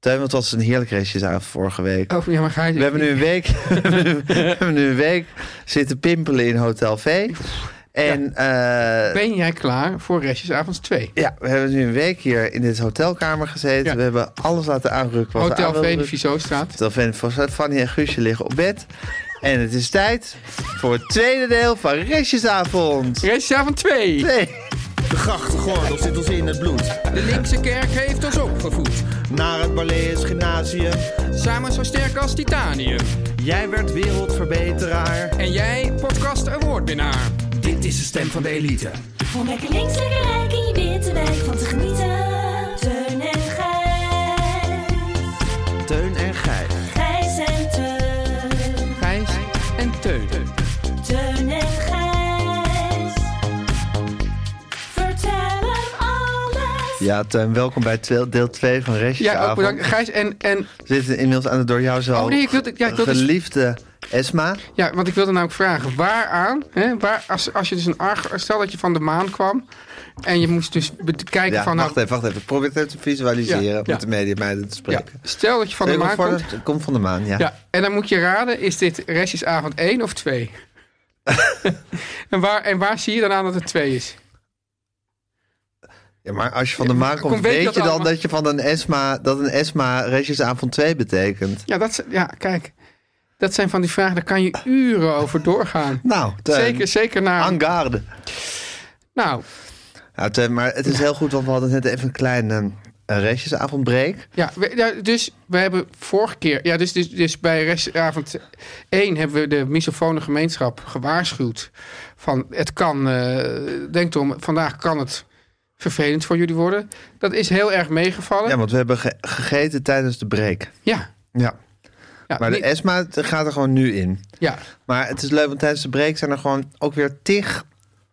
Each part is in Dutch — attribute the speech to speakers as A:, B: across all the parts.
A: Tuin, want het was een heerlijk restjesavond vorige week.
B: Oh, ja, maar ga je...
A: We hebben nu een week, we hebben nu een week zitten pimpelen in Hotel V. En eh,
B: Ben jij klaar voor restjesavonds 2?
A: ja, we hebben nu een week hier in dit hotelkamer gezeten.
B: Ja.
A: We hebben alles laten aanrukken. Wat we
B: Hotel
A: aan wilden
B: V, de
A: rukken.
B: Vizostraat.
A: Hotel Veen, Vosstraat. Fanny en Guusje liggen op bed. En het is tijd voor het tweede deel van restjesavond.
B: Restjesavond 2!
A: Nee.
C: De grachtengordel zit ons in het bloed.
B: De linkse kerk heeft ons opgevoed.
C: Naar het Barlees Gymnasium.
B: Samen zo sterk als titanium.
C: Jij werd wereldverbeteraar.
B: En jij, podcast awardwinnaar.
C: Dit is de stem van de elite.
D: Om lekker links, lekker rijk in je witte wijk van te genieten. Teun en Gijs.
A: Teun en Gij.
D: Gijs en Teun.
B: Gijs en Teun.
D: Teun en Gijs. Vertel hem alles.
A: Ja, Teun, welkom bij twe- deel 2 van restjesavond.
B: Ja, ook bedankt. Gijs en... en
A: We zitten inmiddels aan de door jou zo
B: Oh, nee, ik wilde- ja, ik wilde-
A: geliefde Esma.
B: ja, want ik wilde namelijk vragen, waaraan... Hè, waar, als, als je dus een arg... Stel dat je van de maan kwam en je moest dus bekijken
A: Ja,
B: van... nou,
A: wacht even, wacht even. Ik Probeer het te visualiseren
B: Ja,
A: om
B: ja.
A: met de media meiden te
B: ja,
A: spreken.
B: stel dat je van de
A: Nee,
B: maan
A: komt voor-
B: komt...
A: het komt van de maan, ja.
B: Ja, en dan moet je raden, is dit restjesavond 1 of 2? en, waar, en waar zie je dan aan dat het 2 is?
A: Ja, maar als je van de
B: Ja,
A: maan komt,
B: kom,
A: weet
B: weet je
A: je
B: dat
A: dan
B: allemaal?
A: dat je van een Esma, dat een Esma restjesavond 2 betekent?
B: Ja, dat, is- ja, kijk. Dat zijn van die vragen, daar kan je uren over doorgaan.
A: Nou, Teun,
B: zeker, zeker naar...
A: en garde.
B: Nou,
A: Nou, Teun, maar het is heel goed, want we hadden net even een kleine eh, restjesavondbreak.
B: ja, we- ja, dus we hebben vorige keer... Ja, dus, dus, dus bij restjesavond 1 hebben we de misofone gemeenschap gewaarschuwd. Van, het kan... eh denk erom, vandaag kan het vervelend voor jullie worden. Dat is heel erg meegevallen.
A: Ja, want we hebben ge- gegeten tijdens de break.
B: ja.
A: Ja.
B: Ja,
A: Ah, Maar de
B: niet-
A: Esma gaat er gewoon nu in.
B: ja,
A: Maar het is leuk, want tijdens de break zijn er gewoon ook weer tig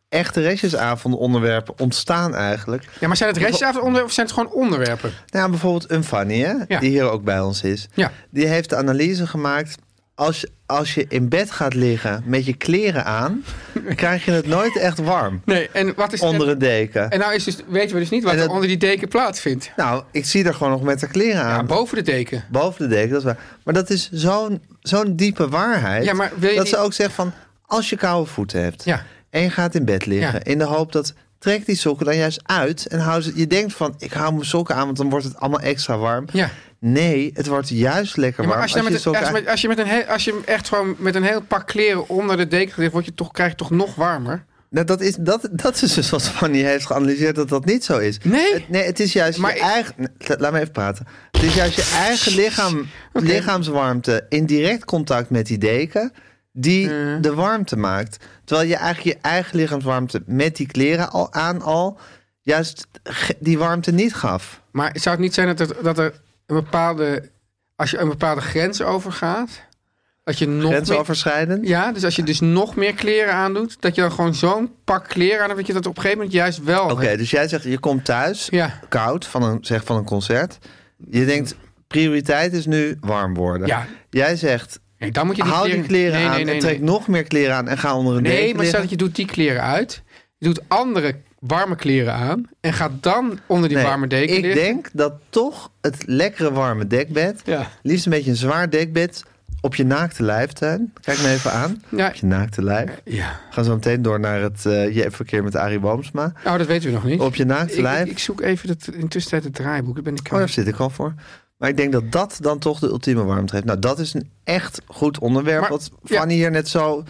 A: echte restjesavond onderwerpen ontstaan eigenlijk.
B: Ja, maar zijn het restjesavondonderwerpen of zijn het gewoon onderwerpen?
A: Nou, ja, bijvoorbeeld een Fanny, hè,
B: Ja.
A: die hier ook bij ons is.
B: Ja.
A: Die heeft de analyse gemaakt. Als je, als je in bed gaat liggen met je kleren aan, krijg je het nooit echt warm
B: Nee, en wat is
A: onder
B: en,
A: een deken.
B: en nou is dus, weten we dus niet wat
A: En dat-
B: er onder die deken plaatsvindt.
A: Nou, ik zie er gewoon nog met haar kleren
B: Ja,
A: aan.
B: boven de deken.
A: boven de deken, dat is waar. Maar dat is zo'n zo'n diepe waarheid.
B: Ja, maar wil je
A: dat
B: niet-
A: ze ook zegt van, als je koude voeten hebt
B: Ja.
A: en je gaat in bed liggen...
B: Ja.
A: in de hoop dat, trek die sokken dan juist uit... en hou ze, je denkt van, ik hou mijn sokken aan, want dan wordt het allemaal extra warm.
B: Ja.
A: Nee, het wordt juist lekker
B: Ja,
A: warm
B: maar als je, dan met een,
A: sokken
B: als,
A: aan-
B: met, als, je met een heel, als je echt gewoon met een heel pak kleren onder de deken ligt, word je toch, krijg je toch nog warmer.
A: Nou, dat, is, dat, dat is dus wat Fanny heeft geanalyseerd, dat dat niet zo is.
B: Nee?
A: Het, nee, het is juist
B: Maar
A: je
B: ik-
A: eigen... Nee, la- Laat me even praten. Het is juist je eigen lichaam, lichaamswarmte in direct contact met die deken... die de warmte maakt. Terwijl je eigenlijk je eigen lichaamswarmte met die kleren al aan al... juist ge- die warmte niet gaf.
B: Maar zou het niet zijn dat er, dat er een bepaalde, als je een bepaalde grens overgaat, dat je nog meer,
A: Grensoverschrijdend.
B: ja, dus als je dus nog meer kleren aandoet, dat je dan gewoon zo'n pak kleren aan hebt, dat je dat op een gegeven moment juist wel.
A: Oké, dus jij zegt, je komt thuis
B: Ja.
A: koud van een, zeg, van een concert. Je denkt, prioriteit is nu warm worden.
B: Ja.
A: Jij zegt,
B: Nee, dan moet je die
A: Hou die kleren
B: Nee,
A: aan
B: nee, nee,
A: en trek
B: nee.
A: nog meer kleren aan en ga onder een
B: Nee,
A: deken
B: maar stel
A: liggen.
B: dat je doet die kleren uit. Je doet andere warme kleren aan. En gaat dan onder die
A: Nee,
B: warme deken
A: Ik
B: liggen.
A: denk dat toch het lekkere warme dekbed,
B: Ja.
A: liefst een beetje een zwaar dekbed, op je naakte lijf, Teun. Kijk me even aan.
B: Ja.
A: Op je naakte lijf.
B: Ja.
A: We gaan zo meteen door naar het eh je even verkeer met Arie Boomsma.
B: Nou, dat weten we nog niet.
A: Op je naakte
B: ik,
A: lijf.
B: ik, ik zoek even dat, intussen tijd het draaiboek. Dat ben ik
A: Oh, daar
B: kwijt.
A: zit ik al voor. Maar ik denk dat dat dan toch de ultieme warmte heeft. Nou, dat is een echt goed onderwerp.
B: Maar-
A: wat
B: ja.
A: Fanny hier net zo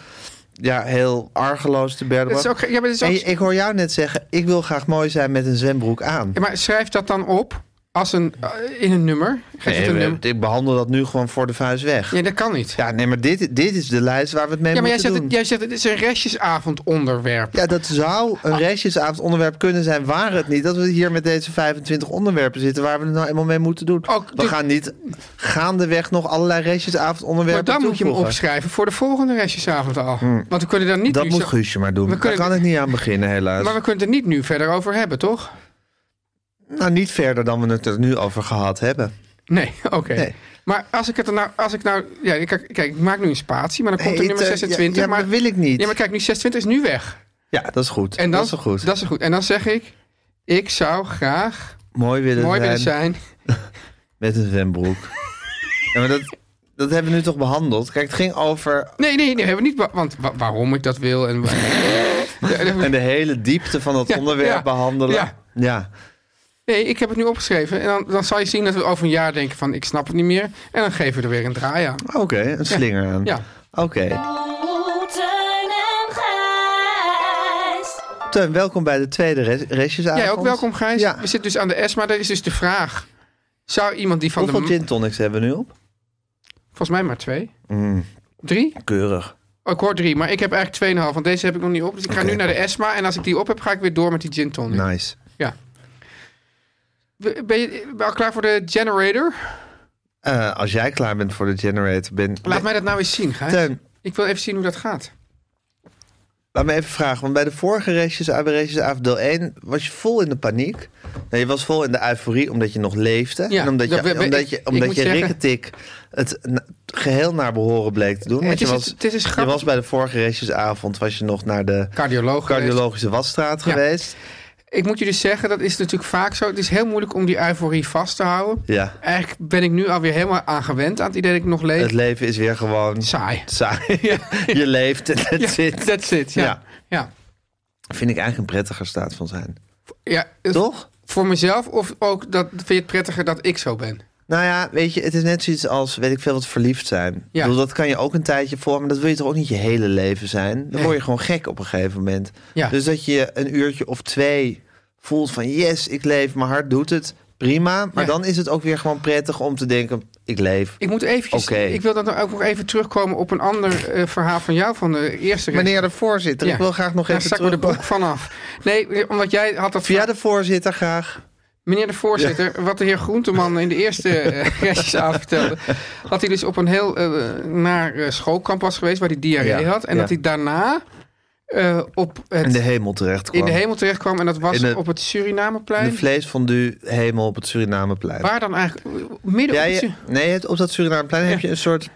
A: ja, heel argeloos te berden
B: Dat is
A: was.
B: ook, ge- ja, maar dat is
A: En
B: ook
A: je- ik hoor jou net zeggen, ik wil graag mooi zijn met een zwembroek aan.
B: Ja, maar schrijf dat dan op als een, eh, in een nummer. Geef het
A: Nee,
B: een
A: we-
B: nummer.
A: ik behandel dat nu gewoon voor de vuist weg. Ja,
B: Ja, dat kan niet. Ja,
A: nee, maar dit, dit is de lijst waar we het mee
B: maar jij
A: moeten
B: zegt,
A: doen.
B: het, jij zegt het is een restjesavond onderwerp.
A: Ja, dat zou een
B: Ah.
A: restjesavond onderwerp kunnen zijn, waar het niet. Dat we hier met deze 25 onderwerpen zitten waar we het nou eenmaal mee moeten doen.
B: Ook
A: we
B: de-
A: gaan niet gaandeweg nog allerlei restjesavond onderwerpen
B: maar dan moet je hem
A: toevoegen.
B: opschrijven voor de volgende restjesavond al. Want we kunnen daar niet
A: Hmm. Dat
B: nu
A: moet
B: zo-
A: Guusje maar doen.
B: We
A: Daar
B: kunnen-
A: kan ik niet aan beginnen, helaas.
B: Maar we kunnen het er niet nu verder over hebben, toch?
A: Nou, niet verder dan we het er nu over gehad hebben.
B: Nee, oké.
A: Nee.
B: Maar als ik het er nou... Als ik nou ja, kijk, kijk, ik maak nu een spatie, maar dan komt
A: Hey,
B: er nummer
A: Teun,
B: 26.
A: eh, ja, ja, maar
B: maar,
A: dat wil ik niet.
B: Ja, maar kijk, nu 26 is nu weg.
A: Ja, dat is goed.
B: En dan,
A: dat is wel goed.
B: Dat is goed. En dan zeg ik, ik zou graag
A: Mooi willen
B: mooi willen
A: zijn,
B: zijn.
A: met een zwembroek. ja, maar dat, dat hebben we nu toch behandeld? Kijk, het ging over
B: Nee, nee, nee, hebben we niet. wa- Want wa- waarom ik dat wil en. wa- Ja, dat-
A: en de hele diepte van dat
B: Ja,
A: onderwerp
B: ja,
A: behandelen.
B: ja.
A: ja.
B: nee, ik heb het nu opgeschreven. En dan, dan zal je zien dat we over een jaar denken: van ik snap het niet meer. En dan geven we er weer een draai aan.
A: Ah, Oké, een slinger aan.
B: Ja.
A: Oké.
D: Oh, Teun en Gijs.
A: Teun, welkom bij de tweede res- restjesavond.
B: Jij ook welkom, Gijs.
A: Ja.
B: We zitten dus aan de S, maar dat is dus de vraag: zou iemand die van
A: Hoeveel
B: de.
A: gin tonics hebben we nu op?
B: Volgens mij maar twee.
A: Mm.
B: Drie?
A: Keurig.
B: Oh, ik hoor drie, maar ik heb eigenlijk tweeënhalf, want deze heb ik nog niet op. Dus ik ga
A: Oké. Nou.
B: nu naar de ESMA en als ik die op heb, ga ik weer door met die gin tonic.
A: Nice.
B: Ja. Ben je, ben je al klaar voor de generator?
A: Eh, als jij klaar bent voor de generator, ben...
B: Laat mij dat nou eens zien, Gijs.
A: Teun,
B: Ik wil even zien hoe dat gaat.
A: Laat me even vragen, want bij de vorige restjes, bij restjesavond deel 1, was je vol in de paniek. Nee, je was vol in de euforie omdat je nog leefde.
B: Ja,
A: en omdat je,
B: dat we- we-
A: omdat
B: ik-
A: je,
B: ik
A: omdat
B: moet
A: je
B: zeggen-
A: Rikketik het na- geheel naar behoren bleek te doen. Want
B: Het
A: je,
B: is-
A: was,
B: het is
A: je
B: grappig.
A: was bij de vorige restjesavond, was je nog naar de
B: Cardioloog. geweest.
A: cardiologische wasstraat
B: Ja.
A: geweest.
B: Ik moet jullie zeggen, dat is natuurlijk vaak zo. Het is heel moeilijk om die euforie vast te houden.
A: Ja.
B: Eigenlijk ben ik nu alweer helemaal aan gewend aan het idee dat ik nog leef.
A: Het leven is weer gewoon
B: Saai.
A: saai. je leeft en dat zit.
B: Dat zit, ja.
A: Ja.
B: ja. ja.
A: Vind ik eigenlijk een prettiger staat van zijn.
B: het-
A: Toch?
B: Voor mezelf of ook dat vind je het prettiger dat ik zo ben?
A: Nou ja, weet je, het is net zoiets als, weet ik veel, wat verliefd zijn. Ik bedoel, dat kan je ook een tijdje voor, maar dat wil je toch ook niet je hele leven zijn? Dan word je gewoon gek op een gegeven moment.
B: Ja.
A: Dus dat je een uurtje of twee voelt van, yes, ik leef, mijn hart doet het, prima. Maar
B: Ja.
A: dan is het ook weer gewoon prettig om te denken, ik leef.
B: Ik moet eventjes,
A: Oké.
B: ik wil dat nou ook nog even terugkomen op een ander eh, verhaal van jou van de eerste rest-
A: Meneer de voorzitter,
B: Ja.
A: ik wil graag nog
B: Daar
A: even
B: stak me de
A: terug.
B: broek vanaf. Nee, omdat jij had dat...
A: Via de voorzitter graag.
B: Meneer de voorzitter, wat de heer Groenteman in de eerste eh, restjesavond vertelde... dat hij dus op een heel eh, naar eh, schoolkamp was geweest... waar hij diarree
A: Ja,
B: had. En
A: ja.
B: dat hij daarna eh, op het,
A: In de hemel terecht kwam.
B: in de hemel terecht kwam. En dat was
A: In de-
B: op het
A: De
B: Surinameplein.
A: vleesfondue hemel op het Surinameplein.
B: waar dan eigenlijk? Midden
A: Ja,
B: op het
A: je-
B: Su-
A: nee, je hebt op dat Surinameplein heb
B: Ja.
A: je een soort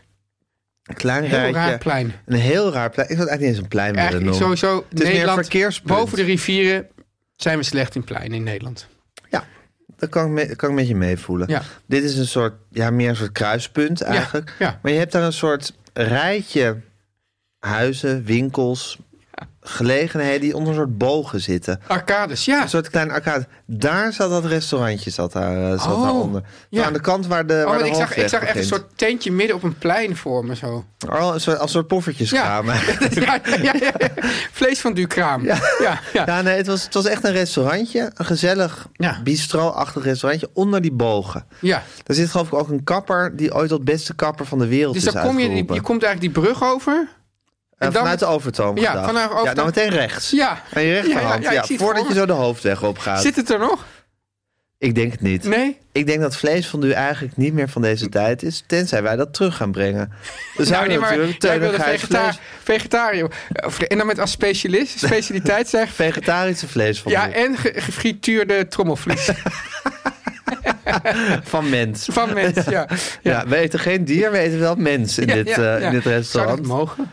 A: klein
B: heel
A: rijtje.
B: raar plein.
A: Een heel raar plein. Ik zou het eigenlijk niet eens een plein willen
B: Eigenlijk
A: noemen.
B: sowieso
A: meer
B: Nederland,
A: verkeerspunt.
B: boven de rivieren... zijn we slecht in pleinen in Nederland.
A: Ja, dat kan ik, me- dat kan ik met je meevoelen.
B: Ja.
A: Dit is een soort, ja, meer een soort kruispunt eigenlijk.
B: ja.
A: Maar je hebt daar een soort rijtje huizen, winkels, gelegenheden die onder een soort bogen zitten.
B: Arcades, ja.
A: Een soort klein arcade. Daar zat dat restaurantje zat daar, eh, zat
B: Oh,
A: daaronder. Zo
B: ja.
A: Aan de kant waar de,
B: Oh,
A: waar
B: want
A: de
B: ik, zag,
A: hoofdweg
B: ik zag echt een
A: begint.
B: soort tentje midden op een plein voor me zo.
A: Oh, een soort, als een soort poffertjes
B: ja, ja, ja, ja. Vlees van Dukraam. Ja. Ja, Dus ja.
A: Ja, nee, het was, het was echt een restaurantje. Een gezellig
B: Ja.
A: bistro-achtig restaurantje onder die bogen. Daar zit geloof ik ook een kapper die ooit tot beste kapper van de wereld
B: Dus
A: is
B: dan kom je, die-
A: uitgeroepen.
B: je komt eigenlijk die brug over.
A: Eh,
B: en dan-
A: vanuit de Overtoom
B: Ja,
A: gedacht.
B: vanuit Overtoom.
A: Ja, dan meteen rechts.
B: Ja.
A: Aan je
B: Ja,
A: rechterhand.
B: ja,
A: Ja,
B: ja, ik zie het
A: voordat
B: voor
A: je
B: me.
A: zo de hoofdweg op gaat.
B: Zit het er nog?
A: Ik denk het niet.
B: Nee? Hm.
A: Ik denk dat vlees van u eigenlijk niet meer van deze tijd is. Tenzij wij dat terug gaan brengen. Dus
B: Nou, nee, maar
A: natuurlijk
B: jij wilde
A: teugigheid
B: vegetar,
A: vlees-
B: vegetariër. Of- En dan met als specialist, specialiteit zeg.
A: Vegetarische vlees van,
B: Ja,
A: u.
B: en ge- gefrituurde trommelvlies
A: van mens.
B: van mensen. Ja,
A: Ja. we eten geen dier, we eten wel mens in, eh, dit, eh, in dit
B: Zou
A: restaurant.
B: dat mogen?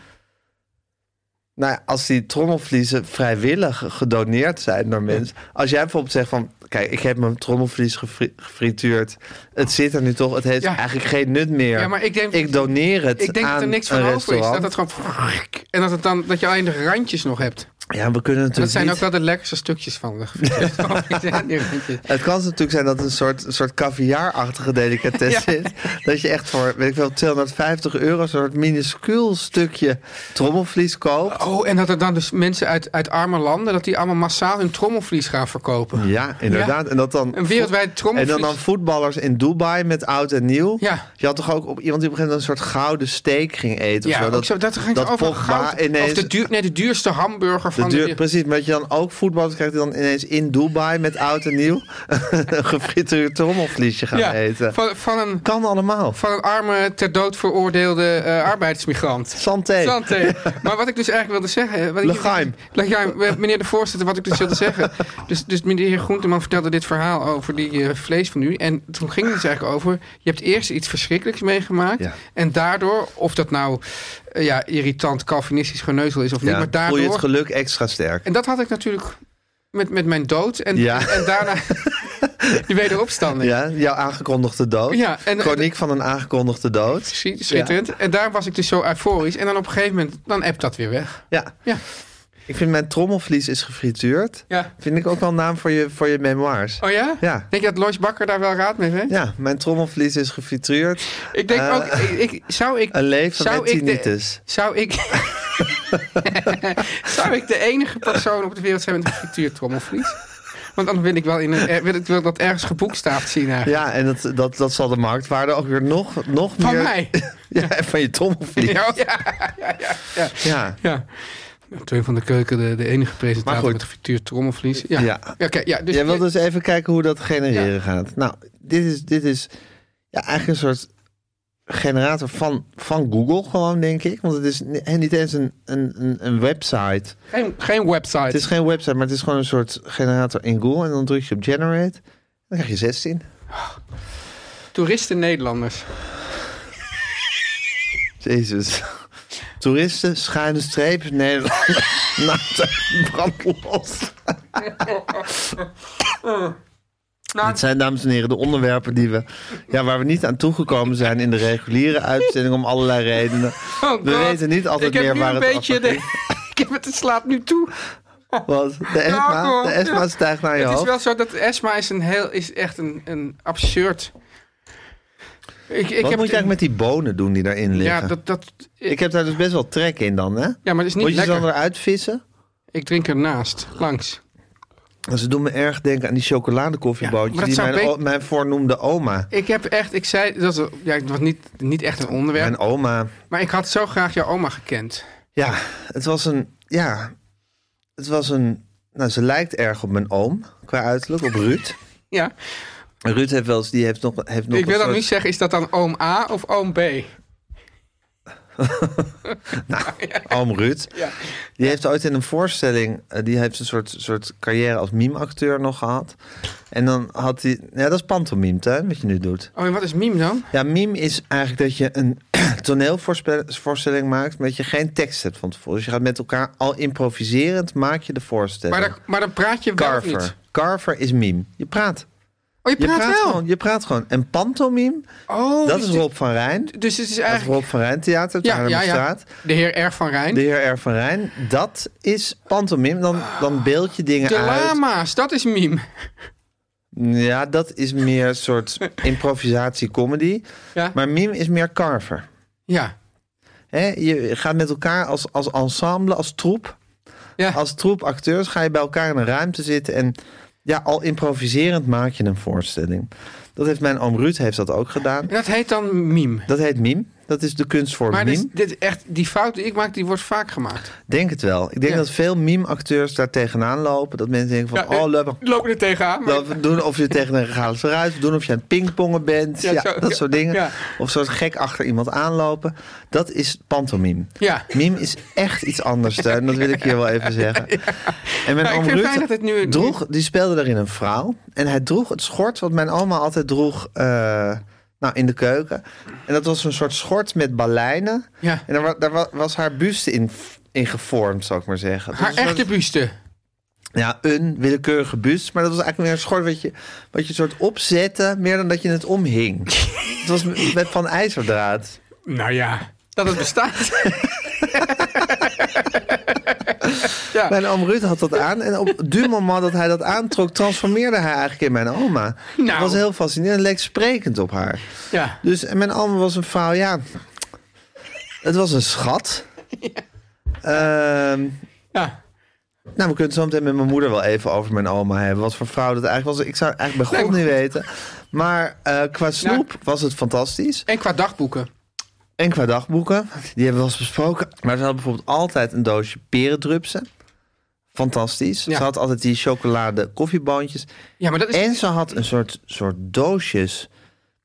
A: Nou, ja, als die trommelvliezen vrijwillig gedoneerd zijn door mensen. Als jij bijvoorbeeld zegt van... Kijk, ik heb mijn trommelvlies gefri- gefrituurd. Het zit er nu toch. Het heeft
B: Ja.
A: eigenlijk geen nut meer.
B: Ja, maar ik denk-
A: doneer het
B: Ik denk
A: aan
B: dat er niks van
A: een
B: over is. Dat
A: restaurant.
B: het gewoon... En dat, het dan, dat je alleen de randjes nog hebt.
A: Ja, we kunnen
B: Dat
A: natuurlijk
B: zijn
A: niet-
B: ook wel de lekkerste stukjes van de Ja, die randjes.
A: Het kan natuurlijk zijn dat het een soort, een soort caviar-achtige delicatesse
B: Ja.
A: is. Dat je echt voor, weet ik wel, 250 euro... een soort minuscuul stukje trommelvlies koopt.
B: Oh, en dat er dan dus mensen uit, uit arme landen... dat die allemaal massaal hun trommelvlies gaan verkopen.
A: Ja, inderdaad. En dat dan
B: Een wereldwijd
A: En dan,
B: trommelvlies.
A: dan voetballers in Dubai met oud en nieuw.
B: Ja.
A: Je had toch ook op iemand die op een gegeven moment een soort gouden steak ging eten.
B: ja,
A: of zo.
B: ook zo, dat ging over
A: Pogba
B: goud.
A: ineens...
B: Of de, duur, nee, de duurste hamburger
A: de
B: van de,
A: duur, precies, maar dat je dan ook voetballers krijgt die dan ineens in Dubai met oud en nieuw een gefrituurd trommelvliesje gaan
B: ja,
A: eten.
B: Van, van, een,
A: Kan allemaal.
B: van een arme, ter dood veroordeelde eh, arbeidsmigrant.
A: Santé.
B: Santé. Maar wat ik dus eigenlijk wilde zeggen... Wat ik-
A: Lachaim.
B: Lachaim, eh, meneer de voorzitter, wat ik dus wilde zeggen... Dus, dus meneer Groenteman vertelde dit verhaal over die eh, vlees van u. En toen ging het dus eigenlijk over... Je hebt eerst iets verschrikkelijks meegemaakt.
A: Ja.
B: En daardoor, of dat nou eh, ja, irritant, calvinistisch geneuzel is of niet...
A: Ja,
B: maar
A: voel je het
B: daardoor...
A: geluk extra sterk.
B: En dat had ik natuurlijk met, met mijn dood. En,
A: Ja.
B: en daarna die wederopstanding.
A: Ja, jouw aangekondigde dood.
B: Ja, en-
A: Chroniek van een aangekondigde dood.
B: Zie- Schitterend. En daar was ik dus zo euforisch. En dan op een gegeven moment, dan appt dat weer weg.
A: Ja.
B: Ja.
A: Ik vind mijn trommelvlies is gefrituurd.
B: ja.
A: Vind ik ook wel een naam voor je, voor je memoirs.
B: Oh ja?
A: Ja.
B: Denk je dat Lois Bakker daar wel raad mee heeft?
A: Ja, mijn trommelvlies is gefrituurd.
B: Ik denk
A: Eh,
B: ook, ik, ik- zou ik...
A: Een leven
B: zou
A: met
B: ik de-
A: tinnitus.
B: zou ik... zou ik de enige persoon op de wereld zijn met een frituurtrommelvlies? Want dan wil ik wel in een, eh, wil ik wil dat ergens geboekstaafd zien eigenlijk.
A: Ja, en dat, dat, dat zal de marktwaarde ook weer nog, nog
B: Van
A: meer...
B: mij.
A: Ja, en van je trommelvlies.
B: Ja, ja, ja, ja, ja.
A: Ja.
B: ja. Twee van de keuken, de, de enige presentator
A: goed.
B: met frituurtrommelvlies. Ja.
A: Ja.
B: Ja, oké, ja, dus
A: Jij wil dus even kijken hoe dat genereren gaat. Nou, dit is, dit is ja, eigenlijk een soort generator van, van Google gewoon, denk ik. Want het is ni- en niet eens een, een, een, een website.
B: geen, geen website.
A: Het is geen website, maar het is gewoon een soort generator in Google. En dan druk je op generate. Dan krijg je 16.
B: Toeristen Nederlanders.
A: Jezus. Toeristen, schuine streep, Nederland. nou, brand los.
B: Nou,
A: Het zijn, dames en heren, de onderwerpen die we, ja, waar we niet aan toegekomen zijn in de reguliere uitzending om allerlei redenen.
B: oh
A: We
B: God.
A: weten niet altijd
B: ik heb
A: meer
B: nu
A: waar
B: een
A: het
B: beetje
A: over
B: de,
A: ging.
B: Ik heb het, het slaat nu toe.
A: Want de
B: Ja,
A: ESMA,
B: kom.
A: de ESMA stijgt naar je
B: Het is
A: hoofd.
B: wel zo dat ESMA is, een heel, is echt een, een absurd... Ik, ik
A: Wat
B: heb
A: moet je eigenlijk met die bonen doen die daarin liggen?
B: Ja, dat, dat,
A: Ik heb daar dus best wel trek in dan, hè?
B: ja, maar het is niet
A: Moet je ze
B: lekker.
A: dan eruit vissen?
B: Ik drink ernaast, langs.
A: En Ze doen me erg denken aan die chocoladekoffiebootjes
B: Ja, maar dat
A: die
B: zou
A: mijn,
B: be-
A: o- mijn voornoemde oma.
B: Ik heb echt, ik zei, dat is- ja, het was niet, niet echt een onderwerp,
A: Mijn oma.
B: maar ik had zo graag jouw oma gekend.
A: Ja, het was een. Ja, het was een. Nou, ze lijkt erg op mijn oom qua uiterlijk, op Ruud.
B: Ja,
A: Ruud heeft wel eens, die heeft nog, heeft nog
B: ik wil
A: een
B: dat
A: soort-
B: niet zeggen, is dat dan oom A of oom B?
A: Nou, Oom Ruud.
B: Ja.
A: Die heeft ooit in een voorstelling, eh, die heeft een soort, soort carrière als meme-acteur nog gehad. En dan had hij, ja, dat is pantomime, hè, wat je nu doet.
B: Oh, en wat is meme dan?
A: Ja, meme is eigenlijk dat je een toneelvoorstelling maakt, maar dat je geen tekst hebt van tevoren. Dus je gaat met elkaar al improviserend maak je de voorstelling.
B: Maar, daar, maar dan praat je wel of niet.
A: Carver. Carver is meme. Je praat.
B: Oh, je
A: Je
B: praat,
A: praat,
B: wel.
A: gewoon. Je praat gewoon. En pantomime,
B: Oh,
A: dat
B: dus
A: is
B: dit-
A: Rob van Rijn.
B: Dus het is
A: Dat is
B: eigenlijk...
A: Rob van Rijn Theater, op de
B: Ja, ja, ja.
A: Straat.
B: De heer R. van
A: De
B: Rijn. De,
A: heer R. van Rijn, dat is pantomim. Dan, dan beeld je dingen uit.
B: lama's, dat is meme.
A: Ja, dat is meer een soort improvisatie-comedy.
B: Ja,
A: Maar mime is meer carver.
B: ja.
A: Hè, je gaat met elkaar als, als ensemble, als troep.
B: ja.
A: Als troep acteurs ga je bij elkaar in een ruimte zitten. En ja, al improviserend maak je een voorstelling. Dat heeft mijn oom Ruud heeft dat ook gedaan.
B: En dat heet dan meme.
A: Dat heet mime. Dat is de kunstvorm
B: Maar dus- dit, is-
A: mime.
B: dit is echt, die fout die ik maak, die wordt vaak gemaakt.
A: Denk het wel. Ik denk
B: Ja.
A: dat veel mime-acteurs daar tegenaan lopen. Dat mensen denken van,
B: Ja, eh,
A: oh, leuk.
B: Lopen er tegenaan. maar-
A: Dat we doen of je tegen een regale eruit, doen of je aan het pingpongen bent. Ja,
B: Ja, zo-
A: dat
B: ja,
A: soort dingen.
B: ja.
A: Of soort gek achter iemand aanlopen. Dat is pantomime.
B: Ja.
A: Mime is echt iets anders, Teun. Dat wil ik hier wel even zeggen. En mijn
B: Ja, Nou, ik
A: oom
B: vind het fijn
A: Ruud
B: dat het nu-
A: droeg, die speelde daarin een vrouw. En hij droeg het schort wat mijn oma altijd droeg eh, nou, in de keuken. En dat was een soort schort met baleinen.
B: Ja.
A: En daar, wa- daar wa- was haar buste in f- in gevormd, zou ik maar zeggen.
B: Haar echte buste.
A: Ja, een willekeurige bus. Maar dat was eigenlijk meer een schort wat je, wat je soort opzette, meer dan dat je het omhing. het was met van ijzerdraad.
B: Nou ja. Dat het bestaat.
A: Mijn oom Ruud had dat aan. En op du moment dat hij dat aantrok, transformeerde hij eigenlijk in mijn oma. Dat
B: Nou.
A: was heel fascinerend. Het leek sprekend op haar.
B: ja.
A: Dus en mijn oma was een vrouw, ja... Het was een schat. Ehm,
B: ja.
A: nou, we kunnen het zo meteen met mijn moeder wel even over mijn oma hebben. Wat voor vrouw dat eigenlijk was. Ik zou eigenlijk bij God
B: Nee,
A: niet weten. Maar eh, qua snoep was het fantastisch.
B: En qua dagboeken.
A: En qua dagboeken, die hebben we wel eens besproken. Maar ze had bijvoorbeeld altijd een doosje perendrupsen. Fantastisch.
B: Ja.
A: Ze had altijd die chocolade koffieboontjes.
B: Ja, maar dat is...
A: En ze had een soort, soort doosjes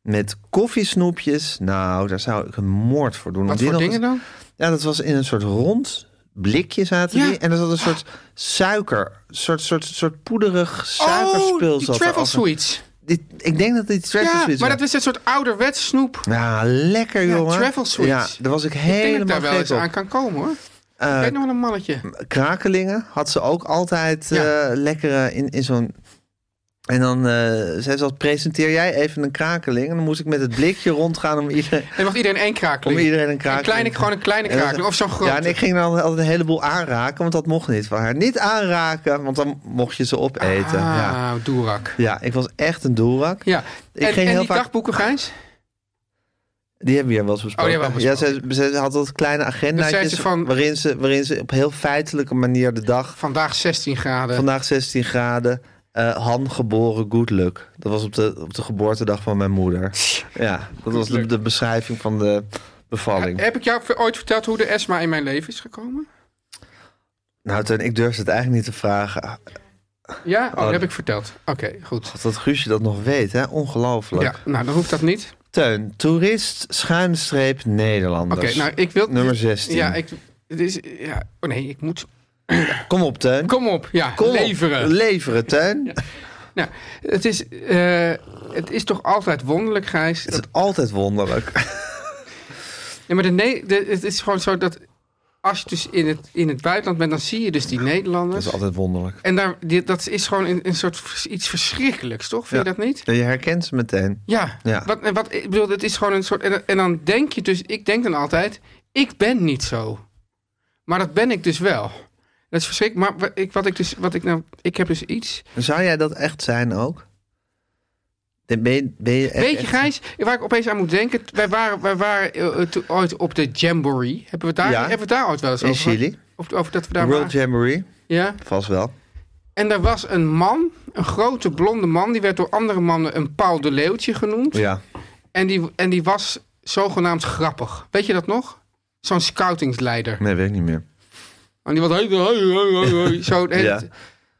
A: met koffiesnoepjes. Nou, daar zou ik een moord voor doen. Om
B: Wat
A: die
B: voor
A: nog
B: dingen dan?
A: eens- Ja, dat was in een soort rond blikje zaten
B: Ja.
A: die. En er zat een soort suiker, soort, soort, soort poederig suikerspul.
B: oh, die
A: zat
B: travel
A: erachter.
B: sweets.
A: Dit- ik denk dat dit travel
B: Ja,
A: sweets
B: maar
A: waren.
B: dat is een soort ouderwets snoep.
A: Ja, lekker jongen.
B: travel sweets.
A: Ja, daar was ik
B: Ik denk dat ik
A: helemaal
B: daar wel eens
A: gek op. Eh,
B: aan kan komen hoor. ik weet nog wel een mannetje.
A: krakelingen had ze ook altijd
B: Ja.
A: eh, lekkere in, in zo'n... En dan eh, zei ze altijd, presenteer jij even een krakeling. En dan moest ik met het blikje rondgaan om, ieder,
B: En mag iedereen één krakeling.
A: om iedereen een krakeling.
B: Een kleine, gewoon een kleine
A: En dan-
B: krakeling. Of zo'n grote.
A: Ja, en ik ging dan altijd een heleboel aanraken, want dat mocht niet van haar. Niet aanraken, want dan mocht je ze opeten. Ja.
B: Ah, doerak.
A: ja, ik was echt een doelrak.
B: Ja.
A: Ik
B: en
A: ging
B: en
A: heel
B: die
A: vaak-
B: dagboeken, Gijs?
A: Die hebben we hier wel eens besproken.
B: Oh, die hebben we wel
A: Ja, ze, ze had dat kleine
B: zei
A: agendaatjes
B: ze van-
A: waarin, ze, waarin ze op heel feitelijke manier de dag
B: Vandaag 16 graden.
A: Vandaag 16 graden. Eh, Han geboren, good luck. Dat was op de, op de geboortedag van mijn moeder. Ja, dat was de, de beschrijving van de bevalling.
B: Heb ik jou ooit verteld hoe de ESMA in mijn leven is gekomen?
A: Nou, Teun, ik durfde het eigenlijk niet te vragen. Ah,
B: Ja, oh, dat
A: Oh.
B: heb ik verteld. Oké, goed.
A: God, dat Guusje dat nog weet, hè? Ongelooflijk.
B: Ja, nou, dan hoeft dat niet.
A: Teun, toerist, schuinstreep,
B: Oké,
A: Nederlanders.
B: nou, ik wil...
A: Nummer 16.
B: Ja, ik... Dit is, ja, oh nee, ik moet...
A: Kom op, Teun.
B: Kom op, ja,
A: Kom op.
B: leveren.
A: Leveren, Teun.
B: nou, het is, eh, het is toch altijd wonderlijk, Gijs,
A: Het
B: dat
A: is altijd wonderlijk.
B: Ja, maar de Ne- de- het is gewoon zo dat als je dus in het, in het buitenland bent, dan zie je dus die
A: Dat
B: Nederlanders.
A: is altijd wonderlijk.
B: En daar, die- dat is gewoon een, een soort vers- iets verschrikkelijks, toch? Vind je dat niet?
A: Ja, Je herkent ze meteen.
B: Ja.
A: Ja.
B: Wat, en wat, ik bedoel, het is gewoon een soort... En, en dan denk je dus, ik denk dan altijd, ik ben niet zo. Maar dat ben ik dus wel. Dat is verschrikkelijk. Maar wat ik, wat ik dus, wat ik nou, ik heb dus iets.
A: Zou jij dat echt zijn ook? Ben je, ben je echt-
B: Weet je, Gijs, waar ik opeens aan moet denken. Wij waren, wij waren eh, eh, toen ooit op de Jamboree. Hebben we daar,
A: Ja.
B: hebben we daar ooit wel eens
A: In
B: over? gehad?
A: Chili.
B: Of, over dat we daar
A: World
B: waren?
A: Jamboree,
B: Ja.
A: vast wel.
B: En daar was een man, een grote blonde man, die werd door andere mannen een Paul de Leeuwtje genoemd.
A: Ja.
B: En, die, en die was zogenaamd grappig. Weet je dat nog? Zo'n scoutingsleider.
A: Nee, weet ik niet meer.
B: En die was... hey, hey, hey, hey, hey, zo, en,
A: Ja.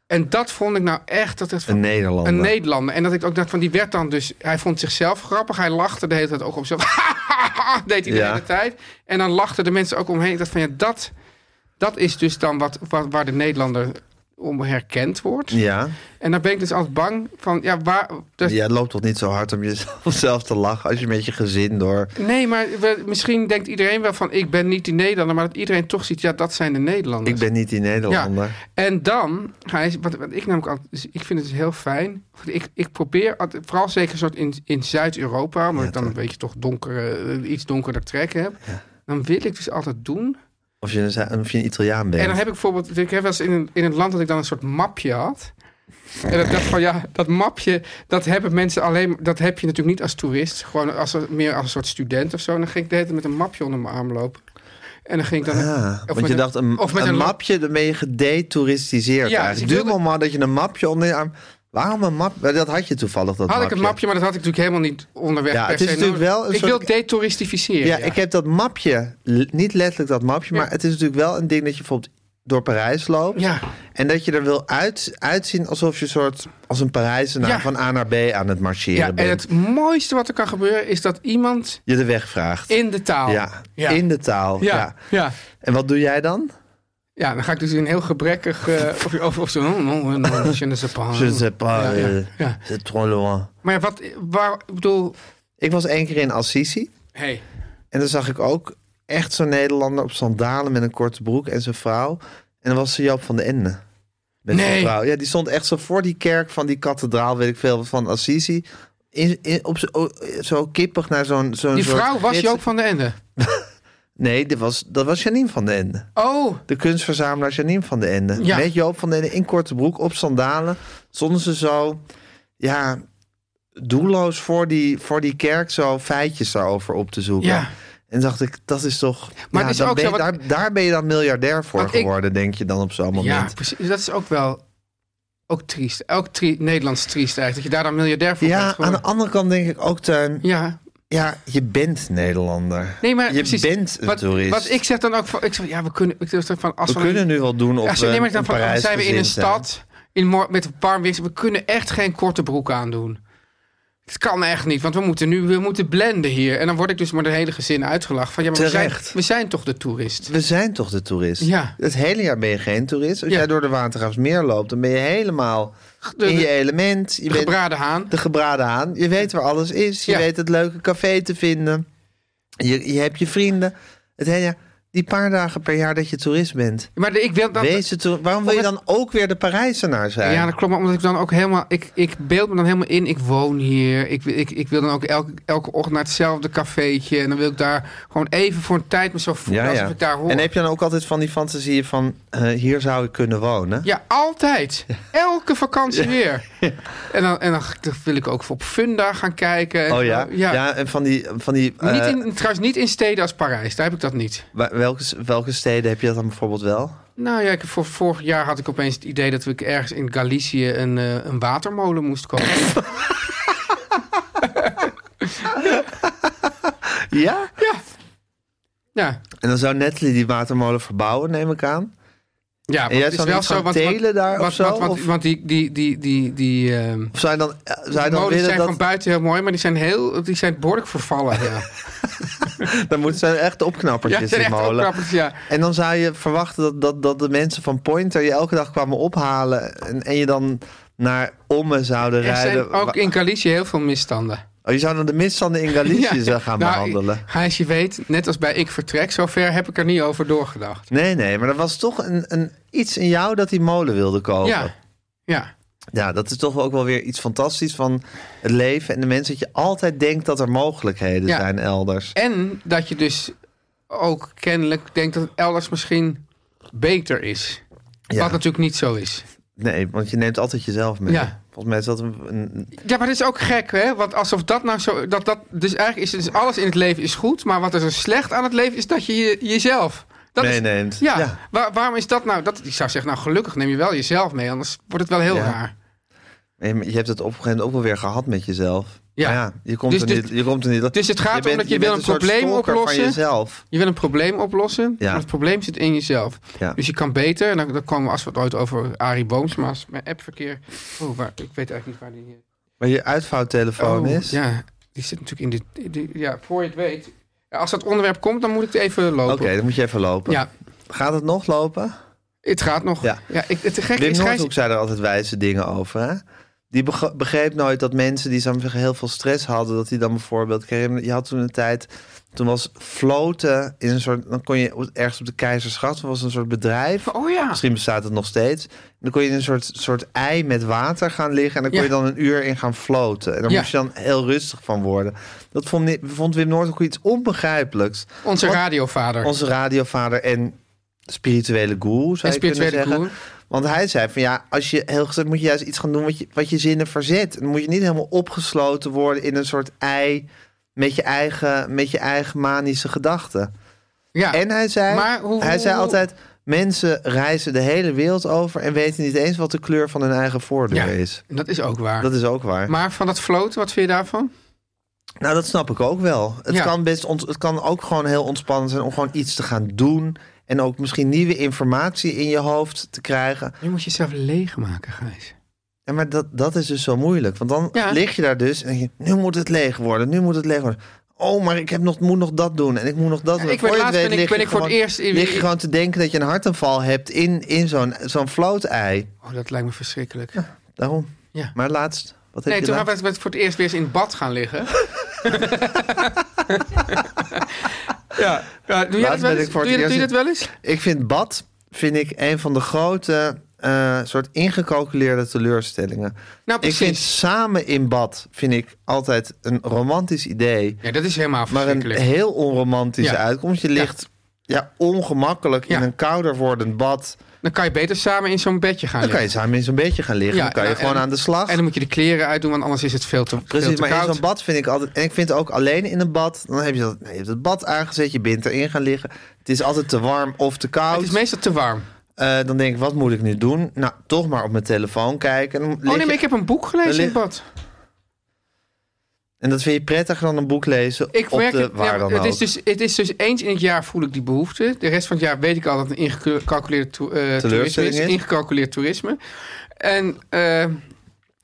B: en dat vond ik nou echt... Dat het van,
A: Een Nederlander.
B: een Nederlander. En dat ik ook dacht van, die werd dan dus... Hij vond zichzelf grappig. Hij lachte de hele tijd ook op zichzelf. deed hij de
A: Ja.
B: hele tijd. En dan lachten de mensen ook omheen. Ik dacht van, ja, dat, dat is dus dan wat, wat, waar de Nederlander om herkend wordt.
A: Ja.
B: En dan ben ik dus altijd bang van, ja, waar... dus dat-
A: Jij loopt toch niet zo hard om jezelf zelf te lachen als je met je gezin door...
B: Nee, maar we- misschien denkt iedereen wel van, ik ben niet die Nederlander. Maar dat iedereen toch ziet, ja, dat zijn de Nederlanders.
A: Ik ben niet die Nederlander.
B: En dan, Gijs, wat, wat ik namelijk altijd, dus ik vind het heel fijn. Ik, ik probeer, altijd- vooral zeker soort in, in Zuid-Europa, omdat ik dan een beetje toch donkere, eh, iets donkerder trekken heb. Dan wil ik dus altijd doen.
A: Of, je een, Zu- of je een Italiaan bent.
B: En dan heb ik bijvoorbeeld, ik heb wel eens in een, in een land dat ik dan een soort mapje had. En dat dacht van ja, dat mapje, dat hebben mensen alleen, dat heb je natuurlijk niet als toerist. Gewoon als, meer als een soort student of zo. En dan ging ik de hele tijd met een mapje onder mijn arm lopen. En dan ging ik dan.
A: Ah,
B: of
A: want je
B: met
A: dacht, een,
B: of met
A: een
B: een lap-
A: mapje, dan ben je gedetouristiseerd.
B: Ja,
A: Ja,
B: dus ik
A: eigenlijk. Dus
B: wilde-
A: moment dat je een mapje onder je arm... Waarom een map? Wel, Dat had je toevallig, dat
B: Had ik
A: mapje.
B: het mapje, maar dat had ik natuurlijk helemaal niet onderweg.
A: Ja,
B: per
A: het is
B: se
A: natuurlijk
B: nodig.
A: wel een
B: ik
A: soort-
B: wil detouristificeren.
A: Ja, ik heb dat mapje, l- niet letterlijk dat mapje, maar het is natuurlijk wel een ding dat je bijvoorbeeld door Parijs loopt.
B: Ja.
A: En dat je er wil uit, uitzien alsof je soort als een Parijzenaar
B: Ja.
A: van A naar B aan het marcheren
B: Ja, en
A: bent.
B: het mooiste wat er kan gebeuren is dat iemand
A: Je de weg vraagt.
B: in de taal.
A: ja.
B: Ja.
A: in de taal. Ja.
B: Ja, ja.
A: En wat doe jij dan?
B: Ja, dan ga ik dus in heel gebrekkig. eh, of of, of zo. oh, oh, oh, je ne sais pas.
A: Je sais pas,
B: Ja, ja,
A: eh,
B: ja.
A: c'est trop loin.
B: Maar ja, wat, waar, ik bedoel.
A: Ik was één keer in Assisi
B: Hey.
A: en dan zag ik ook echt zo'n Nederlander op sandalen met een korte broek en zijn vrouw. En dan was ze Joop van de Ende. Met zijn
B: Nee.
A: vrouw. Ja, die stond echt zo voor die kerk van die kathedraal, weet ik veel, van Assisi. In, in, op zo, o- zo kippig naar zo'n... zo'n
B: Die
A: soort
B: vrouw was
A: gids.
B: Joop van de Ende.
A: Nee, dat was, dat was Janine van de Ende.
B: Oh,
A: De kunstverzamelaar Janine van de Ende.
B: Ja.
A: Met Joop van de Ende in korte broek, op sandalen. Stonden ze zo, ja, doelloos voor die, voor die kerk zo feitjes daarover op te zoeken.
B: Ja.
A: En dacht ik, dat is toch...
B: Maar
A: ja,
B: het is
A: dan
B: ook
A: ben
B: zo,
A: je-
B: want-
A: daar, daar ben je dan miljardair voor
B: Want ik-
A: geworden, denk je dan op zo'n
B: ja,
A: moment.
B: precies. Dat is ook wel... Ook triest. Ook tri- Nederlands triest eigenlijk. Dat je daar dan miljardair voor bent
A: Ja, aan
B: geworden.
A: de andere kant denk ik ook, Tuin...
B: Ja,
A: Ja, je bent Nederlander.
B: nee, maar
A: je
B: precies.
A: bent een
B: wat,
A: toerist.
B: Wat ik zeg dan ook van... Ik zeg, ja, we kunnen... Ik zeg dan van, als
A: we kunnen nu wel doen of
B: als,
A: we
B: nee, maar
A: eh, in
B: dan van,
A: Parijs
B: zijn we in een
A: gezind zijn.
B: stad in, mor- met een paar wissels. We kunnen echt geen korte broek aandoen. Het kan echt niet, want we moeten nu we moeten blenden hier. En dan word ik dus maar de hele gezin uitgelachen. Van, ja, maar we zijn,
A: Terecht.
B: we zijn toch de toerist?
A: We zijn toch de toerist?
B: Ja.
A: Het hele jaar ben je geen toerist. Als
B: Ja.
A: jij door de Watergraafsmeer loopt, dan ben je helemaal
B: de-
A: in je element. Je bent
B: Gebraden haan.
A: de gebraden aan. Je weet waar alles is. Je
B: Ja.
A: weet het leuke café te vinden. Je, je hebt je vrienden. Het hele jaar- die paar dagen per jaar dat je toerist bent.
B: Maar de- ik wil dan.
A: Wees de toer- Waarom wil je
B: Of
A: dan ook weer de Parijzenaar zijn?
B: Ja, dat klopt. Maar omdat ik dan ook helemaal. Ik, ik beeld me dan helemaal in. Ik woon hier. Ik, ik, ik wil dan ook elke, elke ochtend naar hetzelfde cafeetje. En dan wil ik daar gewoon even voor een tijd me zo voelen.
A: ja,
B: alsof
A: ja.
B: ik daar hoor.
A: En heb je dan ook altijd van die fantasieën van... eh, hier zou ik kunnen wonen?
B: Ja, altijd. Elke vakantie weer. En, dan, en dan wil ik ook op Funda gaan kijken. En
A: Oh ja?
B: zo.
A: ja? en van die... Van die
B: Maar
A: eh,
B: Niet in, trouwens, niet in steden als Parijs. Daar heb ik dat niet.
A: wa- welke, welke steden heb je dat dan bijvoorbeeld wel?
B: Nou ja, ik, voor, vorig jaar had ik opeens het idee dat ik ergens in Galicië een, eh, een watermolen moest kopen.
A: Ja?
B: ja.
A: En dan zou Natalie die watermolen verbouwen, neem ik aan.
B: Ja,
A: jij
B: want het is
A: zou
B: wel
A: niet
B: zo.
A: gaan
B: Want,
A: telen
B: want-
A: daar of
B: want-
A: zo,
B: want- want-
A: of?
B: want die, die, die, die, die, ehm,
A: Of zou je dan, eh, zou je
B: die
A: dan
B: molens
A: willen
B: zijn
A: dat...
B: van buiten heel mooi, maar die zijn, heel, die zijn behoorlijk vervallen. Ja,
A: Dan moeten zijn echt
B: ja
A: opknappertjes
B: die zijn
A: in
B: echt
A: molen.
B: opknappers, ja.
A: En dan zou je verwachten dat, dat, dat de mensen van Pointer je elke dag kwamen ophalen. En, en je dan naar Ommen zouden
B: Er
A: rijden.
B: zijn ook in Galicië heel veel misstanden.
A: Oh, je zou dan de misstanden in Galicië
B: Ja.
A: zou gaan
B: Nou,
A: behandelen.
B: Gijs, je weet, net als bij Ik Vertrek, zover heb ik er niet over doorgedacht.
A: Nee, nee, maar er was toch een, een, iets in jou dat die molen wilde kopen.
B: Ja, ja.
A: Ja, dat is toch ook wel weer iets fantastisch van het leven en de mensen. Dat je altijd denkt dat er mogelijkheden
B: Ja.
A: zijn elders.
B: En dat je dus ook kennelijk denkt dat het elders misschien beter is.
A: Ja.
B: Wat natuurlijk niet zo is.
A: Nee, want je neemt altijd jezelf mee.
B: Ja.
A: Volgens mij is dat een... een-
B: Ja, maar dat is ook gek, hè? Want alsof dat nou zo... Dat, dat, dus eigenlijk is dus alles in het leven is goed, maar wat er zo slecht aan het leven is dat je, je jezelf... Dat is-
A: meeneemt.
B: Ja,
A: Ja.
B: waar- waarom is dat nou? Dat, ik zou zeggen, nou gelukkig neem je wel jezelf mee, anders wordt het wel heel
A: Ja.
B: raar.
A: Nee, maar Je hebt het op een gegeven moment ook wel weer gehad met jezelf.
B: Ja.
A: Maar ja je, komt
B: Dus
A: er
B: dit-
A: niet, je komt er niet...
B: dus het gaat om dat je wil
A: bent
B: een
A: soort
B: probleem
A: stalker
B: oplossen.
A: van jezelf.
B: Je wil een probleem oplossen,
A: Ja.
B: maar het probleem zit in jezelf.
A: Ja.
B: Dus je kan beter, en dan, dan komen we als we het ooit over Arie Boomsma's, mijn appverkeer. Oh, waar, ik weet eigenlijk niet waar die...
A: Maar je uitvouwtelefoon
B: Oh,
A: is...
B: Ja, die zit natuurlijk in de... die- ja, voor je het weet. Ja, als dat onderwerp komt, dan moet ik even
A: Oké,
B: lopen.
A: dan moet je even lopen.
B: Ja,
A: Gaat het nog lopen?
B: het gaat nog.
A: Ja.
B: Ja. ik, het gekke
A: Wim
B: is, Gijs,
A: Noordhoek zei er altijd wijze dingen over, hè? Die beg- begreep nooit dat mensen die zo heel veel stress hadden... dat die dan bijvoorbeeld... kregen- Je had toen een tijd... Toen was floten in een soort... Dan kon je ergens op de Keizersgracht... was een soort bedrijf.
B: Oh ja.
A: Misschien bestaat het nog steeds. En dan kon je in een soort, soort ei met water gaan liggen. En dan kon
B: Ja.
A: je dan een uur in gaan floten. En daar
B: Ja.
A: moest je dan heel rustig van worden. Dat vond, ni- vond Wim Noordhoek iets onbegrijpelijks.
B: onze
A: Want
B: radiovader.
A: Onze radiovader en spirituele guru, zou
B: En
A: je kunnen
B: spirituele
A: zeggen.
B: guru.
A: Want hij zei van ja, als je heel gezet moet je juist iets gaan doen wat je, wat je zinnen verzet. En dan moet je niet helemaal opgesloten worden in een soort ei... met je eigen, met je eigen manische gedachten.
B: ja.
A: En hij zei,
B: Maar hoe-
A: hij zei
B: hoe-
A: altijd: mensen reizen de hele wereld over en weten niet eens wat de kleur van hun eigen voordeur
B: Ja,
A: is.
B: en dat is ook waar.
A: Dat is ook waar.
B: Maar van dat floten, wat vind je daarvan?
A: nou, dat snap ik ook wel. Het,
B: Ja.
A: kan best ont- het kan ook gewoon heel ontspannend zijn om gewoon iets te gaan doen. En ook misschien nieuwe informatie in je hoofd te krijgen.
B: Je moet jezelf leegmaken, Gijs.
A: Ja, maar dat, dat is dus zo moeilijk. Want dan
B: Ja.
A: lig je daar dus en denk je, nu moet het leeg worden, nu moet het leeg worden. Oh, maar ik heb nog, moet nog dat doen en ik moet nog dat doen.
B: ik ben
A: Voor je het
B: laatst
A: weet
B: ben
A: lig
B: ik-
A: je
B: ben ik voor het
A: gewoon-
B: eerst in-
A: lig je gewoon te denken dat je een hartaanval hebt in, in zo'n zo'n flootei.
B: Oh, dat lijkt me verschrikkelijk.
A: Daarom.
B: Ja.
A: Maar laatst, wat heb
B: Nee,
A: je
B: toen
A: laatst?
B: waren we het voor het eerst weer eens in het bad gaan liggen. Ja. Ja, doe jij dat
A: Laatst
B: wel
A: ben
B: eens?
A: ik voor
B: Doe
A: het
B: je, doe je
A: eerst-
B: dat wel eens?
A: Ik vind bad vind ik een van de grote eh, soort ingecalculeerde teleurstellingen.
B: Nou,
A: ik vind
B: precies.
A: samen in bad vind ik altijd een romantisch idee,
B: Ja, dat is helemaal
A: maar een
B: verschrikkelijk.
A: heel onromantische
B: Ja.
A: uitkomst. Je
B: Ja.
A: ligt ja. ongemakkelijk in
B: Ja.
A: een kouder wordend bad.
B: Dan kan je beter samen in zo'n bedje gaan
A: Dan kan je
B: liggen.
A: samen in zo'n beetje gaan liggen.
B: Ah, Ja,
A: dan kan je
B: en-
A: gewoon
B: en-
A: aan de slag.
B: En dan moet je de kleren uitdoen, want anders is het veel te, veel
A: Precies,
B: te
A: maar in
B: koud.
A: zo'n bad vind ik altijd... En ik vind ook alleen in een bad... Dan heb je, dat, nee, je hebt het bad aangezet, je bent erin gaan liggen. Het is altijd te warm of te koud.
B: het is meestal te warm. Oh,
A: Eh, dan denk ik, wat moet ik nu doen? Nou, toch maar op mijn telefoon kijken. En, dan lig
B: Oh nee, maar
A: je-
B: ik heb een boek gelezen
A: Dan
B: in
A: lig-
B: het bad.
A: en dat vind je prettiger dan een boek lezen
B: Ik
A: op
B: merk
A: de
B: het, ja,
A: waar dan
B: het,
A: ook.
B: is dus, het is dus eens in het jaar voel ik die behoefte. De rest van het jaar weet ik al dat het een ingecalculeerd to- eh, toerisme is.
A: is.
B: Ingecalculeerd toerisme. En, eh,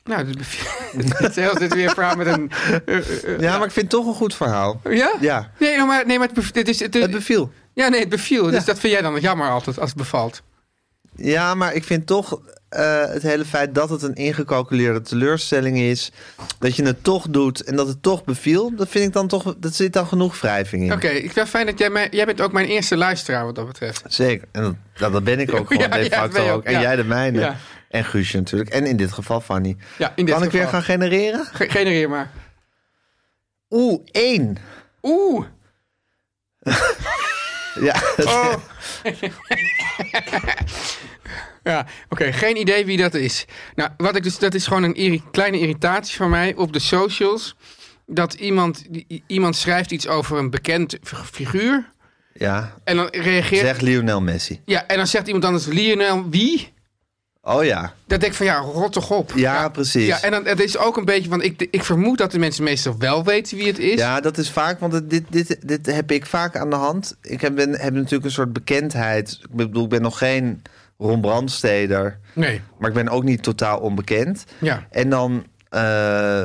B: nou, dit bev- het is dit weer een verhaal met een... eh, eh,
A: ja, maar ik vind het toch een goed verhaal.
B: ja?
A: Ja,
B: Nee, nou, maar, nee, maar het, bev- dit is, het,
A: het beviel.
B: ja, nee, het beviel. Dus
A: Ja.
B: dat vind jij dan jammer altijd als het bevalt.
A: Ja, maar ik vind toch eh, het hele feit dat het een ingecalculeerde teleurstelling is... dat je het toch doet en dat het toch beviel... dat vind ik dan toch... dat zit dan genoeg wrijving in.
B: Oké, ik vind het fijn dat jij mij... Jij bent ook mijn eerste luisteraar wat dat betreft.
A: Zeker. En dat, nou, dat ben ik ook gewoon
B: Ja,
A: de
B: ja,
A: facto
B: ben je ook,
A: ook. En
B: ja.
A: jij de mijne.
B: Ja.
A: En Guusje natuurlijk. En in dit geval Fanny.
B: Ja, in dit
A: kan ik
B: geval.
A: weer gaan genereren?
B: Ge- genereer maar.
A: Oeh, één.
B: Oeh!
A: Ja,
B: Oh. ja, oké, geen idee wie dat is. Nou, wat ik dus, dat is gewoon een irri- kleine irritatie van mij op de socials. Dat iemand, i- iemand schrijft iets over een bekend f- figuur.
A: ja.
B: En dan reageert.
A: Zeg Lionel Messi.
B: Ja, en dan zegt iemand anders: Lionel, wie?
A: Oh ja.
B: Dat denk ik van ja, rot toch op.
A: Ja, precies.
B: Ja,
A: Ja,
B: en dan, het is ook een beetje, want ik, ik vermoed dat de mensen meestal wel weten wie het is.
A: dat is vaak, want het- dit, dit, dit heb ik vaak aan de hand. Ik heb, ben, heb natuurlijk een soort bekendheid. Ik bedoel, ik ben nog geen Ron Brandsteder.
B: Nee.
A: Maar ik ben ook niet totaal onbekend.
B: Ja.
A: En dan eh,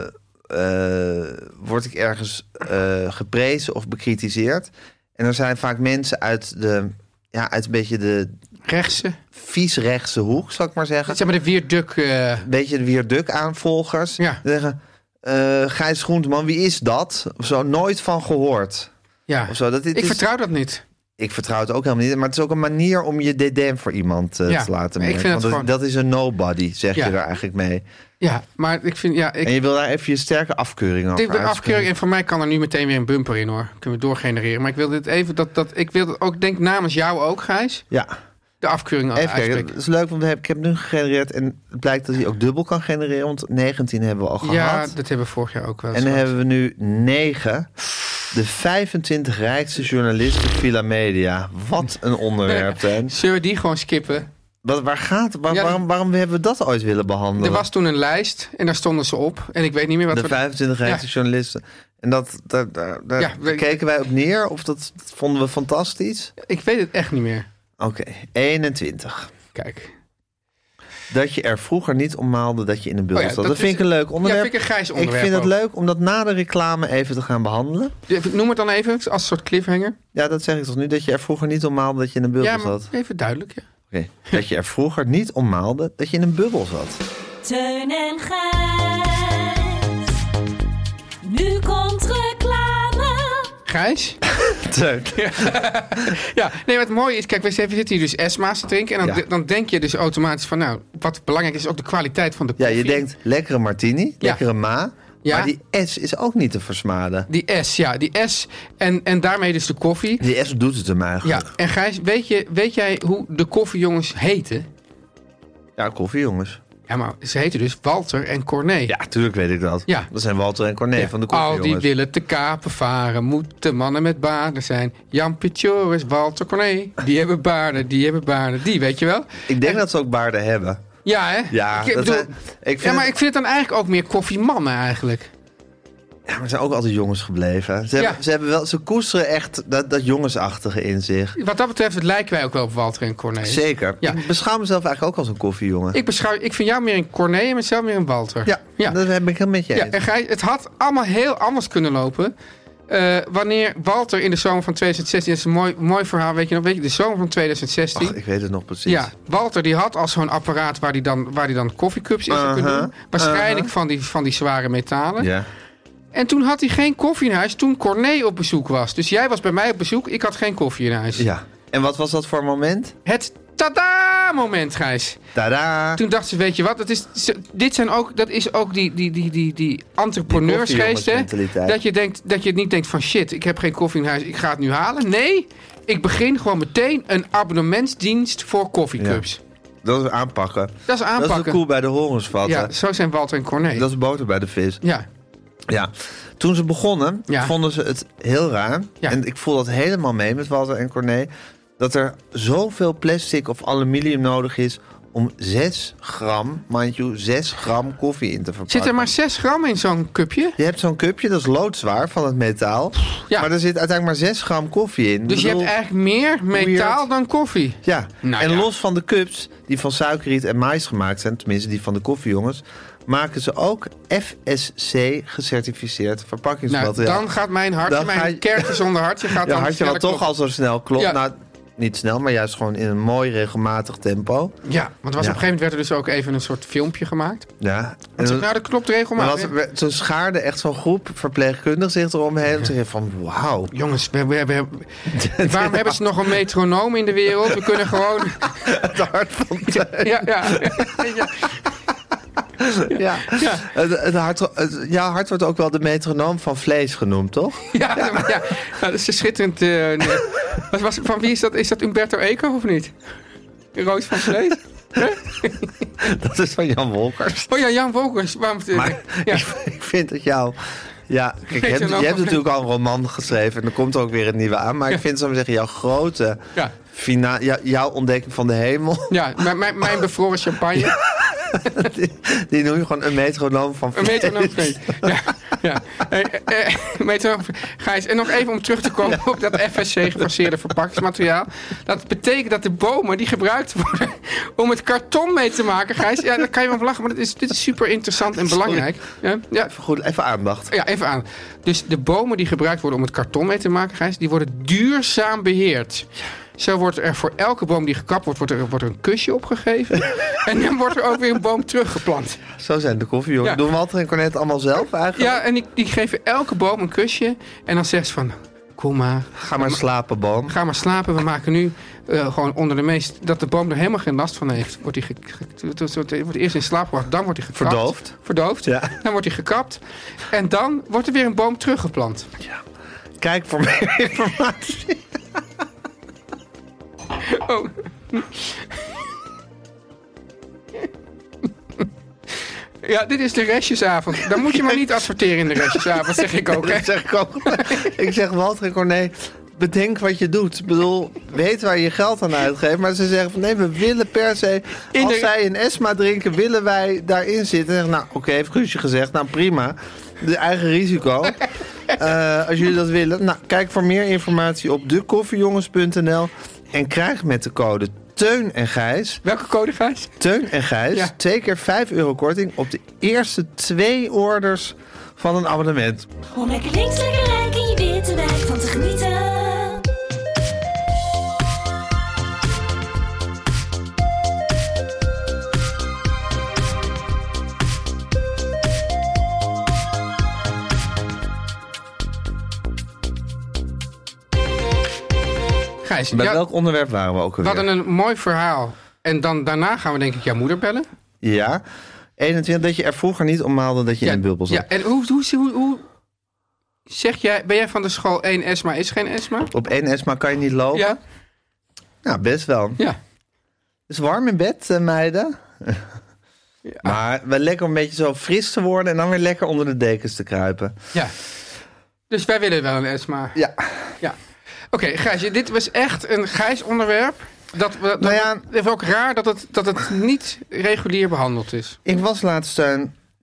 A: eh, word ik ergens eh, geprezen of bekritiseerd. En er zijn vaak mensen uit de, ja, uit een beetje de
B: Rechtse.
A: vies-rechtse hoek, zal ik maar zeggen.
B: Dat zijn maar de Wierduk. eh
A: Een beetje de Wierduk-aanvolgers.
B: Ja.
A: Die zeggen, eh, Gijs Groenteman, wie is dat? Of zo, nooit van gehoord.
B: ja.
A: Of zo, dat dit
B: Ik
A: is-
B: vertrouw dat niet.
A: Ik vertrouw het ook helemaal niet. Maar het is ook een manier om je dédain voor iemand eh,
B: Ja,
A: te laten
B: maar ik
A: merken. Want
B: vind het
A: dat, dat is een nobody, zeg
B: Ja.
A: je daar eigenlijk mee.
B: Ja, maar ik vind. Ja, ik,
A: En je wil daar even je sterke afkeuring over
B: Ik wil afkeuring
A: uitspreken.
B: en voor mij kan er nu meteen weer een bumper in hoor. Kunnen we doorgenereren. Maar ik wil dit even dat, dat ik wil dat ook denk namens jou ook, Gijs.
A: Ja,
B: De afkeuring
A: even kijken.
B: Oh, uitspreken.
A: Het is leuk, want we hebben- ik heb nu gegenereerd. En het blijkt dat hij ook dubbel kan genereren. Want 19 hebben we al gehad.
B: Ja, dat hebben we vorig jaar ook wel. eens
A: en dan
B: gehad.
A: hebben we nu 9. De 25 rijkste journalisten Villa Media. Wat een onderwerp, hè?
B: Zullen we die gewoon skippen?
A: Wat, waar gaat, waar-
B: Ja,
A: waarom, waarom hebben we dat ooit willen behandelen?
B: Er was toen een lijst en daar stonden ze op. En ik weet niet meer wat
A: de
B: we-
A: 25 rijkste
B: Ja.
A: journalisten. En dat, daar, daar, daar
B: Ja, we-
A: keken wij op neer. Of dat, dat vonden we fantastisch.
B: Ik weet het echt niet meer.
A: Oké, 21.
B: Kijk.
A: Dat je er vroeger niet om maalde dat je in een beeld
B: Oh ja,
A: zat.
B: dat
A: Dat, vind
B: is-
A: ik een leuk onderwerp.
B: vind ik een grijs onderwerp
A: Ik vind het
B: ook.
A: leuk om dat na de reclame even te gaan behandelen.
B: Noem het dan even als een soort cliffhanger.
A: Ja, dat zeg ik toch nu. Dat je er vroeger niet om maalde dat je in een bubbel
B: Ja, maar
A: zat.
B: even duidelijk. Ja.
A: Oké. Dat je er vroeger niet om maalde dat je in een bubbel zat.
D: Teun en Gijs. Nu komt reclame.
B: Gijs?
A: Teun.
B: Ja, nee, wat mooi is, kijk, we zitten hier dus Esma's te drinken. En dan,
A: Ja.
B: dan denk je dus automatisch van, nou, wat belangrijk is, ook de kwaliteit van de
A: Ja,
B: koffie.
A: je denkt lekkere martini, lekkere ma.
B: Ja.
A: Maar die S is ook niet te versmaden.
B: Die S, ja, die S. En, en daarmee dus de koffie.
A: Die S doet het hem
B: Ja,
A: eigenlijk. Ja,
B: en Gijs, weet, je, weet jij hoe de koffiejongens heten?
A: koffie jongens.
B: Ja, maar ze heten dus Walter en Corné.
A: Ja, tuurlijk weet ik dat.
B: Ja.
A: Dat zijn Walter en Corné van de koffie
B: Al die
A: jongens.
B: willen te kapen varen, moeten mannen met baarden zijn. Jan Pietjoris, Walter Corné, die hebben baarden, die hebben baarden, die, weet je wel?
A: Ik denk dat ze ook baarden hebben.
B: Ja, hè?
A: Ja,
B: ik,
A: dat
B: bedoel,
A: zijn- ik vind
B: ja maar
A: het-
B: ik vind het dan eigenlijk ook meer koffiemannen eigenlijk.
A: Ja, maar ze zijn ook altijd jongens gebleven. Ze,
B: Ja.
A: hebben, ze, hebben wel, ze koesteren echt dat, dat jongensachtige in zich.
B: Wat dat betreft het lijken wij ook wel op Walter en Corné.
A: Zeker.
B: Ja.
A: Ik beschouw mezelf eigenlijk ook als een koffiejongen.
B: Ik, beschouw, ik vind jou meer een Corné en mezelf meer een Walter.
A: Ja, dat heb ik heel met je
B: Ja,
A: eens.
B: en Gijs, het had allemaal heel anders kunnen lopen. eh, wanneer Walter in de zomer van 2016, dat is een mooi, mooi verhaal, weet je nog, weet je, de zomer van 2016.
A: Ach, ik weet het nog precies.
B: ja, Walter die had al zo'n apparaat waar hij dan, waar die dan koffiecups in zou kunnen
A: Uh-huh,
B: doen. Waarschijnlijk van, die, van die zware metalen.
A: Ja.
B: En toen had hij geen koffie in huis toen Corné op bezoek was. Dus jij was bij mij op bezoek, ik had geen koffie in huis.
A: Ja. En wat was dat voor moment?
B: Het tada-moment, Gijs.
A: Tada!
B: Toen dachten ze, weet je wat, dat is, ze- dit zijn ook, dat is ook die, die, die, die, die entrepreneursgeest, hè?
A: koffiejongensmentaliteit.
B: Dat je, denkt, dat je het niet denkt van shit, ik heb geen koffie in huis, ik ga het nu halen. Nee, ik begin gewoon meteen een abonnementsdienst voor koffiecups.
A: Dat is aanpakken.
B: Dat is aanpakken.
A: Dat is de koe bij de horens vatten.
B: Ja, zo zijn Walter en Corné.
A: Dat is boter bij de vis.
B: Ja,
A: Ja. Toen ze begonnen,
B: Ja.
A: vonden ze het heel raar.
B: Ja.
A: En ik voel dat helemaal mee met Walter en Corné. Dat er zoveel plastic of aluminium nodig is om 6 gram, mind you, 6 gram koffie in te verpakken.
B: zit er maar 6 gram in zo'n cupje?
A: Je hebt zo'n cupje, dat is loodzwaar van het metaal.
B: Ja.
A: Maar er zit uiteindelijk maar 6 gram koffie in.
B: Dus
A: Ik
B: je hebt
A: bedoel,
B: eigenlijk meer metaal dan koffie.
A: Ja,
B: Nou
A: en
B: ja.
A: los van de cups die van suikerriet en maïs gemaakt zijn, tenminste die van de koffiejongens, maken ze ook FSC gecertificeerd
B: Nou,
A: verpakkingsmateriaal.
B: dan gaat mijn hartje,
A: Dan ga je-
B: mijn kerkje zonder hartje gaat
A: ja,
B: dan
A: had je wel
B: sneller
A: toch
B: kloppen.
A: al zo snel klopt.
B: Ja.
A: Nou, niet snel, maar juist gewoon in een mooi regelmatig tempo.
B: Ja, want
A: Ja.
B: er was op een gegeven moment werd er dus ook even een soort filmpje gemaakt.
A: Ja. En
B: Want ze-
A: dan-
B: nou, dat klopt
A: maar
B: regelmatig.
A: als er- toen schaarde echt zo'n groep verpleegkundigen zich eromheen. En zei van, wauw.
B: Jongens, we, we, we- waarom hebben ze nog een metronoom in de wereld? We kunnen gewoon...
A: Het hart van Teun.
B: Ja, ja. ja.
A: Ja. Het, het hart, het- jouw hart wordt ook wel de metronoom van vlees genoemd, toch?
B: Ja, maar ja. Nou, dat is een schitterend. eh, nee. was, was, van wie is dat? Is dat Umberto Eco of niet? Roos van Vlees?
A: Dat is van Jan Wolkers.
B: Oh ja, Jan Wolkers. Waarom, eh,
A: Maar
B: ja.
A: ik, ik vind dat jou... Ja, kijk, je
B: je
A: hebt,
B: nou
A: je hebt
B: van-
A: natuurlijk al een roman geschreven en er komt ook weer een nieuwe aan. Maar ik vind, zou ik maar zeggen, jouw grote
B: Ja.
A: fina- jou- jouw ontdekking van de hemel,
B: ja, mijn- mijn, mijn bevroren champagne.
A: die, die noem je gewoon een metronoom van
B: Een metronoom
A: vlees.
B: Vlees. Ja, ja. Eh, eh, metronoom Gijs, en nog even om terug te komen op dat FSC gefaseerde verpakkingsmateriaal. Dat betekent dat de bomen die gebruikt worden om het karton mee te maken, Gijs. Ja, daar kan je wel van lachen, maar dit is, dit is super interessant en belangrijk. Ja, ja.
A: Goed, even aandacht.
B: Ja, even aan. Dus de bomen die gebruikt worden om het karton mee te maken, Gijs, die worden duurzaam beheerd. Zo wordt er voor elke boom die gekapt wordt, wordt er, wordt er een kusje opgegeven. en dan wordt er ook weer een boom teruggeplant.
A: Zo zijn de koffie, jongen.
B: Ja.
A: Doen Walter en Cornet allemaal zelf eigenlijk?
B: Ja, en die, die geven elke boom een kusje. En dan zegt ze van, kom maar, eh,
A: Ga maar slapen, boom.
B: ga maar slapen. We maken nu eh, gewoon onder de meest... Dat de boom er helemaal geen last van heeft. Wordt hij ge- ge- wordt- wordt- wordt eerst in slaap gebracht, dan wordt hij gekapt.
A: Verdoofd.
B: Verdoofd.
A: Ja.
B: Dan wordt hij gekapt. En dan wordt er weer een boom teruggeplant.
A: Kijk voor meer informatie.
B: Oh. Ja, dit is de restjesavond. Dan moet je maar niet adverteren in de restjesavond, zeg ik ook. Hè?
A: Dat zeg ik ook. ik zeg Walter en Corné, bedenk wat je doet. Ik bedoel, weet waar je je geld aan uitgeeft. Maar ze zeggen van nee, we willen per se...
B: In
A: als
B: de-
A: zij een Esma drinken, willen wij daarin zitten. En zeggen, nou, oké, heeft Guusje gezegd. Nou, prima. De eigen risico. Eh, als jullie dat willen. Nou, kijk voor meer informatie op dekoffiejongens.nl. En krijg met de code Teun en Gijs...
B: Welke code, Gijs?
A: Teun en Gijs,
B: Ja.
A: twee keer 5 euro korting... op de eerste twee orders van een abonnement.
D: Om lekker links, lekker rijk in je witte wijk van te genieten.
B: Gijs,
A: Bij
B: ja,
A: welk onderwerp waren we ook
B: we
A: alweer?
B: hadden een mooi verhaal. En dan, daarna gaan we denk ik jouw moeder bellen.
A: Ja. 21, dat je er vroeger niet om haalde dat je in een bubbel zat.
B: Ja, en hoe, hoe, hoe, hoe zeg jij, ben jij van de school 1 ESMA is geen ESMA?
A: Op één Esma kan je niet lopen?
B: Ja,
A: Nou, best wel.
B: ja.
A: Het is warm in bed, eh, meiden. Maar wel lekker om een beetje zo fris te worden... en dan weer lekker onder de dekens te kruipen.
B: ja. Dus wij willen wel een ESMA.
A: Ja.
B: Ja. Oké, Gijs, dit was echt een Gijs onderwerp. Dat, we, dat
A: Nou ja.
B: het is ook raar dat het, dat het niet regulier behandeld is.
A: Ik was laatst... eh,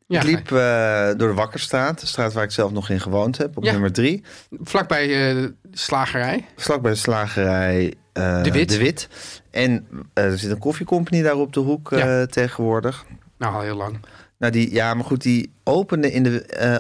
B: Ja,
A: ik liep eh, door de Wakkerstraat. De straat waar ik zelf nog in gewoond heb. Op
B: Ja.
A: nummer drie.
B: Vlakbij eh, de slagerij.
A: Vlak bij de slagerij eh,
B: De Wit.
A: En eh, er zit een koffiecompany daar op de hoek eh,
B: Ja.
A: tegenwoordig.
B: Nou, al heel lang.
A: Nou, die, ja, maar goed, die opende in de, eh,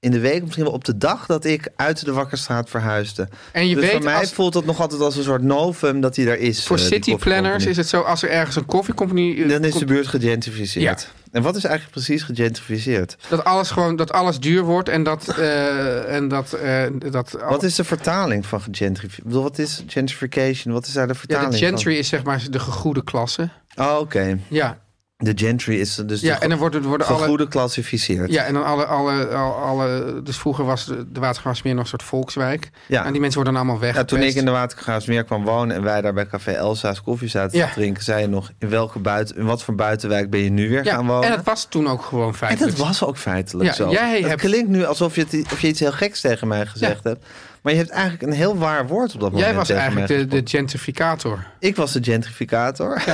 A: in de week, misschien wel op de dag dat ik uit de Wakkerstraat verhuisde.
B: En je
A: dus
B: weet
A: voor mij
B: als-
A: voelt dat nog altijd als een soort novum dat hij daar is.
B: Voor
A: eh, die
B: city planners
A: koffiecompany.
B: is het zo, als er ergens een koffiecompany... eh,
A: Dan is
B: komt-
A: de buurt gegentrificeerd.
B: Ja. Oh.
A: En wat is eigenlijk precies gegentrificeerd?
B: Dat alles gewoon dat alles duur wordt en dat. eh, en dat, eh, dat
A: Wat is de vertaling van gegentrificeerd? Ik bedoel, wat is gentrification? Wat is daar de
B: ja,
A: vertaling
B: de gentry
A: van?
B: is zeg maar de gegoede klasse.
A: Oh, oké.
B: Ja,
A: De gentry is dus
B: ja
A: de
B: en dan worden, worden alle.
A: goede klassificeerd.
B: Ja, en dan alle, alle, al- alle. Dus vroeger was de de Watergraafsmeer nog een soort volkswijk.
A: Ja.
B: En die mensen worden dan allemaal weg.
A: Ja, toen ik in de Watergraafsmeer kwam wonen en wij daar bij Café Elsa's koffie zaten
B: Ja.
A: te drinken, zei je nog in welke buiten, in wat voor buitenwijk ben je nu weer
B: ja,
A: gaan wonen?
B: En dat was toen ook gewoon Dus
A: En
B: feitelijk.
A: dat was ook feitelijk
B: Ja,
A: zo.
B: jij
A: het
B: hebt-
A: klinkt nu alsof je, het- of je iets heel geks tegen mij gezegd hebt. Maar je hebt eigenlijk een heel waar woord op dat moment
B: Jij was
A: tegen
B: eigenlijk
A: mij
B: de, de
A: gesproken.
B: gentrificator.
A: Ik was de gentrificator.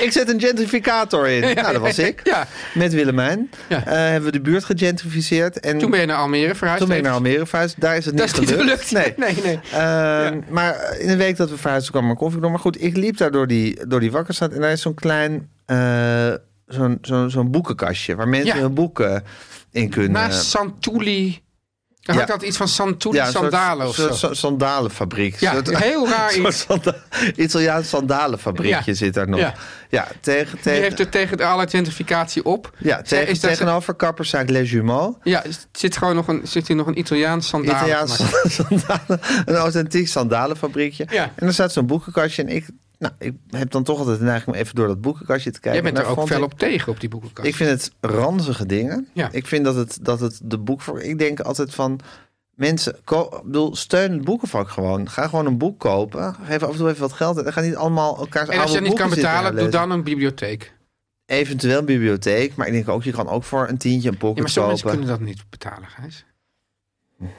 A: ik zet een gentrificator in. nou, dat was ik.
B: Ja.
A: Met Willemijn
B: Ja.
A: Eh, hebben we de buurt gegentrificeerd. En
B: Toen ben je naar Almere verhuisd.
A: toen ben ik
B: even.
A: naar Almere verhuisd. Daar is het
B: Dat
A: niet
B: is niet gelukt.
A: Nee.
B: nee, nee.
A: Eh, Maar in de week dat we verhuisden kwam mijn koffie door. Maar goed, ik liep daar door die, door die wakkerstraat. En daar is zo'n klein eh, zo'n, zo'n, zo'n boekenkastje. Waar mensen
B: Ja.
A: hun boeken in kunnen.
B: Naast Santuli. Dan
A: Ja.
B: had ik altijd iets van Santuli
A: een soort-
B: sandalen of zo.
A: soort sa- sandalenfabriek.
B: ja,
A: Een soort-
B: heel raar
A: een soort
B: iets.
A: sanda- Italiaans sandalenfabriekje
B: Ja.
A: zit daar nog. Ja,
B: Ja.
A: tegen,
B: Die
A: tegen,
B: heeft er tegen de alle gentrificatie op.
A: ja,
B: Zij-
A: tegen,
B: is dat-
A: tegenover kapperszaak Les Jumeaux.
B: Ja, er zit gewoon nog een, zit hier nog een Italiaans sandaal.
A: Italiaans
B: Maar-
A: sandalen, een authentiek sandalenfabriekje.
B: Ja.
A: En er staat zo'n boekenkastje. En ik, nou, ik heb dan toch altijd de neiging om even door dat boekenkastje te kijken.
B: Jij bent
A: En
B: er
A: daar
B: ook
A: vond
B: fel
A: ik-
B: op tegen op die boekenkast.
A: Ik vind het ranzige dingen.
B: Ja.
A: Ik vind dat het, dat het de boek voor. Ik denk altijd van. Mensen, ko- ik bedoel, steun het boekenvak gewoon. Ga gewoon een boek kopen. Geef af en toe even wat geld. uit. En ga niet allemaal elkaars
B: en als je
A: oude
B: dat niet kan
A: boeken zitten
B: betalen, doe
A: herlezen.
B: dan een bibliotheek.
A: Eventueel een bibliotheek. Maar ik denk ook, je kan ook voor een tientje een
B: Ja, maar
A: pocket
B: sommige mensen
A: kopen.
B: kunnen dat niet betalen, Gijs.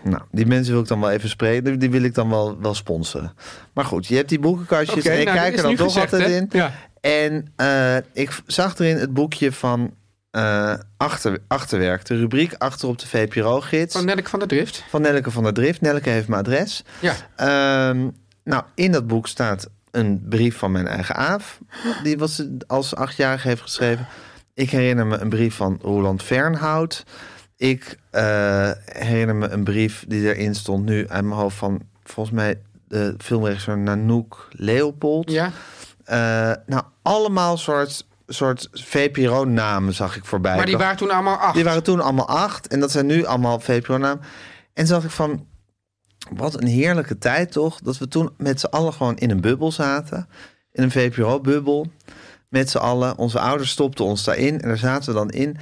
A: Nou, die mensen wil ik dan wel even spreken. Die- Die wil ik dan wel, wel sponsoren. Maar goed, je hebt die boekenkastjes. en ik
B: nou,
A: kijk
B: dat
A: er
B: is
A: dan toch
B: nu gezegd,
A: altijd
B: hè?
A: in.
B: Ja.
A: En eh, ik zag erin het boekje van eh, achter, Achterwerk. De rubriek achter op de VPRO-gids.
B: Van Nelk van der Drift.
A: van Nelke van der Drift. Nelke heeft mijn adres.
B: Ja.
A: Ehm, nou, in dat boek staat een brief van mijn eigen Aaf. Die was ze als achtjarige heeft geschreven. Ik herinner me een brief van Roland Fernhout. Ik eh, herinner me een brief die erin stond nu aan mijn hoofd van... volgens mij de filmregisseur Nanook Leopold.
B: Ja.
A: Eh, nou, allemaal soort, soort VPRO-namen zag ik voorbij.
B: Maar die
A: Ik dacht,
B: waren toen allemaal acht.
A: die waren toen allemaal acht en dat zijn nu allemaal VPRO-naam. En toen dacht ik van, wat een heerlijke tijd toch? Dat we toen met z'n allen gewoon in een bubbel zaten. In een VPRO-bubbel. Met z'n allen. Onze ouders stopten ons daarin en daar zaten we dan in.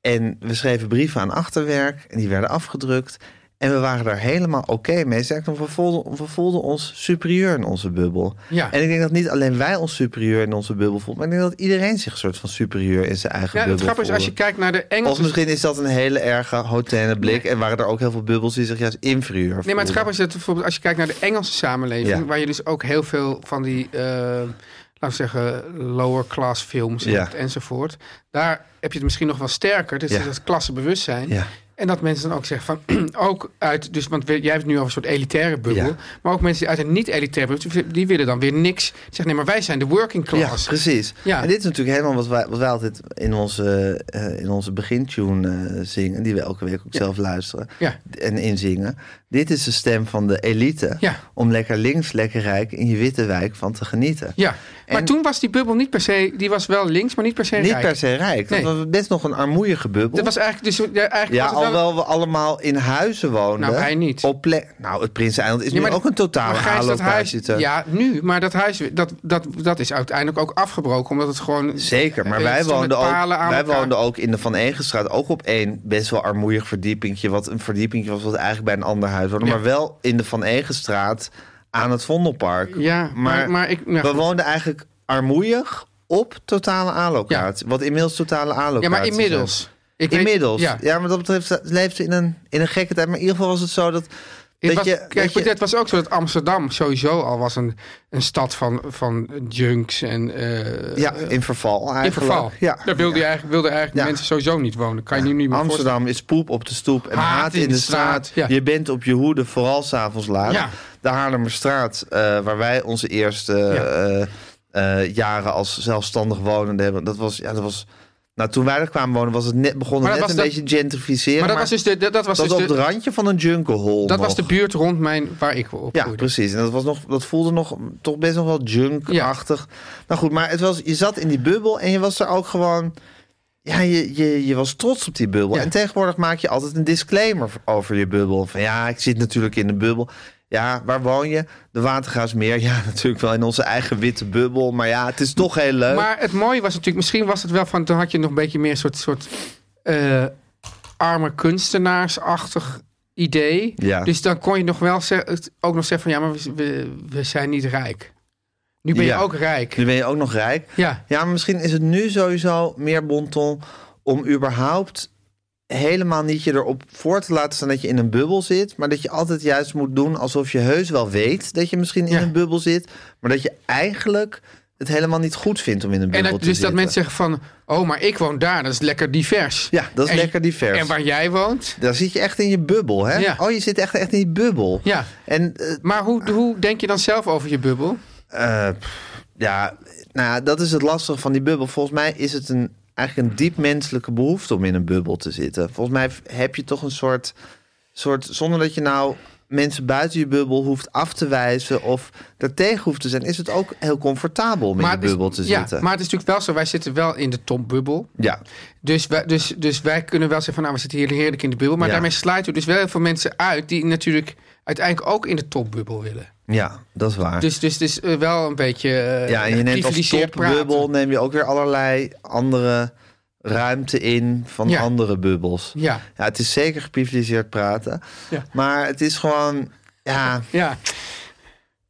A: En we schreven brieven aan achterwerk en die werden afgedrukt. En we waren daar helemaal oké mee. Sterker nog, we voelden, we voelden ons superieur in onze bubbel.
B: Ja.
A: En ik denk dat niet alleen wij ons superieur in onze bubbel voelden... maar ik denk dat iedereen zich een soort van superieur in zijn eigen
B: Ja,
A: bubbel
B: het grappige is, als je
A: voelde.
B: kijkt naar de
A: Of
B: Engelse...
A: misschien is dat een hele erge hotene blik. En waren er ook heel veel bubbels die zich juist inferieur
B: Nee, maar het
A: voelden.
B: grappige is dat bijvoorbeeld als je kijkt naar de Engelse samenleving...
A: Ja.
B: waar je dus ook heel veel van die, eh, laten we zeggen, lower class films
A: Ja.
B: hebt enzovoort... daar heb je het misschien nog wel sterker. Dus
A: Ja.
B: dat dat klassebewustzijn.
A: Ja.
B: En dat mensen dan ook zeggen van, ook uit... Dus, want we- jij hebt het nu over een soort elitaire bubbel.
A: Ja.
B: Maar ook mensen die uit een niet-elitaire bubbel... die willen dan weer niks. Zeggen, nee, maar wij zijn de working class.
A: Ja, precies.
B: Ja.
A: En dit is natuurlijk helemaal wat wij, wat wij altijd in onze, eh, in onze begintune eh, zingen. Die we elke week ook zelf luisteren.
B: Ja.
A: En inzingen. Dit is de stem van de elite.
B: Ja.
A: Om lekker links, lekker rijk in je witte wijk van te genieten.
B: Ja, maar
A: En-
B: toen was die bubbel niet per se... Die was wel links, maar niet per se
A: Niet
B: rijk.
A: per se rijk. Dat
B: Nee.
A: was best nog een armoeige bubbel.
B: Dat was eigenlijk... Dus, ja,
A: ja,
B: eigenlijk was het wel-
A: alhoewel we allemaal in huizen woonden.
B: Nou, hij niet.
A: Op plek, nou, het Prinseneiland is
B: Ja,
A: nu
B: maar-
A: ook een totale
B: maar Gijs, dat huis,
A: allocatie. te-
B: Ja, nu. Maar dat huis dat, dat, dat is uiteindelijk ook afgebroken. Omdat het gewoon...
A: Zeker, maar
B: Eh,
A: wij
B: het stond met
A: woonden, ook,
B: palen aan
A: wij
B: elkaar.
A: woonden ook in de Van Egenstraat. Ook op één best wel armoeig verdiepingje. Wat een verdiepingje was wat eigenlijk bij een ander huis woonde.
B: Ja.
A: Maar wel in de Van Egenstraat aan het Vondelpark.
B: Ja, maar- maar ik- nou
A: we
B: goed.
A: woonden eigenlijk armoeig op totale allocatie. Wat inmiddels totale allocatie
B: Ja, maar
A: is.
B: inmiddels. Ik weet-
A: Inmiddels.
B: ja.
A: ja. maar dat betreft leefde in een, in een gekke tijd. Maar in ieder geval was het zo dat...
B: Het
A: dat
B: was,
A: je,
B: kijk,
A: dat je-
B: het was ook zo dat Amsterdam sowieso al was een, een stad van, van junks en... eh,
A: ja, in verval eigenlijk.
B: in verval.
A: Ja.
B: Daar wilde, je eigenlijk, wilde eigenlijk
A: Ja.
B: mensen sowieso niet wonen. Kan je nu niet meer voorstellen.
A: Amsterdam is poep op de stoep en haat, in de, straat.
B: Ja.
A: Je bent op je hoede, vooral s'avonds laat.
B: Ja.
A: De Haarlemmerstraat, eh, waar wij onze eerste eh, eh, jaren als zelfstandig wonende hebben. Dat was, ja, dat was Nou, toen wij er kwamen wonen, was het net, begon het
B: Maar
A: net
B: dat
A: een
B: was
A: beetje gentrificeren.
B: Maar dat was dus de, dat, dat was
A: dat
B: dus
A: was op
B: de,
A: het randje van een junkhole.
B: dat was
A: nog.
B: de buurt rond mijn, waar ik opgroeide.
A: Ja, precies. En dat, was nog, dat voelde nog toch best nog wel junkachtig. Nou goed, maar het was, je zat in die bubbel en je was er ook gewoon. Ja, je, je, je was trots op die bubbel.
B: Ja.
A: En tegenwoordig maak je altijd een disclaimer over je bubbel. Van ja, ik zit natuurlijk in de bubbel. Ja, waar woon je? De Watergaasmeer. Ja, natuurlijk wel in onze eigen witte bubbel. Maar ja, het is toch heel leuk.
B: Maar het mooie was natuurlijk, misschien was het wel van, toen had je nog een beetje meer een soort, soort eh, arme kunstenaarsachtig idee.
A: Ja.
B: Dus dan kon je nog wel zeg- het ook nog zeggen van, ja, maar we, we, we zijn niet rijk. Nu ben
A: Ja.
B: je ook rijk.
A: Nu ben je ook nog rijk.
B: Ja.
A: Ja, maar misschien is het nu sowieso meer bonton om überhaupt helemaal niet je erop voor te laten staan dat je in een bubbel zit, maar dat je altijd juist moet doen alsof je heus wel weet dat je misschien in
B: Ja.
A: een bubbel zit, maar dat je eigenlijk het helemaal niet goed vindt om in een
B: En
A: bubbel
B: dat,
A: te
B: dus dat
A: zitten.
B: mensen zeggen van, oh, maar ik woon daar, dat is lekker divers.
A: Ja, dat is
B: En-
A: lekker divers.
B: En waar jij woont.
A: Daar zit je echt in je bubbel, hè?
B: Ja.
A: Oh, je zit echt, echt in je bubbel.
B: Ja.
A: En eh,
B: Maar hoe, hoe denk je dan zelf over je bubbel?
A: Eh, pff, ja, nou, ja, dat is het lastige van die bubbel. Volgens mij is het een, eigenlijk een diep menselijke behoefte om in een bubbel te zitten. Volgens mij f- heb je toch een soort, soort zonder dat je nou mensen buiten je bubbel hoeft af te wijzen of daartegen hoeft te zijn, is het ook heel comfortabel om in een
B: het is-
A: bubbel te
B: ja,
A: zitten.
B: Maar het is natuurlijk wel zo, wij zitten wel in de tombubbel.
A: Ja,
B: Dus wij, dus, dus wij kunnen wel zeggen van nou, we zitten hier heerlijk in de bubbel. Maar
A: Ja.
B: daarmee sluiten we dus wel heel veel mensen uit die natuurlijk uiteindelijk ook in de topbubbel willen.
A: ja, dat is waar.
B: Dus, dus het is eh, wel een beetje eh,
A: ja, en je neemt als
B: geprivilegeerd
A: topbubbel
B: praten.
A: neem je ook weer allerlei andere ruimte in van
B: Ja.
A: andere bubbels.
B: Ja,
A: Ja, het is zeker geprivilegeerd praten.
B: Ja.
A: Maar het is gewoon, ja,
B: ja.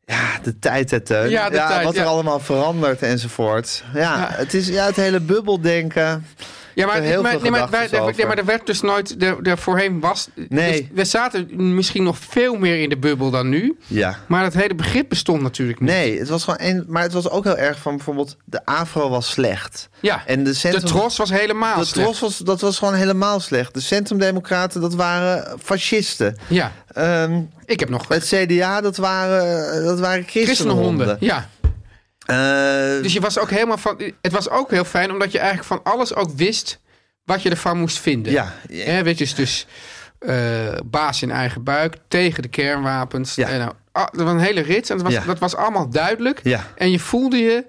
A: ja de tijd, hè, Teun.
B: Ja, de tijd,
A: wat
B: ja.
A: er allemaal verandert enzovoort. Ja,
B: Ja.
A: Het, is, ja het hele bubbeldenken.
B: Ja,
A: Ik
B: maar,
A: heb heel
B: maar,
A: veel
B: nee, maar, wij,
A: gedachtes
B: nee,
A: over.
B: maar er werd dus nooit, er, er voorheen was.
A: Nee.
B: dus we zaten misschien nog veel meer in de bubbel dan nu.
A: Ja.
B: Maar dat hele begrip bestond natuurlijk niet.
A: Nee, het was gewoon een, maar het was ook heel erg van bijvoorbeeld de afro was slecht.
B: Ja,
A: En de,
B: de
A: centrum,
B: tros was helemaal
A: de
B: slecht.
A: tros was, dat was gewoon helemaal slecht. De centrumdemocraten, dat waren fascisten.
B: Ja,
A: Ehm,
B: ik heb nog
A: het CDA, dat waren, dat waren christenhonden.
B: christenhonden. Ja.
A: Eh,
B: Dus je was ook helemaal van. Het was ook heel fijn omdat je eigenlijk van alles ook wist wat je ervan moest vinden.
A: Ja.
B: Hè, weet je, dus, dus eh, baas in eigen buik tegen de kernwapens.
A: Ja.
B: En nou, ah, dat was een hele rits en dat was,
A: Ja.
B: dat was allemaal duidelijk.
A: Ja.
B: En je voelde je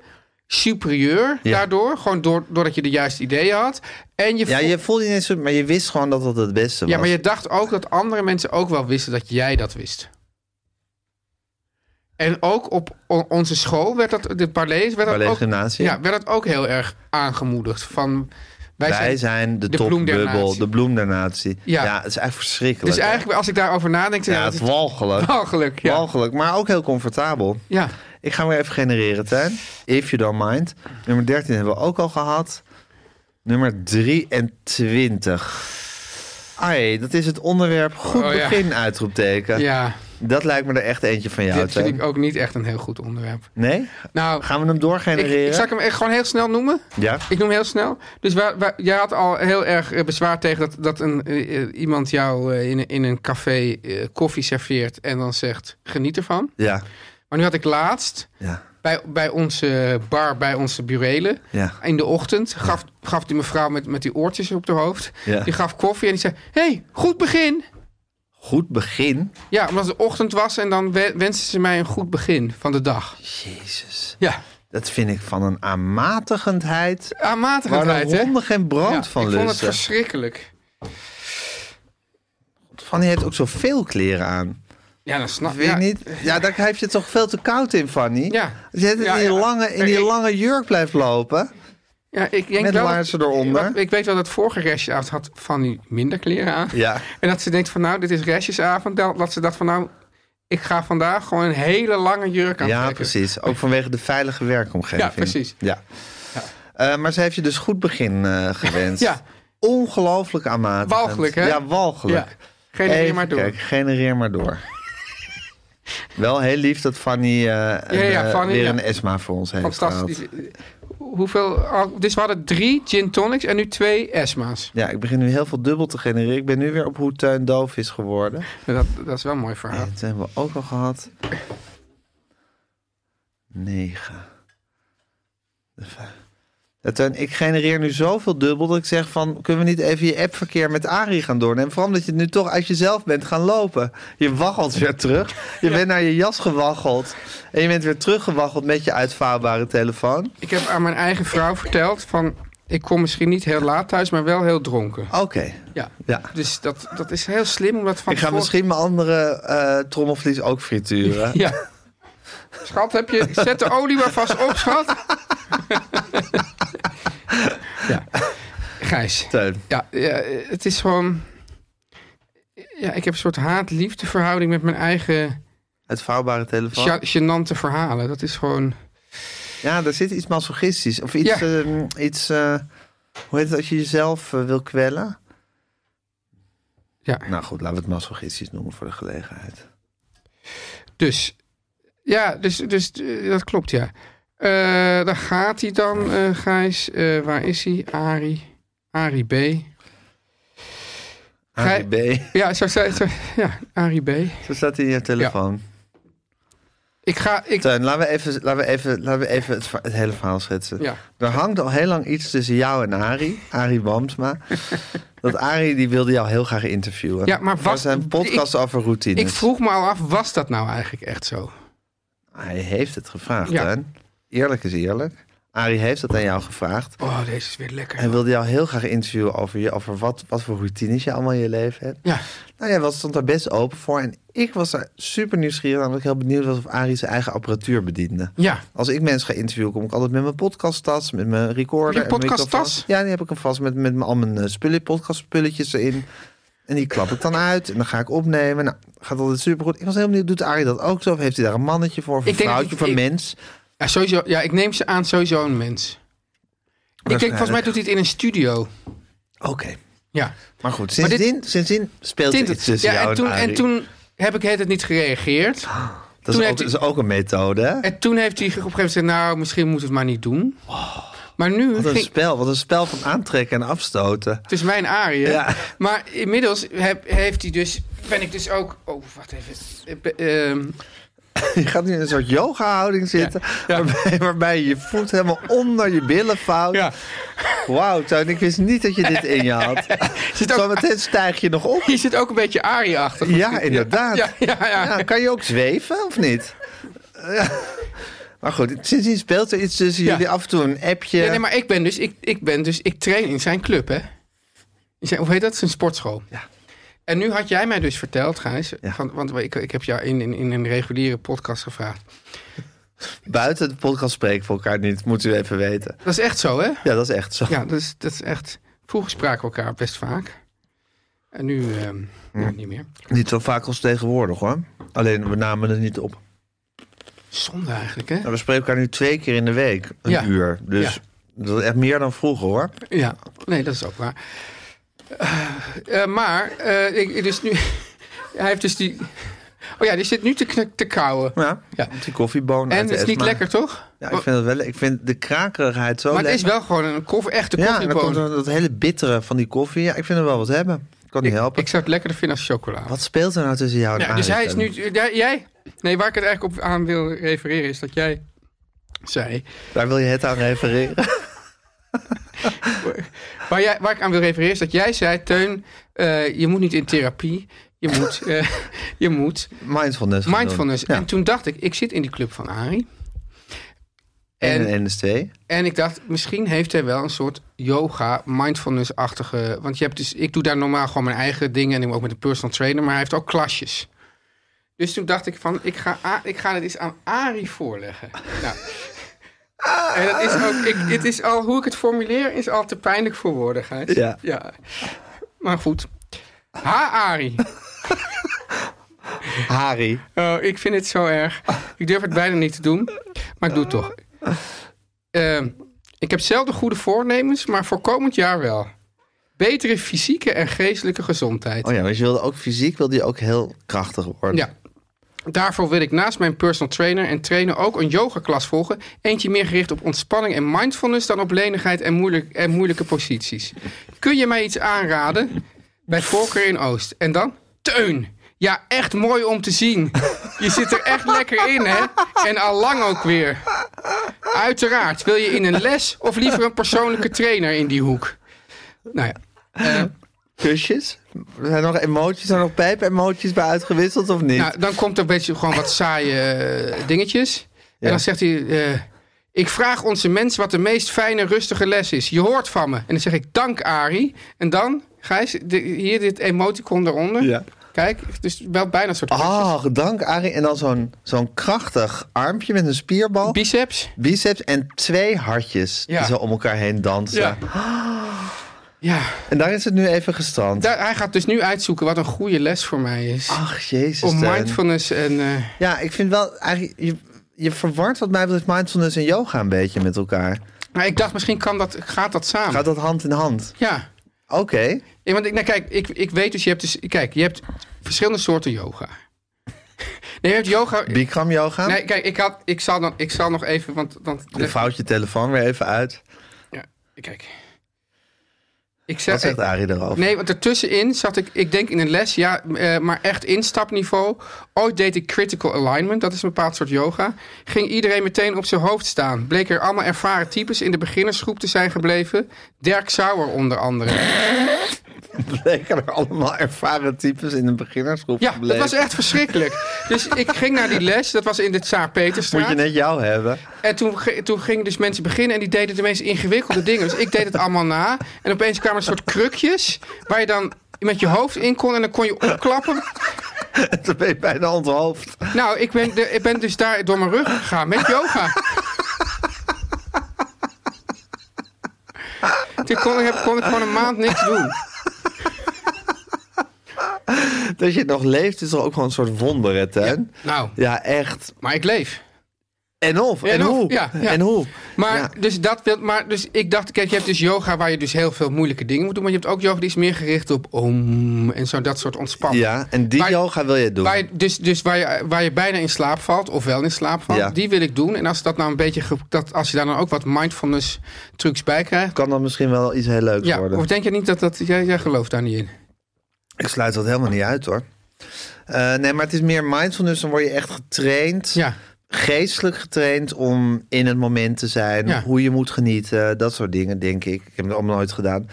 B: superieur
A: Ja.
B: daardoor, gewoon door, doordat je de juiste ideeën had. En je
A: ja,
B: voel-
A: je voelde je niet zo, maar je wist gewoon dat dat het beste was.
B: ja, maar je dacht ook dat andere mensen ook wel wisten dat jij dat wist. En ook op o- onze school werd dat, de Barlees, werd dat
A: Barlees
B: ook,
A: Gymnasium.
B: ja, werd dat ook heel erg aangemoedigd. Van, wij
A: Wij
B: zijn,
A: zijn de,
B: de bloem der
A: topbubbel,
B: natie.
A: de bloem der natie. Ja.
B: Ja.
A: het is eigenlijk verschrikkelijk.
B: dus eigenlijk, als ik daarover nadenk,
A: hè?
B: ja,
A: ja,
B: dat
A: het
B: is
A: is walgelijk.
B: walgelijk. Ja.
A: Walgelijk, maar ook heel comfortabel.
B: ja.
A: Ik ga hem weer even genereren, Tuin. If you don't mind. Nummer 13 hebben we ook al gehad. Nummer 23. Ai, dat is het onderwerp goed
B: Oh, ja.
A: begin, uitroepteken.
B: Ja,
A: Dat lijkt me er echt eentje van jou,
B: dit vind
A: Teun.
B: ik ook niet echt een heel goed onderwerp.
A: Nee?
B: Nou,
A: Gaan we hem
B: ik,
A: doorgenereren?
B: ik zal ik hem echt gewoon heel snel noemen.
A: Ja?
B: Ik noem heel snel. Dus waar, waar- jij had al heel erg eh, bezwaar tegen dat, dat een, eh, eh, iemand jou eh, in, een- in een café eh, koffie serveert en dan zegt geniet ervan.
A: Ja.
B: Maar nu had ik laatst
A: Ja.
B: bij, bij onze bar, bij onze burelen,
A: Ja.
B: in de ochtend gaf, gaf die mevrouw met, met die oortjes op haar hoofd,
A: Ja.
B: die gaf koffie en die zei, hey, goed begin.
A: Goed begin?
B: Ja, omdat het ochtend was en dan we- wenste ze mij een goed begin van de dag.
A: Jezus.
B: Ja,
A: Dat vind ik van een aanmatigendheid. Waar de
B: aanmatigendheid, hè?
A: honden geen brand
B: Ja,
A: van
B: ik vond het
A: lusten.
B: verschrikkelijk.
A: Van die heeft ook zoveel kleren aan.
B: Ja, dat snap
A: Vind
B: Ah, ja.
A: je niet? Ja, daar heb je het toch veel te koud in, Fanny?
B: Ja.
A: Als je het in
B: Ja,
A: die,
B: ja.
A: lange, in die
B: Ik-
A: lange jurk blijft lopen.
B: Ja, ik denk
A: Met
B: wel
A: laarzen eronder.
B: want Ik weet wel dat vorige restjesavond had van die minder kleren aan.
A: Ja.
B: En dat ze denkt van nou, dit is restjesavond. Dat, dat ze dacht van nou, ik ga vandaag gewoon een hele lange jurk aan
A: Ja, precies. Ook vanwege de veilige werkomgeving.
B: Ja, precies.
A: Ja. Eh, maar ze heeft je dus goed begin eh, gewenst.
B: Ja.
A: Ongelooflijk aanmatigend.
B: Walgelijk, hè?
A: Ja, walgelijk.
B: Ja. Genereer
A: Even
B: maar door.
A: kijken, genereer maar door. Wel heel lief dat Fanny, eh, een,
B: ja,
A: eh,
B: Fanny,
A: weer
B: ja.
A: een ESMA voor ons heeft
B: Fantastisch.
A: gehaald.
B: Hoeveel, al- dus we hadden drie gin tonics en nu twee Esma's.
A: Ja, ik begin nu heel veel dubbel te genereren. Ik ben nu weer op hoe Teun doof is geworden.
B: Nou, Dat, dat is wel een mooi verhaal.
A: Dat hebben we ook al gehad. 9. Teun, ik genereer nu zoveel dubbel dat ik zeg van... kunnen we niet even je appverkeer met Arie gaan doornemen? Vooral omdat je het nu toch uit jezelf bent gaan lopen. Je waggelt weer terug. Je bent naar je jas gewaggeld. En je bent weer teruggewaggeld met je uitvouwbare telefoon.
B: Ik heb aan mijn eigen vrouw verteld van... Ik kom misschien niet heel laat thuis, maar wel heel dronken.
A: Oké.
B: Ja.
A: Oh. Ja.
B: Dus dat, dat is heel slim, omdat van
A: Ik ga
B: tevoren-
A: misschien mijn andere eh, trommelvlies ook frituren.
B: Ja. Schat, heb je... Zet de olie maar vast op, schat. ja. Gijs.
A: Teun.
B: Ja, ja, het is gewoon... Ja, ik heb een soort haat-liefde verhouding met mijn eigen
A: Uitvouwbare telefoon.
B: cha- gênante verhalen. Dat is gewoon...
A: Ja, daar zit iets masochistisch. Of iets...
B: Ja.
A: ehm, iets eh, hoe heet het als je jezelf eh, wil kwellen?
B: Ja.
A: Nou goed, laten we het masochistisch noemen voor de gelegenheid.
B: Dus, ja, dus, dus eh, dat klopt, ja. Eh, daar gaat hij dan, eh, Gijs. Eh, waar is hij? Ari. Ari B. Gij-
A: ADB.
B: Ja, zo, zei- zo, ja, Ari B.
A: Zo staat hij in je telefoon.
B: Ik ga... Ik,
A: Teun, laten we even, laten we even, laten we even het, va- het hele verhaal schetsen.
B: Ja.
A: Er hangt al heel lang iets tussen jou en Arie. Arie Bamsma. dat Arie die wilde jou heel graag interviewen.
B: Ja, maar
A: Voor
B: was-
A: zijn podcast over routines.
B: ik vroeg me al af, was dat nou eigenlijk echt zo?
A: Hij heeft het gevraagd,
B: Ja.
A: Teun. Eerlijk is eerlijk. Arie heeft dat aan jou gevraagd.
B: Oh, deze is weer lekker.
A: Hij wilde jou heel graag interviewen over, je, over wat, wat voor routines je allemaal in je leven hebt.
B: Ja,
A: Nou ja, wat stond daar best open voor. En ik was daar super nieuwsgierig aan. Omdat ik heel benieuwd was of Arie zijn eigen apparatuur bediende.
B: ja.
A: Als ik mensen ga interviewen, kom ik altijd met mijn podcasttas, met mijn recorder.
B: Je
A: en mijn
B: podcasttas?
A: microfoon. Ja, die heb ik hem vast met, met al mijn eh, spullen, podcastspulletjes erin. En die klap ik dan uit en dan ga ik opnemen. Nou, gaat altijd supergoed. Ik was heel benieuwd, doet Arie dat ook zo? Of heeft hij daar een mannetje voor, of een
B: Ik denk dat
A: vrouwtje,
B: ik-
A: voor een
B: ik-
A: mens?
B: Ja, sowieso, ja, ik neem ze aan sowieso een mens. Ik denk, volgens mij
A: Waarschijnlijk.
B: doet hij het in een studio.
A: Oké.
B: Ja.
A: Maar goed,
B: Maar dit-
A: sindsdien, sindsdien speelt er
B: Tint
A: iets
B: het.
A: tussen
B: ja,
A: jou
B: en toen,
A: dus Arie.
B: en toen heb ik het niet gereageerd.
A: dat
B: toen
A: is, ook,
B: heeft
A: dat
B: hij-
A: is ook een methode, hè?
B: En toen heeft hij op een gegeven moment gezegd, nou, misschien moet het maar niet doen. Maar nu
A: Oh, Wat een
B: ging,
A: spel, wat een spel van aantrekken en afstoten.
B: het is mijn arie. hè?
A: Ja.
B: Maar inmiddels heb, heeft hij dus, ben ik dus ook, oh, wacht even. Eh, be- ehm,
A: Je gaat nu in een soort yoga-houding zitten...
B: ja.
A: Waarbij, waarbij je je voet helemaal onder je billen vouwt.
B: ja.
A: Wauw, Toon, ik wist niet dat je dit in je had.
B: Zit ook-
A: Zometeen stijg je nog op.
B: Hier zit ook een beetje arie achter.
A: Ja, inderdaad.
B: Ja, ja, ja.
A: Ja, kan je ook zweven, of niet? Ja. Maar goed, sindsdien speelt er iets tussen
B: Ja.
A: jullie af en toe een appje.
B: Ja, nee, maar ik ben dus, ik, ik ben dus, ik train in zijn club, hè? In zijn, hoe heet dat? Zijn sportschool.
A: Ja.
B: En nu had jij mij dus verteld, Gijs,
A: Ja.
B: van, want ik, ik heb jou in, in, in een reguliere podcast gevraagd.
A: Buiten de podcast spreken we elkaar niet, moet u even weten.
B: Dat is echt zo, hè?
A: Ja, dat is echt zo.
B: Ja, dat is, dat is echt. Vroeger spraken we elkaar best vaak. En nu ehm, nou, niet meer.
A: Niet zo vaak als tegenwoordig hoor. Alleen we namen het niet op.
B: Zonde eigenlijk, hè?
A: Nou, we spreken elkaar nu twee keer in de week, een
B: Ja.
A: uur. Dus dat is echt meer dan vroeger hoor.
B: Ja, nee, dat is ook waar. Eh, eh, maar, eh, ik, dus nu. Hij heeft dus die. Oh ja, die zit nu te, knak- te kauwen.
A: Ja,
B: Ja.
A: die koffiebonen
B: En
A: uit
B: het
A: de
B: is niet
A: Esma.
B: lekker, toch?
A: Ja, ik vind, het wel, ik vind de krakerigheid zo
B: maar het
A: lekker.
B: is wel gewoon een koff, echte
A: Oh, Ja, en dan komt
B: koffieboon.
A: er dat hele bittere van die koffie. Ja, ik vind er wel wat hebben. Ik kan niet helpen.
B: ik zou het lekkerder vinden als chocola.
A: Wat speelt er nou tussen jou en
B: Ja, dus
A: Arie,
B: hij is
A: Teun?
B: nu. ja, jij? Nee, waar ik het eigenlijk op aan wil refereren is dat jij zei.
A: Daar wil je het aan refereren.
B: Waar, jij, waar ik aan wil refereren is dat jij zei, Teun, eh, je moet niet in therapie. Je moet, eh, je moet
A: Mindfulness. gaan
B: mindfulness.
A: doen. Ja.
B: En toen dacht ik, ik zit in die club van Arie.
A: En,
B: En,
A: en,
B: en,
A: is twee.
B: ik dacht, misschien heeft hij wel een soort yoga, mindfulness-achtige... Want je hebt dus, ik doe daar normaal gewoon mijn eigen dingen... en ik ben ook met een personal trainer, maar hij heeft ook klasjes. Dus toen dacht ik van, ik ga, A- ik ga het eens aan Arie voorleggen. Nou, en dat is ook, ik, het is al, hoe ik het formuleer is al te pijnlijk voor woorden, Gijs.
A: Ja.
B: ja. Maar goed. Ha, Arie.
A: Harry.
B: Oh, ik vind het zo erg. Ik durf het bijna niet te doen, maar ik doe het toch. Ehm, ik heb zelden goede voornemens, maar voor komend jaar wel. Betere fysieke en geestelijke gezondheid.
A: Oh ja, want je wilde ook fysiek wilde je ook heel krachtig worden.
B: Ja. Daarvoor wil ik naast mijn personal trainer en trainen ook een yogaklas volgen. Eentje meer gericht op ontspanning en mindfulness dan op lenigheid en, moeilijk, en moeilijke posities. Kun je mij iets aanraden? Bij voorkeur in Oost. En dan? Teun! Ja, echt mooi om te zien. Je zit er echt lekker in, hè? En al lang ook weer. Uiteraard. Wil je in een les of liever een persoonlijke trainer in die hoek? Nou ja. Eh,
A: Kusjes? Zijn er nog emoties? Zijn er nog pijp-emoties bij uitgewisseld of niet?
B: nou, dan komt er een beetje gewoon wat saaie eh, dingetjes. En dan zegt hij... eh, ik vraag onze mens wat de meest fijne, rustige les is. Je hoort van me. En dan zeg ik, dank Arie. En dan, Gijs, di- hier dit emoticon eronder.
A: Ja.
B: Kijk, dus wel bijna een soort
A: Ah, dank Arie. En dan zo'n zo'n krachtig armpje met een spierbal,
B: biceps.
A: biceps en twee hartjes
B: Ja.
A: die zo om elkaar heen dansen.
B: Ja. Ja,
A: En daar is het nu even gestrand.
B: daar, hij gaat dus nu uitzoeken wat een goede les voor mij is.
A: Ach, jezus.
B: Om
A: Teun.
B: mindfulness en... eh,
A: Ja, ik vind wel, eigenlijk, je, je verwart wat mij betreft mindfulness en yoga een beetje met elkaar.
B: maar nou, ik dacht, misschien kan dat, gaat dat samen.
A: Gaat dat hand in hand?
B: Ja.
A: Oké.
B: Ja, want ik, nou kijk, ik, ik weet dus je, hebt dus, kijk, je hebt verschillende soorten yoga. Nee, je hebt yoga...
A: Bikram yoga.
B: Nee, kijk, ik, had, ik, zal dan, ik zal nog even, want... dan
A: Je vouwt je telefoon weer even uit.
B: ja, kijk. Ik
A: Wat
B: zeg,
A: zegt Arie erover?
B: Nee, want ertussenin zat ik, ik denk in een les, ja, eh, maar echt instapniveau. Ooit deed ik critical alignment, dat is een bepaald soort yoga. Ging iedereen meteen op zijn hoofd staan. Bleek er allemaal ervaren types in de beginnersgroep te zijn gebleven. Dirk Sauer onder andere.
A: Bleken er allemaal ervaren types in een beginnersgroep
B: Ja, dat
A: gebleven.
B: was echt verschrikkelijk. Dus ik ging naar die les, dat was in de Tsaar
A: Moet je
B: Peterstraat.
A: net jou hebben.
B: En toen, ge- toen gingen dus mensen beginnen en die deden de meest ingewikkelde dingen. Dus ik deed het allemaal na. En opeens kwamen er een soort krukjes waar je dan met je hoofd in kon en dan kon je opklappen.
A: Dan ben je bijna onthoofd.
B: Nou, ik ben, de, ik ben dus daar door mijn rug gegaan met yoga. Toen kon ik, kon ik gewoon een maand niks doen.
A: Dat je nog leeft is toch ook gewoon een soort wonder, hè, Teun? Ja,
B: Nou,
A: echt.
B: maar ik leef.
A: En of, en,
B: En of,
A: hoe,
B: ja, ja.
A: en hoe.
B: Maar,
A: Ja.
B: dus dat wil, maar dus ik dacht, kijk, je hebt dus yoga waar je dus heel veel moeilijke dingen moet doen. Maar je hebt ook yoga die is meer gericht op om en zo dat soort ontspannen.
A: Ja, en die
B: Waar-
A: yoga wil je doen.
B: Waar je, dus dus waar, je, waar je bijna in slaap valt, of wel in slaap valt,
A: Ja.
B: die wil ik doen. En als, dat nou een beetje, ge- dat, als je daar dan ook wat mindfulness trucs bij krijgt.
A: Kan dan misschien wel iets heel leuks
B: Ja,
A: worden.
B: of denk je niet dat dat. Jij, jij gelooft daar niet in?
A: Ik sluit dat helemaal niet uit, hoor. Eh, nee, maar het is meer mindfulness. Dan word je echt getraind,
B: Ja.
A: geestelijk getraind om in het moment te zijn.
B: Ja.
A: Hoe je moet genieten, dat soort dingen, denk ik. Ik heb het allemaal nooit gedaan.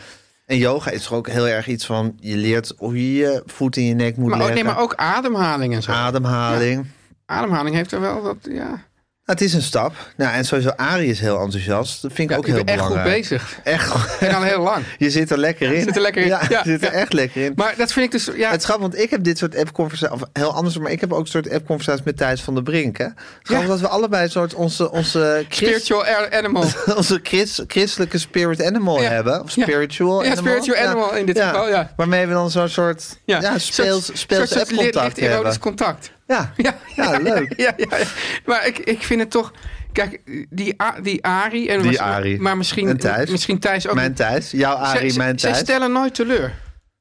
A: En yoga is toch ook heel erg iets van... je leert hoe je je voet in je nek moet
B: Maar ook,
A: leggen.
B: nee, maar ook ademhaling en zo.
A: Ah. Ademhaling.
B: Ademhaling heeft er wel dat, ja.
A: Nou, het is een stap. Nou, en sowieso Arie is heel enthousiast. Dat vind ik
B: ja
A: ook
B: ik
A: heel
B: ben echt goed
A: belangrijk.
B: bezig.
A: Echt goed
B: En al heel lang.
A: Je zit er lekker in.
B: zit er lekker in.
A: Ja,
B: Ja,
A: je zit er
B: ja.
A: echt lekker in.
B: Maar dat vind ik dus, ja.
A: Het is grappig, want ik heb dit soort app-conversaties, of heel anders, maar ik heb ook een soort app-conversaties met Thijs van der Brink. Hè? Het is grappig dat we allebei een soort onze, onze, christ,
B: spiritual a- animal.
A: onze chris- christelijke spirit animal
B: Ja.
A: hebben. Of
B: Ja.
A: spiritual
B: Ja,
A: animal.
B: spiritual animal in dit geval, ja.
A: Waarmee we dan zo'n soort ja. speels,
B: soort-
A: speels
B: soort- soort
A: app-contact
B: licht- erotisch
A: hebben.
B: contact.
A: Ja. Ja. leuk.
B: Ja, ja, ja. Maar ik, ik vind het toch... Kijk, die, A- die Ari... En
A: Die
B: was-
A: Ari.
B: Maar misschien
A: En Thijs.
B: Misschien Thijs ook.
A: Mijn Thijs, jouw Arie,
B: ze,
A: mijn
B: ze
A: Thijs.
B: stellen nooit teleur.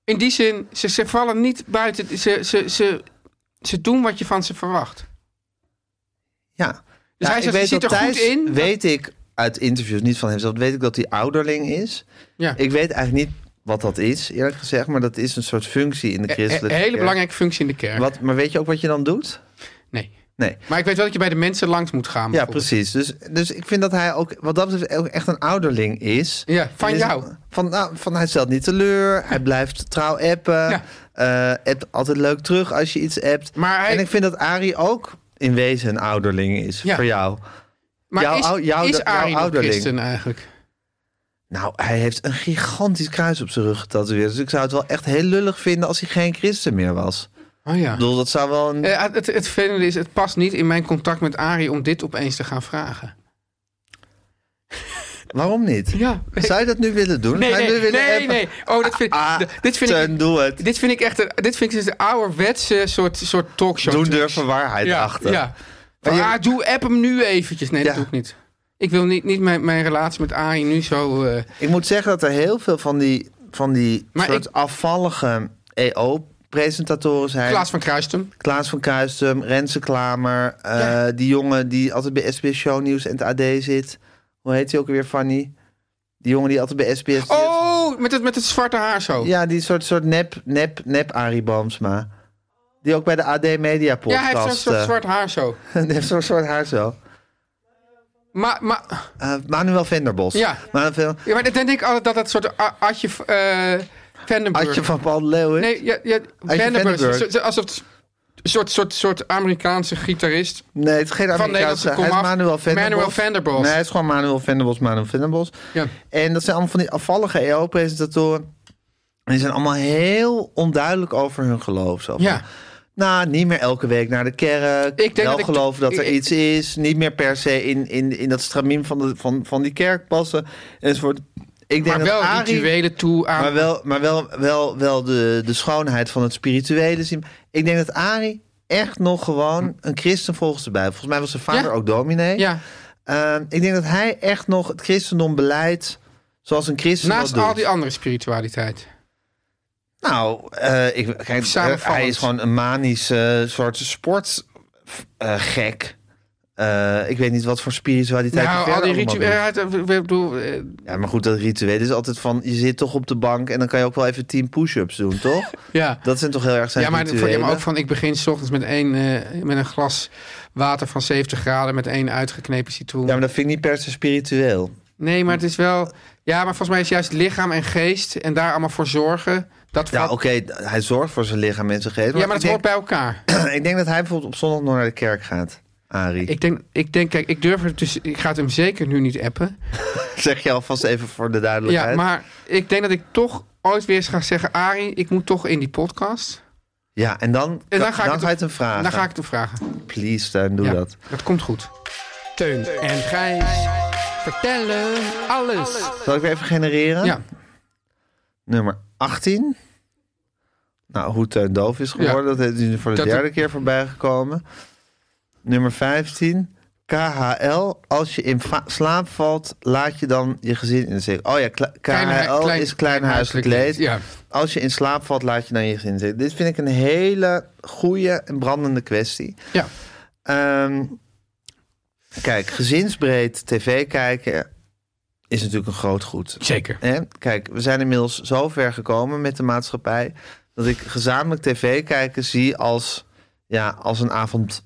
B: In die zin, ze, ze vallen niet buiten... Ze, ze, ze, ze doen wat je van ze verwacht.
A: Ja. Ja,
B: Dus hij
A: ik
B: zegt, je
A: weet
B: ziet
A: dat
B: er goed
A: Thijs,
B: in.
A: weet ik uit interviews, niet van hemzelf, weet ik dat hij ouderling is.
B: Ja.
A: Ik weet eigenlijk niet wat dat is, eerlijk gezegd. Maar dat is een soort functie in de
B: Een
A: christelijke
B: hele
A: kerk.
B: belangrijke functie in de kerk.
A: Wat, maar weet je ook wat je dan doet?
B: Nee.
A: Nee.
B: Maar ik weet wel dat je bij de mensen langs moet
A: Ja,
B: gaan. bijvoorbeeld.
A: precies. Dus, dus ik vind dat hij ook, wat dat betreft, ook echt een ouderling is.
B: Ja, van
A: Hij is-
B: jou.
A: Van, nou, van hij stelt niet teleur. Hij blijft trouw appen.
B: Ja.
A: eh, appt altijd leuk terug als je iets appt.
B: Maar hij-
A: En ik vind dat Arie ook in wezen een ouderling is
B: Ja.
A: voor jou.
B: Maar
A: Jouw ou-
B: is,
A: jouw-
B: is
A: jouw
B: Arie nog
A: ouderling.
B: christen eigenlijk?
A: Nou, hij heeft een gigantisch kruis op zijn rug getatoeëerd. Dus ik zou het wel echt heel lullig vinden als hij geen christen meer was.
B: Oh ja.
A: Ik bedoel, dat zou wel een...
B: Eh, het, het vervelende is, het past niet in mijn contact met Arie om dit opeens te gaan vragen.
A: Waarom niet?
B: Ja.
A: Zou je dat nu willen doen?
B: Nee,
A: Zou je
B: nee,
A: nu
B: nee,
A: willen
B: nee,
A: appen?
B: Oh, dat vind,
A: Ah,
B: d- dit, vind
A: Teun,
B: ik,
A: doe het.
B: dit vind ik echt een, dit vind ik dus de ouderwetse soort, soort talkshow.
A: Doen durven waarheid
B: ja,
A: achter.
B: Ja.
A: Maar je-
B: ah, doe app hem nu eventjes. Nee, dat
A: Ja.
B: doe ik niet. Ik wil niet, niet mijn, mijn relatie met Arie nu zo... eh,
A: Ik moet zeggen dat er heel veel van die, van die
B: Maar
A: soort
B: ik-
A: afvallige EO-presentatoren zijn.
B: Klaas van Kruistum.
A: Klaas van Kuistum, Renze Klamer. eh,
B: Ja.
A: Die jongen die altijd bij SBS Show Nieuws en het AD zit. Hoe heet hij ook weer, Fanny? Die jongen die altijd bij SBS...
B: Oh, met het, met het zwarte haar zo.
A: Ja, die soort, soort nep, nep, nep Arie Boomsma. Die ook bij de AD Media
B: Ja, hij
A: podcast...
B: heeft zo'n soort
A: eh,
B: zwart haar zo.
A: die heeft zo'n soort haar zo.
B: Maar, maar,
A: Eh, Manuel Venderbos.
B: Ja.
A: Manuel Ven-
B: ja, maar dan denk ik altijd dat dat soort a- Adje eh Vandenberg...
A: Adje van Paul Leeuwen.
B: Nee, ja, ja, Vandenberg.
A: Vandenberg.
B: Zo- zo- Alsof het een soort, soort, soort Amerikaanse gitarist.
A: Nee, het is geen
B: Nederlandse
A: Amerikaanse. Hij is
B: komaf.
A: Manuel Venderbos.
B: Manuel Venderbos.
A: Nee, hij is gewoon Manuel Venderbos, Manuel Venderbos.
B: Ja.
A: En dat zijn allemaal van die afvallige EO-presentatoren. En die zijn allemaal heel onduidelijk over hun geloof. Zo van,
B: Ja.
A: Nou, niet meer elke week naar de kerk.
B: Ik denk
A: wel
B: dat ik-
A: geloven dat er
B: ik-
A: iets is. Niet meer per se in, in, in dat stramien van, de, van, van die kerk passen. Enzovoort. Ik denk
B: Maar
A: dat
B: wel
A: Arie-
B: rituelen toe aan...
A: Maar wel, maar wel, wel, wel de, de schoonheid van het spirituele zien. Ik denk dat Arie echt nog gewoon een christen volgens de Bijbel. Volgens mij was zijn vader
B: Ja.
A: ook dominee.
B: Ja,
A: Ehm, ik denk dat hij echt nog het christendom beleidt zoals een christen dat
B: naast
A: doet.
B: al die andere spiritualiteit.
A: Nou, eh, ik, kijk,
B: Samenvallend.
A: eh, hij is gewoon een manisch eh, soort sportgek. Eh, ik weet niet wat voor spiritualiteit. hij
B: Nou, al
A: verder
B: die
A: allemaal doet.
B: rituelen... Ik bedoel, eh,
A: Ja, maar goed, dat ritueel is altijd van... je zit toch op de bank en dan kan je ook wel even tien push-ups doen, toch?
B: ja.
A: Dat zijn toch heel erg zijn
B: Ja maar,
A: rituelen.
B: ja, maar ook van ik begin 's ochtends met, één, eh, met een glas water van 70 graden met één uitgeknepen citroen.
A: Ja, maar dat vind ik niet per se spiritueel.
B: Nee, maar het is wel. Ja, maar volgens mij is juist lichaam en geest en daar allemaal voor zorgen. Dat
A: Ja,
B: valt-
A: oké, hij zorgt voor zijn lichaam en zijn geest.
B: ja maar dat
A: ik denk,
B: hoort bij elkaar.
A: ik denk dat hij bijvoorbeeld op zondag nog naar de kerk gaat, Arie.
B: Ik denk, ik denk, kijk, ik durf het dus. Ik ga het hem zeker nu niet appen.
A: zeg je alvast even voor de duidelijkheid.
B: Ja, maar ik denk dat ik toch ooit weer eens ga zeggen: Arie, ik moet toch in die podcast.
A: Ja, en dan,
B: En
A: dan,
B: dan ga ik het
A: ga je het hem vragen.
B: Dan ga ik het hem vragen.
A: Please, Teun, doe
B: ja,
A: dat.
B: dat komt goed. Teun en Gijs vertellen alles.
A: Zal ik weer even genereren?
B: Ja,
A: Nummer 18. Nou, hoe Teun doof is geworden,
B: Ja.
A: dat is nu voor de
B: Dat-
A: derde keer voorbij gekomen. Nummer 15. KHL, als je in va- slaap valt, laat je dan je gezin in de steek. Oh ja, kla-
B: Klein hu-
A: KHL
B: klein-
A: is klein huiselijk leed.
B: Ja.
A: Als je in slaap valt, laat je dan je gezin in de steek. Dit vind ik een hele goede en brandende kwestie.
B: ja.
A: Ehm, kijk, gezinsbreed tv kijken is natuurlijk een groot goed.
B: Zeker.
A: Hè? Kijk, we zijn inmiddels zo ver gekomen met de maatschappij... dat ik gezamenlijk tv kijken zie als, ja, als een avond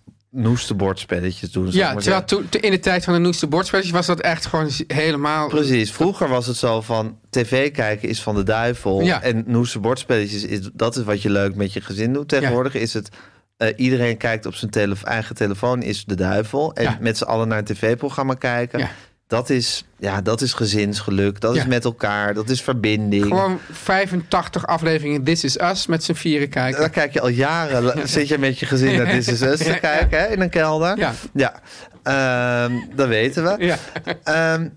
A: noesterbordspelletjes doen. zal ik
B: Ja,
A: maar
B: terwijl
A: zeggen.
B: toen, in de tijd van de nieuwste bordspelletjes was dat echt gewoon z- helemaal...
A: Precies, vroeger was het zo van tv kijken is van de duivel...
B: Ja.
A: en noesterbordspelletjes, is, dat is wat je leuk met je gezin doet. Tegenwoordig is het... eh, iedereen kijkt op zijn tele- eigen telefoon, is de duivel. En
B: Ja.
A: met z'n allen naar een tv-programma kijken.
B: Ja.
A: Dat, is, ja, dat is gezinsgeluk, dat is
B: Ja.
A: met elkaar, dat is verbinding.
B: Gewoon 85 afleveringen This Is Us met z'n vieren kijken.
A: Dan kijk je al jaren, la- zit je met je gezin naar This Is Us te kijken hè, in een kelder.
B: Ja.
A: ja. Ehm, dat weten we.
B: Ja.
A: Ehm,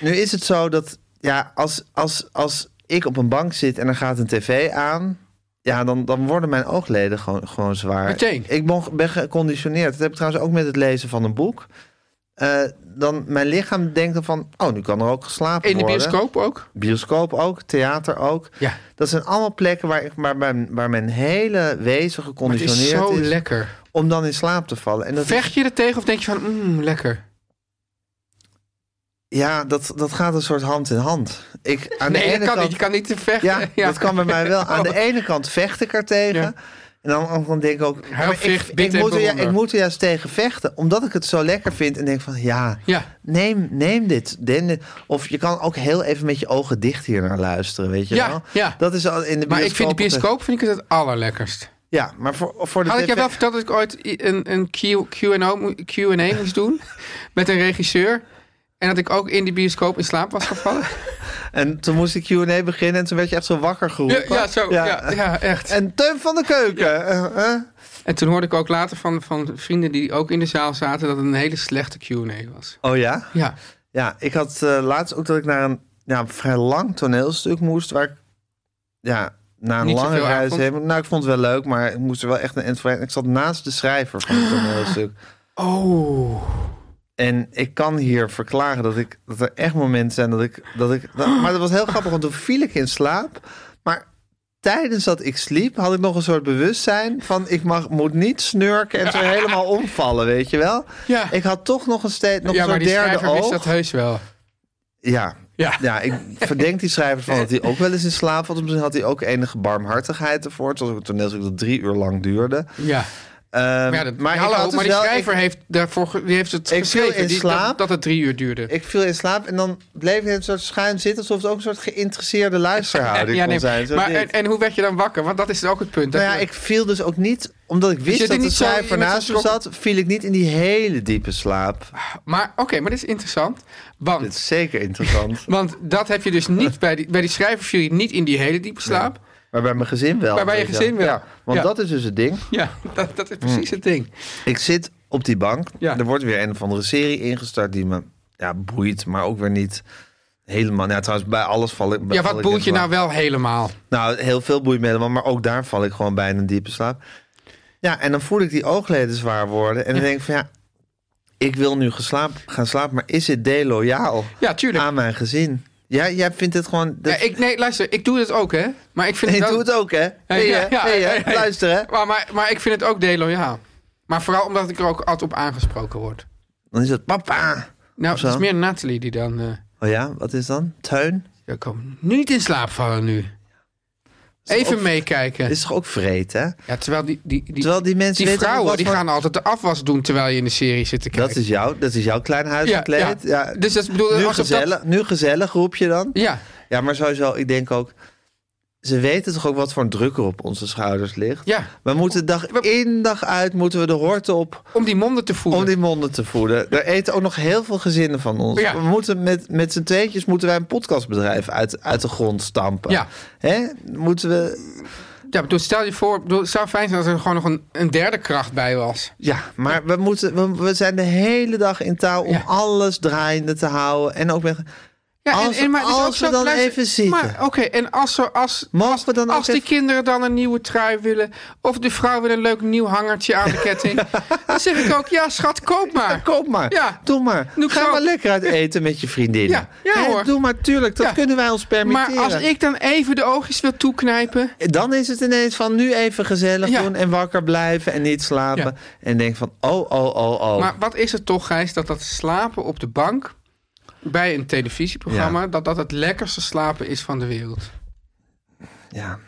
A: nu is het zo dat ja, als, als, als ik op een bank zit en er gaat een tv aan... Ja, dan, dan worden mijn oogleden gewoon, gewoon zwaar.
B: Meteen.
A: Ik ben, ben geconditioneerd. Dat heb ik trouwens ook met het lezen van een boek. Eh, dan mijn lichaam denkt dan van... Oh, nu kan er ook geslapen
B: In de
A: worden.
B: bioscoop ook.
A: Bioscoop ook, theater ook.
B: Ja.
A: Dat zijn allemaal plekken waar, ik, waar, mijn, waar mijn hele wezen
B: Maar het
A: geconditioneerd
B: is
A: is,
B: zo lekker.
A: om dan in slaap te vallen. En dat is-
B: Vecht je er tegen of denk je van, mmm, lekker.
A: ja, dat, dat gaat een soort hand in hand. Ik, aan de
B: Nee,
A: ene
B: dat kan
A: kant,
B: niet. Je kan niet te Oh, vechten.
A: ja, dat kan bij mij wel. Aan de ene kant vecht ik er tegen.
B: Ja.
A: En aan de andere kant denk ik ook... maar
B: vecht,
A: ik, ik,
B: bid en
A: moet er, ja,
B: bewonder.
A: ik moet er juist tegen vechten. Omdat ik het zo lekker vind en denk van... Ja,
B: Ja.
A: neem, neem dit. Neem dit. Of je kan ook heel even met je ogen dicht hier naar luisteren, weet je
B: Ja,
A: wel?
B: ja.
A: Dat is al in de
B: Maar ik vind de
A: altijd-
B: bioscoop vind ik het het allerlekkerst.
A: Ja, maar voor, voor de
B: Had ik jou
A: tv
B: wel verteld dat ik ooit i- een, een Q- Q&O mo- Q&A moest doen met een regisseur? En dat ik ook in die bioscoop in slaap was gevallen?
A: En toen moest ik Q&A beginnen en toen werd je echt zo wakker
B: Ja,
A: geroepen.
B: ja, zo, ja. Ja, echt.
A: En Teun van de Keuken. eh, eh.
B: En toen hoorde ik ook later van, van vrienden die ook in de zaal zaten dat het een hele slechte QA was.
A: Oh ja?
B: Ja.
A: Ja, ik had eh, laatst ook dat ik naar een ja, vrij lang toneelstuk moest... waar ik ja, na een
B: Niet
A: lange
B: zoveel aan
A: reis
B: vond.
A: heen... Nou, ik vond het wel leuk, maar ik moest er wel echt een eind voor- Ik zat naast de schrijver van het toneelstuk.
B: Oh.
A: En ik kan hier verklaren dat, ik, dat er echt momenten zijn dat ik... Dat ik dat- maar dat was heel grappig, want toen viel ik in slaap. Maar tijdens dat ik sliep had ik nog een soort bewustzijn van... ik mag, moet niet snurken en zo helemaal omvallen, weet je wel?
B: Ja.
A: Ik had toch nog een, steeds, nog
B: ja,
A: een
B: maar
A: soort
B: die
A: derde
B: schrijver wist dat
A: oog.
B: heus wel.
A: Ja.
B: Ja.
A: ja, ik verdenk die schrijver van dat hij ook wel eens in slaap was. Misschien had hij ook enige barmhartigheid ervoor. Het was ook een toneelstuk dat drie uur lang duurde.
B: Ja.
A: Ehm,
B: Maar, ja, dat-
A: maar
B: hallo,
A: ik had dus
B: maar die
A: wel-
B: schrijver heeft, daarvoor, ge- die heeft het
A: Ik viel
B: geschreven
A: in
B: die- dat-
A: slaap.
B: Dat, het drie uur duurde.
A: ik, ik viel in slaap en dan bleef ik een soort schuin zitten... alsof het ook een soort geïnteresseerde luisterhouding
B: Ja,
A: kon
B: nee,
A: zijn. Zo
B: maar
A: dit.
B: en, en hoe werd je dan wakker? Want dat is dus ook het punt.
A: Nou
B: Dat
A: ja,
B: je-
A: ik viel dus ook niet... omdat ik
B: zit
A: wist
B: er
A: dat de
B: niet zo- je
A: schrijver
B: bent
A: naast me
B: geschrokken.
A: zat... viel ik niet in die hele diepe slaap.
B: Maar oké, maar dit is interessant.
A: Dit
B: Want,
A: is zeker interessant.
B: want dat heb je dus niet bij die, bij die schrijver viel je niet in die hele diepe slaap.
A: Maar bij mijn gezin wel.
B: Maar bij je
A: weet
B: gezin wel.
A: Ja, want
B: Ja.
A: dat is dus het ding.
B: Ja, dat, dat is precies
A: Hm.
B: het ding.
A: Ik zit op die bank.
B: Ja.
A: Er wordt weer een of andere serie ingestart die me ja, boeit, maar ook weer niet helemaal. Nou, trouwens, bij alles val ik. bij
B: Ja,
A: val
B: wat
A: ik
B: boeit je
A: helemaal-
B: nou wel helemaal?
A: Nou, heel veel boeit me helemaal, maar ook daar val ik gewoon bijna in diepe slaap. Ja, en dan voel ik die oogleden zwaar worden. En dan denk ik van ja, ik wil nu geslaap, gaan slapen, maar is het deloyaal
B: Ja, tuurlijk.
A: aan mijn gezin? Ja, jij vindt het gewoon. Dat,
B: Ja, ik, nee, luister, ik doe het ook, hè. Maar ik vind
A: ik
B: het wel-
A: doe het ook, hè? Hey,
B: ja,
A: hè?
B: ja,
A: Hey, hè?
B: hey, hey.
A: Luister, hè?
B: Maar, maar, maar ik vind het ook deloyaal. Maar vooral omdat ik er ook altijd op aangesproken word.
A: Dan is het papa.
B: Nou,
A: Of zo.
B: het is meer Nathalie die dan... eh,
A: Oh ja, wat is dan? Tuin?
B: ja, kom, niet in slaap vallen nu. Even
A: ook-
B: meekijken.
A: Is toch ook vreed, hè?
B: Ja, terwijl die, die, die,
A: Terwijl die mensen
B: die
A: weten
B: vrouwen
A: wat
B: die
A: voor-
B: gaan altijd de afwas doen terwijl je in de serie zit te kijken.
A: Dat is, jouw, dat is jouw klein
B: ja,
A: huisgekleed.
B: ja.
A: Ja,
B: Dus dat bedoel
A: nu,
B: als op
A: gezellig, nu gezellig roep je dan.
B: Dat, ja,
A: Ja, maar sowieso, ik denk ook... Ze weten toch ook wat voor een druk er op onze schouders ligt?
B: ja,
A: We moeten dag in, dag uit, moeten we de hort op
B: om die monden te voelen.
A: om die monden te voeden. Er eten ook nog heel veel gezinnen van ons.
B: Ja.
A: We moeten met, met z'n tweetjes moeten wij een podcastbedrijf uit, uit de grond stampen.
B: Ja.
A: Hè? Moeten we...
B: Ja, bedoel, stel je voor, bedoel, het zou fijn zijn als er gewoon nog een, een derde kracht bij was.
A: Ja, maar we, moeten, we, we zijn de hele dag in touw om
B: Ja.
A: alles draaiende te houden. En ook met...
B: Ja,
A: Als- als
B: ook
A: we
B: zo,
A: dan even zitten.
B: Maar oké, en als, er, als,
A: Mogen we dan ook
B: als die
A: even-
B: kinderen dan een nieuwe trui willen... of de vrouw wil een leuk nieuw hangertje aan de ketting... dan zeg ik ook, ja schat, koop maar.
A: Koop maar.
B: Ja.
A: Doe maar.
B: Doe ik
A: Ga
B: zo.
A: maar lekker uit eten met je vriendinnen.
B: Ja, ja
A: Hè,
B: hoor.
A: Doe maar, tuurlijk. Dat
B: Ja.
A: kunnen wij ons permitteren.
B: Maar als ik dan even de oogjes wil toeknijpen...
A: Dan is het ineens van nu even gezellig
B: Ja.
A: doen en wakker blijven en niet slapen.
B: Ja.
A: En denk van oh, oh, oh, oh.
B: Maar wat is het toch, Gijs, dat dat slapen op de bank... bij een televisieprogramma...
A: Ja.
B: dat dat het lekkerste slapen is van de wereld.
A: ja.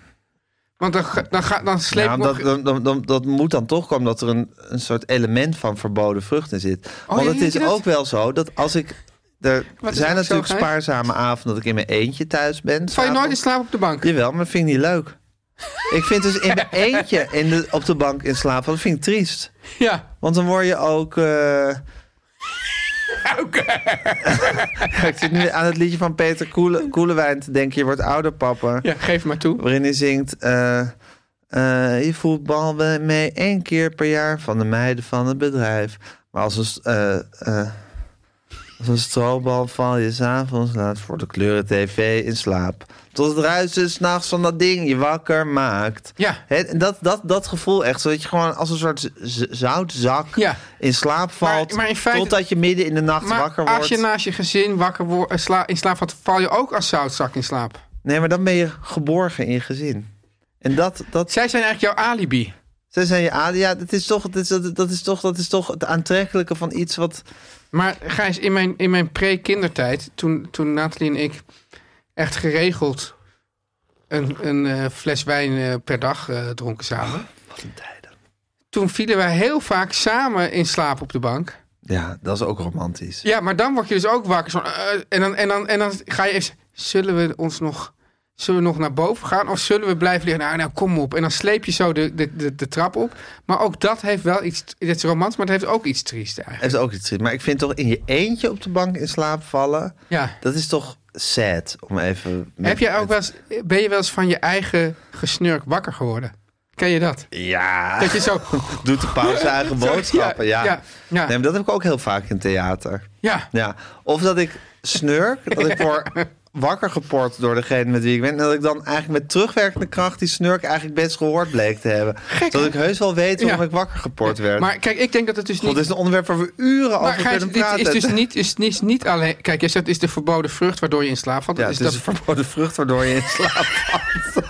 B: Want dan, ga- dan, ga, dan sleep
A: Ja,
B: ik
A: dat,
B: me-
A: dan, dan, dan- dat moet dan toch komen dat er een, een soort element van verboden vruchten zit. Want
B: Oh, ja,
A: het
B: ja,
A: is
B: ja, dat-
A: ook wel zo dat als ik... Er
B: Wat is
A: zijn
B: dat zo,
A: natuurlijk
B: Gijs?
A: spaarzame avonden dat ik in mijn eentje thuis ben.
B: Val je nooit in
A: s'avonds.
B: slaap op de bank?
A: Jawel, maar dat vind ik niet leuk. ik vind dus in mijn eentje in de, op de bank in slaap, dat vind ik triest.
B: Ja.
A: Want dan word je ook... eh, ik zit nu aan het liedje van Peter Koele, Koelewijn te denken. Je wordt ouder, papa.
B: ja, geef maar toe.
A: Waarin hij zingt... eh, eh, je voetbal wel mee één keer per jaar van de meiden van het bedrijf. Maar als een, st- eh, eh, als een stroobal val je s'avonds laat voor de kleuren tv in slaap. Tot het ruisen s'nachts van dat ding je wakker maakt.
B: Ja.
A: Hè, en dat, dat, dat gevoel echt, zodat je gewoon als een soort z- zoutzak
B: Ja.
A: in slaap valt.
B: Maar- maar in feite-
A: totdat je midden in de nacht
B: Maar
A: wakker wordt.
B: als je naast je gezin wakker wo- eh, sla- in slaap valt, val je ook als zoutzak in slaap.
A: Nee, maar dan ben je geborgen in je gezin. En dat, dat
B: Zij zijn eigenlijk jouw alibi.
A: zij zijn je aarde. Ja, dat is, toch, dat, is, dat, dat is toch, dat is toch het aantrekkelijke van iets wat.
B: Maar Gijs, in mijn, in mijn pre-kindertijd, toen, toen Nathalie en ik echt geregeld een, een eh, fles wijn eh, per dag eh, dronken samen. Toen vielen wij heel vaak samen in slaap op de bank.
A: Ja, dat is ook romantisch.
B: Ja, maar dan word je dus ook wakker. Zo, en, dan, en, dan, en dan ga je even... Zullen we ons nog... Zullen we nog naar boven gaan of zullen we blijven liggen? Nou, nou kom op. En dan sleep je zo de, de, de, de trap op. Maar ook dat heeft wel iets... Dit is romans, maar het heeft ook iets triest eigenlijk.
A: Heeft ook iets triest. Maar ik vind toch in je eentje op de bank in slaap vallen.
B: Ja.
A: Dat is toch sad om even. met-
B: Heb jij ook wel eens, ben je wel eens van je eigen gesnurk wakker geworden? Ken je dat?
A: Ja.
B: Dat je zo...
A: Doet de pauze zijn eigen boodschappen. Ja.
B: ja, ja, ja.
A: Nee, maar dat heb ik ook heel vaak in theater.
B: Ja,
A: Ja, of dat ik snurk, dat ik word wakker geport door degene met wie ik ben. En dat ik dan eigenlijk met terugwerkende kracht die snurk eigenlijk best gehoord bleek te hebben. dat ik heus wel weet waarom
B: Ja.
A: ik wakker geport werd.
B: maar kijk, ik denk dat het dus
A: God,
B: niet...
A: dit is een onderwerp waar we uren
B: Maar
A: over
B: Gijs,
A: kunnen
B: dit
A: praten.
B: is dus niet, is, niet, niet alleen... Kijk, jij zegt het is de verboden vrucht waardoor je in slaap valt.
A: ja,
B: Dat
A: het
B: is
A: is
B: dat
A: een verboden vrucht waardoor je in slaap valt.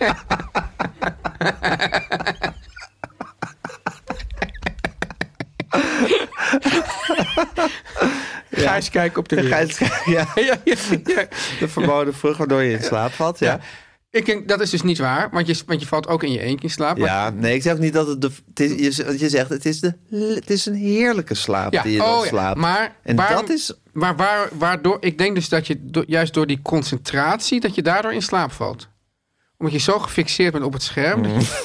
B: Gijs kijken op de wereld.
A: Gijs, ja,
B: Ja, ja, ja.
A: de verboden vrucht waardoor je in slaap valt, ja.
B: Ik denk, dat is dus niet waar, want je, want je valt ook in je eentje in slaap. Maar-
A: Ja, nee, ik zeg ook niet dat het de. Het is, je z- je zegt, het is, de, het is een heerlijke slaap die je dan
B: ja,
A: slaapt.
B: Maar,
A: en
B: waarom-
A: dat is.
B: Maar waar, waardoor, ik denk dus dat je do- juist door die concentratie, dat je daardoor in slaap valt. Omdat je zo gefixeerd bent op het scherm. dat je-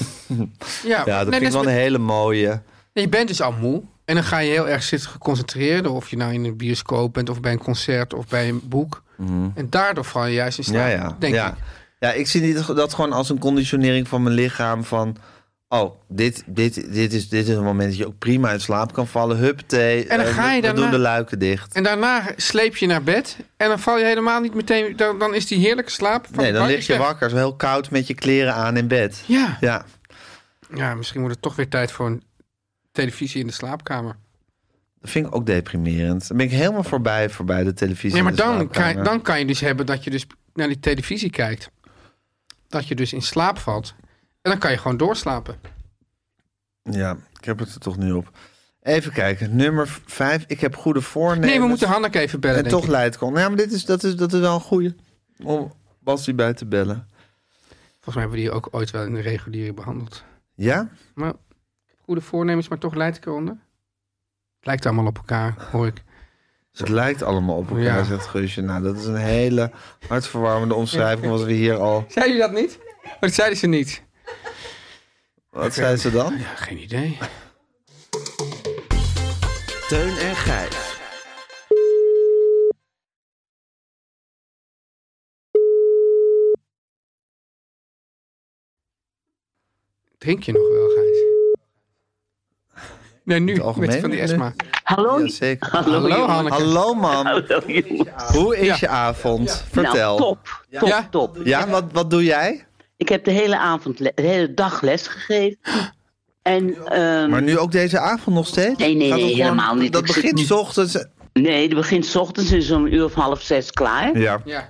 B: ja,
A: Ja, dat
B: nee,
A: vind ik
B: dat
A: wel
B: is-
A: een hele mooie.
B: Je bent dus al moe. En dan ga je heel erg zitten concentreren. Of je nou in een bioscoop bent, of bij een concert, of bij een boek. En daardoor val je juist in slaap,
A: Mhm. Ja, ja.
B: denk
A: ja.
B: ik.
A: ja, ik zie dit- dat gewoon als een conditionering van mijn lichaam. Van, oh, dit, dit, dit, is, dit is een moment dat je ook prima in slaap kan vallen. Hup, thee.
B: En dan
A: eh,
B: ga je
A: we- we
B: daarna-
A: doen de luiken dicht.
B: En daarna sleep je naar bed. En dan val je helemaal niet meteen... Dan, dan is die heerlijke slaap... Van
A: Nee, dan
B: waar-
A: lig je
B: weg.
A: wakker, zo heel koud met je kleren aan in bed.
B: Ja.
A: Ja,
B: ja, misschien wordt het toch weer tijd voor een televisie in de slaapkamer.
A: dat vind ik ook deprimerend. Dan ben ik helemaal voorbij, voorbij de televisie.
B: Nee, maar
A: in de
B: dan
A: slaapkamer.
B: kan, dan kan je dus hebben dat je dus naar die televisie kijkt. Dat je dus in slaap valt. En dan kan je gewoon doorslapen.
A: Ja, ik heb het er toch nu op. Even kijken, nummer v- vijf. Ik heb goede voornemens.
B: Nee, we moeten Hanneke even bellen,
A: En
B: denk
A: toch
B: ik.
A: Leidcon. Ja, maar dit is, dat, is, dat is wel een goeie. Om Basti bij te bellen.
B: Volgens mij hebben we die ook ooit wel in de reguliere behandeld.
A: Ja?
B: Maar goede voornemens, maar toch leid ik eronder. Het lijkt allemaal op elkaar, hoor ik.
A: Dus Het lijkt allemaal op elkaar,
B: Ja.
A: zegt Guusje. Nou, dat is een hele hartverwarmende omschrijving. Wat we hier al...
B: Zei je dat niet? Oh, Dat zeiden ze niet.
A: Wat zei ze dan?
B: Ja, geen idee.
C: Teun en Gijs.
B: Drink je nog wel, Gijs? Nee, nu,
A: het algemeen,
B: met van die
A: nu?
B: Esma.
E: Hallo?
A: Ja, zeker.
B: Hallo, Hanneke.
A: Hallo, man.
E: Hallo, jongens.
A: Hoe is
B: Ja.
A: je avond? Vertel.
E: Nou, top. Top,
B: Ja?
E: top.
A: Ja, wat, wat doe jij?
E: Ik heb de hele avond, le- de hele dag les gegeven. En, ehm,
A: Maar nu ook deze avond nog steeds?
E: Nee, nee,
A: Gaat dat
E: nee, helemaal niet.
A: Dat
E: Ik zit
A: begint
E: nu-
A: s ochtends...
E: nee, het begint 's ochtends en is om een uur of half zes klaar.
A: Ja.
B: Ja.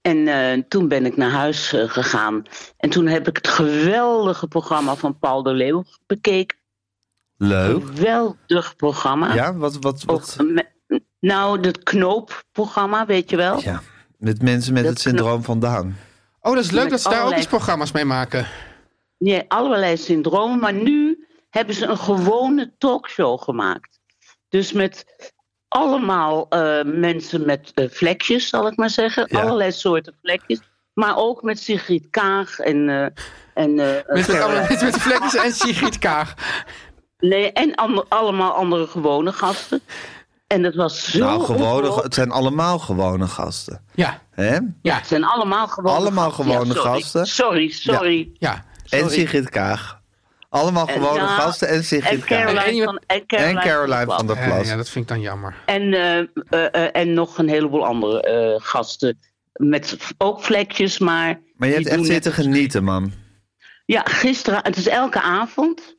E: En eh, toen ben ik naar huis eh, gegaan. En toen heb ik het geweldige programma van Paul de Leeuw bekeken.
A: Leuk.
E: Geweldig programma.
A: Ja, wat... wat, wat...
E: Ook me- nou, dat knoopprogramma, weet je wel.
A: Ja, met mensen met
E: Dat
A: het syndroom van Down.
B: Oh, dat is leuk
E: Met
B: dat ze daar ook
E: allerlei-
B: eens programma's mee maken.
E: Nee, allerlei syndromen. Maar nu hebben ze een gewone talkshow gemaakt. Dus met allemaal eh, mensen met eh, vlekjes, zal ik maar zeggen.
A: Ja.
E: Allerlei soorten vlekjes. Maar ook met Sigrid Kaag en... eh, en eh,
B: Met, met, allemaal- met de vlekjes en Sigrid Kaag.
E: Nee, en ander- allemaal andere gewone gasten. En dat was zo...
A: Nou, gewone,
E: ongelooflijk.
A: het zijn allemaal gewone gasten.
B: Ja,
A: Hè?
B: ja,
E: Het zijn allemaal gewone
A: Allemaal
E: gasten.
A: gewone
E: sorry.
A: gasten.
E: Sorry, sorry.
B: ja.
A: En Sigrid Kaag. Allemaal gewone
E: ja,
A: gasten en
E: En
A: Sigrid Kaag.
B: En
E: Caroline,
B: iemand-
E: van, en
A: En
E: Caroline,
A: Caroline van der
B: Eh, Ja,
A: Plas.
B: ja, dat vind ik dan jammer.
E: En, eh, eh, eh, en nog een heleboel andere eh, gasten. Met v- ook vlekjes, maar.
A: Maar je
E: die
A: hebt echt
E: doen net-
A: zitten genieten, man.
E: Ja, gisteren. Het is elke avond.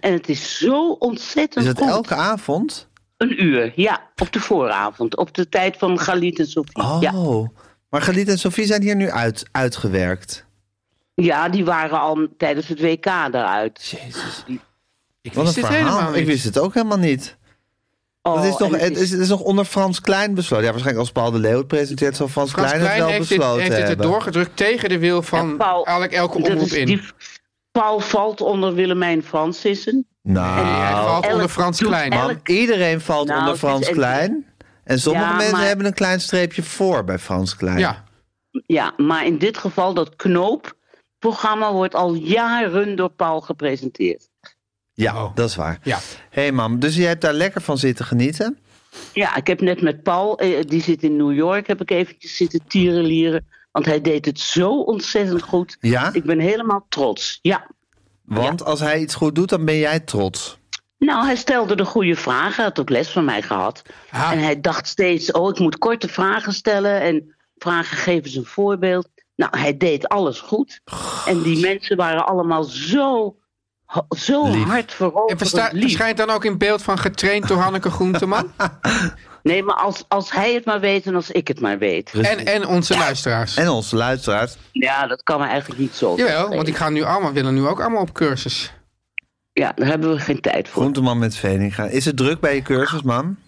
E: En het is zo ontzettend.
A: Is het
E: goed.
A: elke avond?
E: Een uur, ja. Op de vooravond. Op de tijd van Galit en Sofie. Ja.
A: Oh. Maar Galit en Sofie zijn hier nu uit, uitgewerkt.
E: ja, die waren al tijdens het WK eruit.
A: Jezus.
B: Ik
A: Wat
B: wist
A: een
B: dit helemaal
A: verhaal. Ik
B: niet.
A: wist het ook helemaal niet. Dat is
E: toch
A: nog, het, is, het is nog onder Frans Klein besloten. Ja, waarschijnlijk als Paul de Leeuw het presenteert, zal Frans,
B: Frans
A: Klein het
B: Klein
A: wel
B: heeft dit,
A: besloten
B: heeft dit
A: hebben.
B: erdoor gedrukt tegen de wil van
E: Paul,
B: eigenlijk elke omroep in.
E: Paul valt onder Willemijn Francissen.
B: Nee, hij
A: Nou,
B: valt
E: elk
B: onder Frans
E: doet
B: Klein.
E: elk-
A: Man, iedereen valt
E: Nou,
A: onder
E: het is
A: Frans
E: echt-
A: Klein. En sommige
E: Ja,
A: mensen
E: maar-
A: hebben een klein streepje voor bij Frans Klein.
B: Ja,
E: Ja, maar in dit geval dat knoopprogramma wordt al jaren door Paul gepresenteerd.
A: Ja,
B: Oh.
A: dat is waar.
B: ja.
A: Hé hey mam, dus je hebt daar lekker van zitten genieten?
E: Ja, ik heb net met Paul, eh, die zit in New York, heb ik eventjes zitten tierenlieren. Want hij deed het zo ontzettend goed.
A: Ja,
E: Ik ben helemaal trots. Ja.
A: want als hij iets goed doet, dan ben jij trots.
E: Nou, hij stelde de goede vragen, hij had ook les van mij gehad.
B: Ah.
E: En hij dacht steeds, oh, ik moet korte vragen stellen en vragen geven ze een voorbeeld. Nou, hij deed alles goed. En die mensen waren allemaal zo, zo hard
B: En
E: veroverd
B: versta-
E: lief.
B: verschijnt dan ook in beeld van getraind door Hanneke Groenteman.
E: Nee, maar als, als hij het maar weet en als ik het maar weet.
B: en, en onze luisteraars.
A: En onze luisteraars.
E: Ja, dat kan me eigenlijk niet zo.
B: Jawel,
E: Nee.
B: want die gaan nu allemaal, willen nu ook allemaal op cursus.
E: Ja, daar hebben we geen tijd voor.
A: Groenteman met Veninga. Is het druk bij je cursus, mam?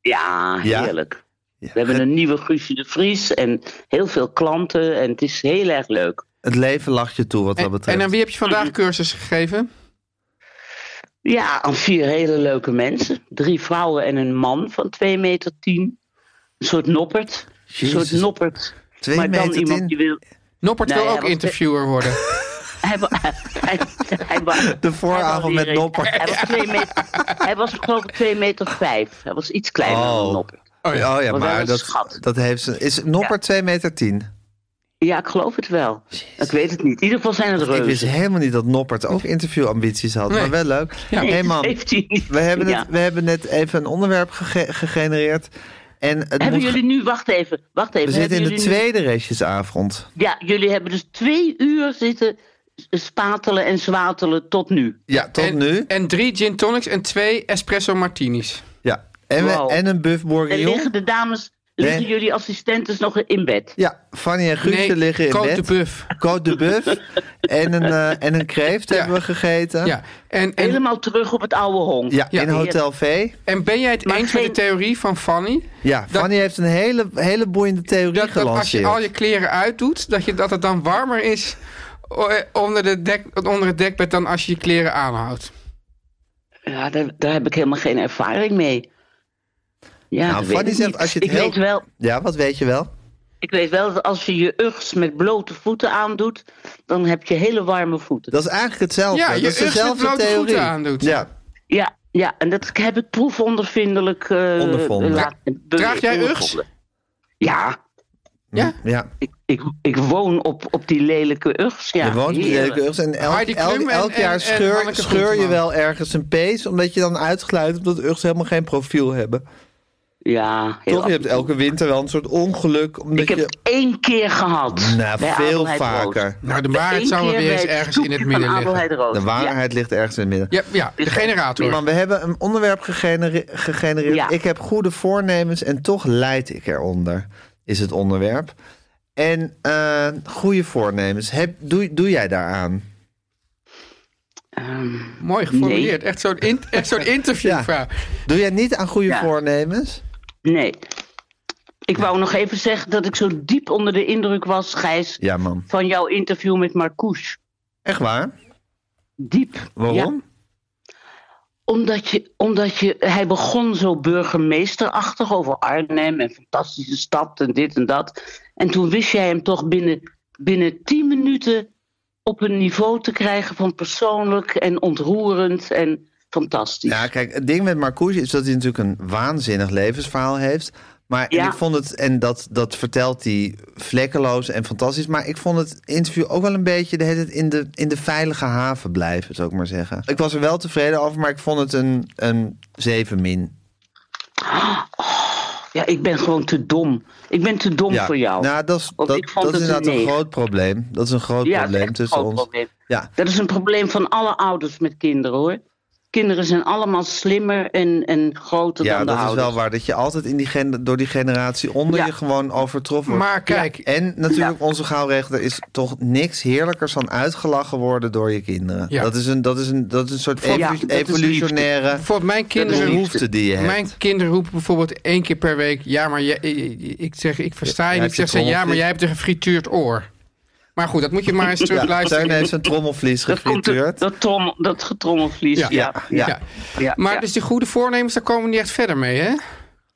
E: Ja,
A: Ja?
E: heerlijk.
A: Ja.
E: We hebben een nieuwe Guusje de Vries en heel veel klanten en het is heel erg leuk.
A: Het leven lacht je toe wat dat
B: En,
A: betreft.
B: en aan wie heb je vandaag cursus gegeven?
E: Ja, aan vier hele leuke mensen. Drie vrouwen en een man van 2 meter 10. Een soort noppert. Een soort
A: Jezus.
E: noppert.
A: Twee
E: maar dan
A: meter
E: iemand
A: 10.
E: die wil...
B: Noppert
E: Nou
B: wil
E: ja,
B: ook
E: want-
B: interviewer worden.
E: Hij, wa- hij, hij wa-
A: De vooravond met
E: hij was
A: Noppert.
E: Hij was, twee meter, hij was geloof ik 2 meter 5. Hij was iets kleiner
A: Oh.
E: dan Noppert.
A: Oh ja,
E: wel
A: maar
E: een
A: dat,
E: schat.
A: dat heeft ze. Is Noppert 2 meter 10?
E: Ja, ik geloof het wel. Ik weet het niet. In ieder geval zijn het
A: Ik wist
E: reuzen.
A: helemaal niet dat Noppert ook interviewambities had.
B: Nee.
A: Maar wel leuk.
B: Ja.
A: hey man,
E: Heeft hij niet.
A: we hebben,
E: Ja.
A: het, we hebben net even een onderwerp gege- gegenereerd. En het
E: Hebben
A: moet-
E: jullie nu... Wacht even. Wacht even.
A: we zitten
E: hebben
A: in de
E: jullie nu-
A: tweede restjesavond.
E: Ja, jullie hebben dus twee uur zitten spatelen en zwatelen tot nu.
A: Ja, tot
B: en,
A: nu.
B: En drie gin tonics en twee espresso martinis.
A: Ja. En, we-
E: Wow.
A: en een buff
E: En
A: bourguignon.
E: liggen de dames, liggen
A: Nee.
E: jullie assistentes nog in bed?
A: Ja, Fanny en Guusje liggen in
B: Cote
A: bed.
B: de Buff.
A: Côte de Buff. en, een, eh, en een kreeft
B: Ja.
A: hebben we gegeten.
B: Ja. En, en,
E: Helemaal terug op het oude honk.
A: Ja,
B: Ja.
A: in Hotel V.
B: en ben jij het
E: Maar
B: eens
E: geen-
B: met de theorie van Fanny?
A: Ja,
B: Dat-
A: Fanny heeft een hele, hele boeiende theorie
B: Dat, dat als je
A: gelanceerd.
B: al je kleren uitdoet, dat, je, dat het dan warmer is o- eh, onder, de dek, onder het dekbed dan als je je kleren aanhoudt.
E: Ja, daar, daar heb ik helemaal geen ervaring mee. Ja,
A: Nou,
E: dat weet
A: Fanny
E: ik
A: zegt,
E: niet.
A: als je het
E: ik,
A: heel-
E: weet wel,
A: Ja, wat weet je wel?
E: ik weet wel dat als je je UGS met blote voeten aandoet, dan heb je hele warme voeten.
A: Dat is eigenlijk hetzelfde.
B: Ja, je
A: dat is
B: Uggs met
A: dezelfde
B: blote voeten
A: theorie.
B: aandoet.
A: Ja.
E: Ja, ja, en dat heb ik proefondervindelijk... eh,
A: Ondervonden.
E: laat-
B: Draag jij
E: ondervonden.
B: Uggs?
E: Ja,
B: Ja?
A: Hm, ja.
E: ik, ik, ik woon op, op die lelijke Uggs. Ja,
A: je woont op die
E: heerlijk.
A: lelijke Uggs en elk,
B: Heidi Klum
A: elk,
B: en-
A: elk
B: en-
A: jaar
B: en
A: scheur,
B: Hanneke
A: scheur je
B: Groenteman.
A: wel ergens een pees, omdat je dan uitglijdt omdat Uggs helemaal geen profiel hebben.
E: Ja, heel
A: Toch? Je hebt
E: af-
A: elke winter wel een soort ongeluk, omdat
E: Ik heb
A: je...
E: het één keer gehad.
A: Nou,
E: bij
A: veel
E: Adelheid Rood.
A: vaker.
B: Nou, de waarheid
E: Eén
B: zou wel
E: keer
B: weer
E: bij
B: eens
E: het
B: ergens in het
E: snoepje
B: midden
E: van
B: liggen.
E: Adelheid Rood.
A: De
E: Ja.
A: waarheid ligt ergens in het midden.
B: Ja, ja, de generator.
A: Man, we hebben een onderwerp gegene- gegenereerd.
E: Ja.
A: Ik heb goede voornemens en toch leid ik eronder, is het onderwerp. En eh, goede voornemens, heb, doe, doe jij daaraan?
E: Ehm,
B: Mooi geformuleerd. Echt zo'n in, echt zo'n interviewvraag.
A: Doe jij niet aan goede
E: Ja.
A: voornemens?
E: nee. Ik wou nog even zeggen dat ik zo diep onder de indruk was, Gijs,
A: Ja, man.
E: van jouw interview met Marcouche.
A: Echt waar?
E: Diep.
A: Waarom?
E: Ja, omdat je, omdat je, hij begon zo burgemeesterachtig over Arnhem en fantastische stad en dit en dat. En toen wist jij hem toch binnen, binnen tien minuten op een niveau te krijgen van persoonlijk en ontroerend en fantastisch.
A: Ja, kijk, het ding met Marcouche is dat hij natuurlijk een waanzinnig levensverhaal heeft. Maar en
E: Ja.
A: ik vond het, en dat, dat vertelt hij vlekkeloos en fantastisch. Maar ik vond het interview ook wel een beetje de hele tijd in de, in de veilige haven blijven, zou ik maar zeggen. Ik was er wel tevreden over, maar ik vond het een, een 7 min.
E: Ja, ik ben gewoon te dom. Ik ben te dom voor jou.
A: Nou, dat is,
E: Want
A: dat,
E: ik vond
A: dat is
E: het een
A: inderdaad een
E: negen.
A: groot probleem. Dat is een groot
E: ja, dat is
A: probleem
E: echt een
A: tussen
E: groot
A: ons.
E: probleem.
A: Ja,
E: Dat is een probleem van alle ouders met kinderen hoor. Kinderen zijn allemaal slimmer en, en groter
A: ja
E: dan de
A: dat is
E: ouders.
A: wel waar. Dat je altijd in die gen- door die generatie onder
E: Ja.
A: je gewoon overtroffen wordt.
B: Maar kijk, ja.
A: En natuurlijk, onze gouden er is toch niks heerlijkers dan uitgelachen worden door je kinderen.
B: Ja.
A: Dat, is een, dat, is een, dat is een soort
B: Ja,
A: evolu-
E: dat is liefde.
A: evolutionaire
B: bijvoorbeeld mijn kinderen,
A: behoefte die je hebt.
B: mijn kinderen roepen bijvoorbeeld één keer per week... Ja, maar jij, ik zeg, ik versta je
A: Ja,
B: niet. Ik
A: jij
B: zeg ze, ja, maar
A: trommelvlies.
B: jij hebt een gefrituurd oor. Maar goed, dat moet je maar eens
A: ja, Teun
B: terugluisteren.
A: heeft zijn trommelvlies
E: dat komt door
A: gefrituurd.
E: dat, trom, dat getrommelvlies. Ja, ja, ja,
B: Ja. Maar
E: ja.
B: dus die goede voornemens, daar komen we niet echt verder mee, hè?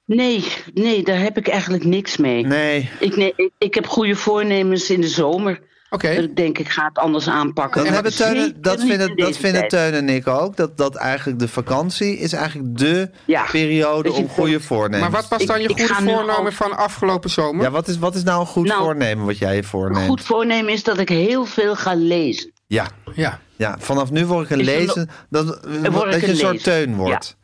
E: Nee, nee, daar heb ik eigenlijk niks mee.
A: Nee,
E: Ik, nee, ik, ik heb goede voornemens in de zomer.
B: Oké.
E: Dat ik denk, ik ga het anders aanpakken.
A: dat,
E: Maar
A: hebben Teun, en-
E: zeker
A: dat
E: niet
A: vinden,
E: in
A: dat
E: deze
A: vinden
E: tijd.
A: Teun en ik ook. Dat, dat eigenlijk de vakantie is eigenlijk de
E: Ja.
A: periode
E: Dat je
A: om goede voornemens.
B: Maar wat was
E: Ik-
B: dan je
E: ik
B: goede
E: ga nu
B: voornomen
E: al-
B: van afgelopen zomer?
A: ja, wat is, wat is nou een goed
E: Nou,
A: voornemen wat jij je
E: Een
A: voorneemt?
E: goed voornemen is dat ik heel veel ga lezen.
A: Ja,
B: ja.
A: ja, vanaf nu word ik een
E: Is er
A: lezen. Dat,
E: word ik
A: dat je
E: een
A: een soort
E: lezer.
A: Teun
E: Ja.
A: wordt.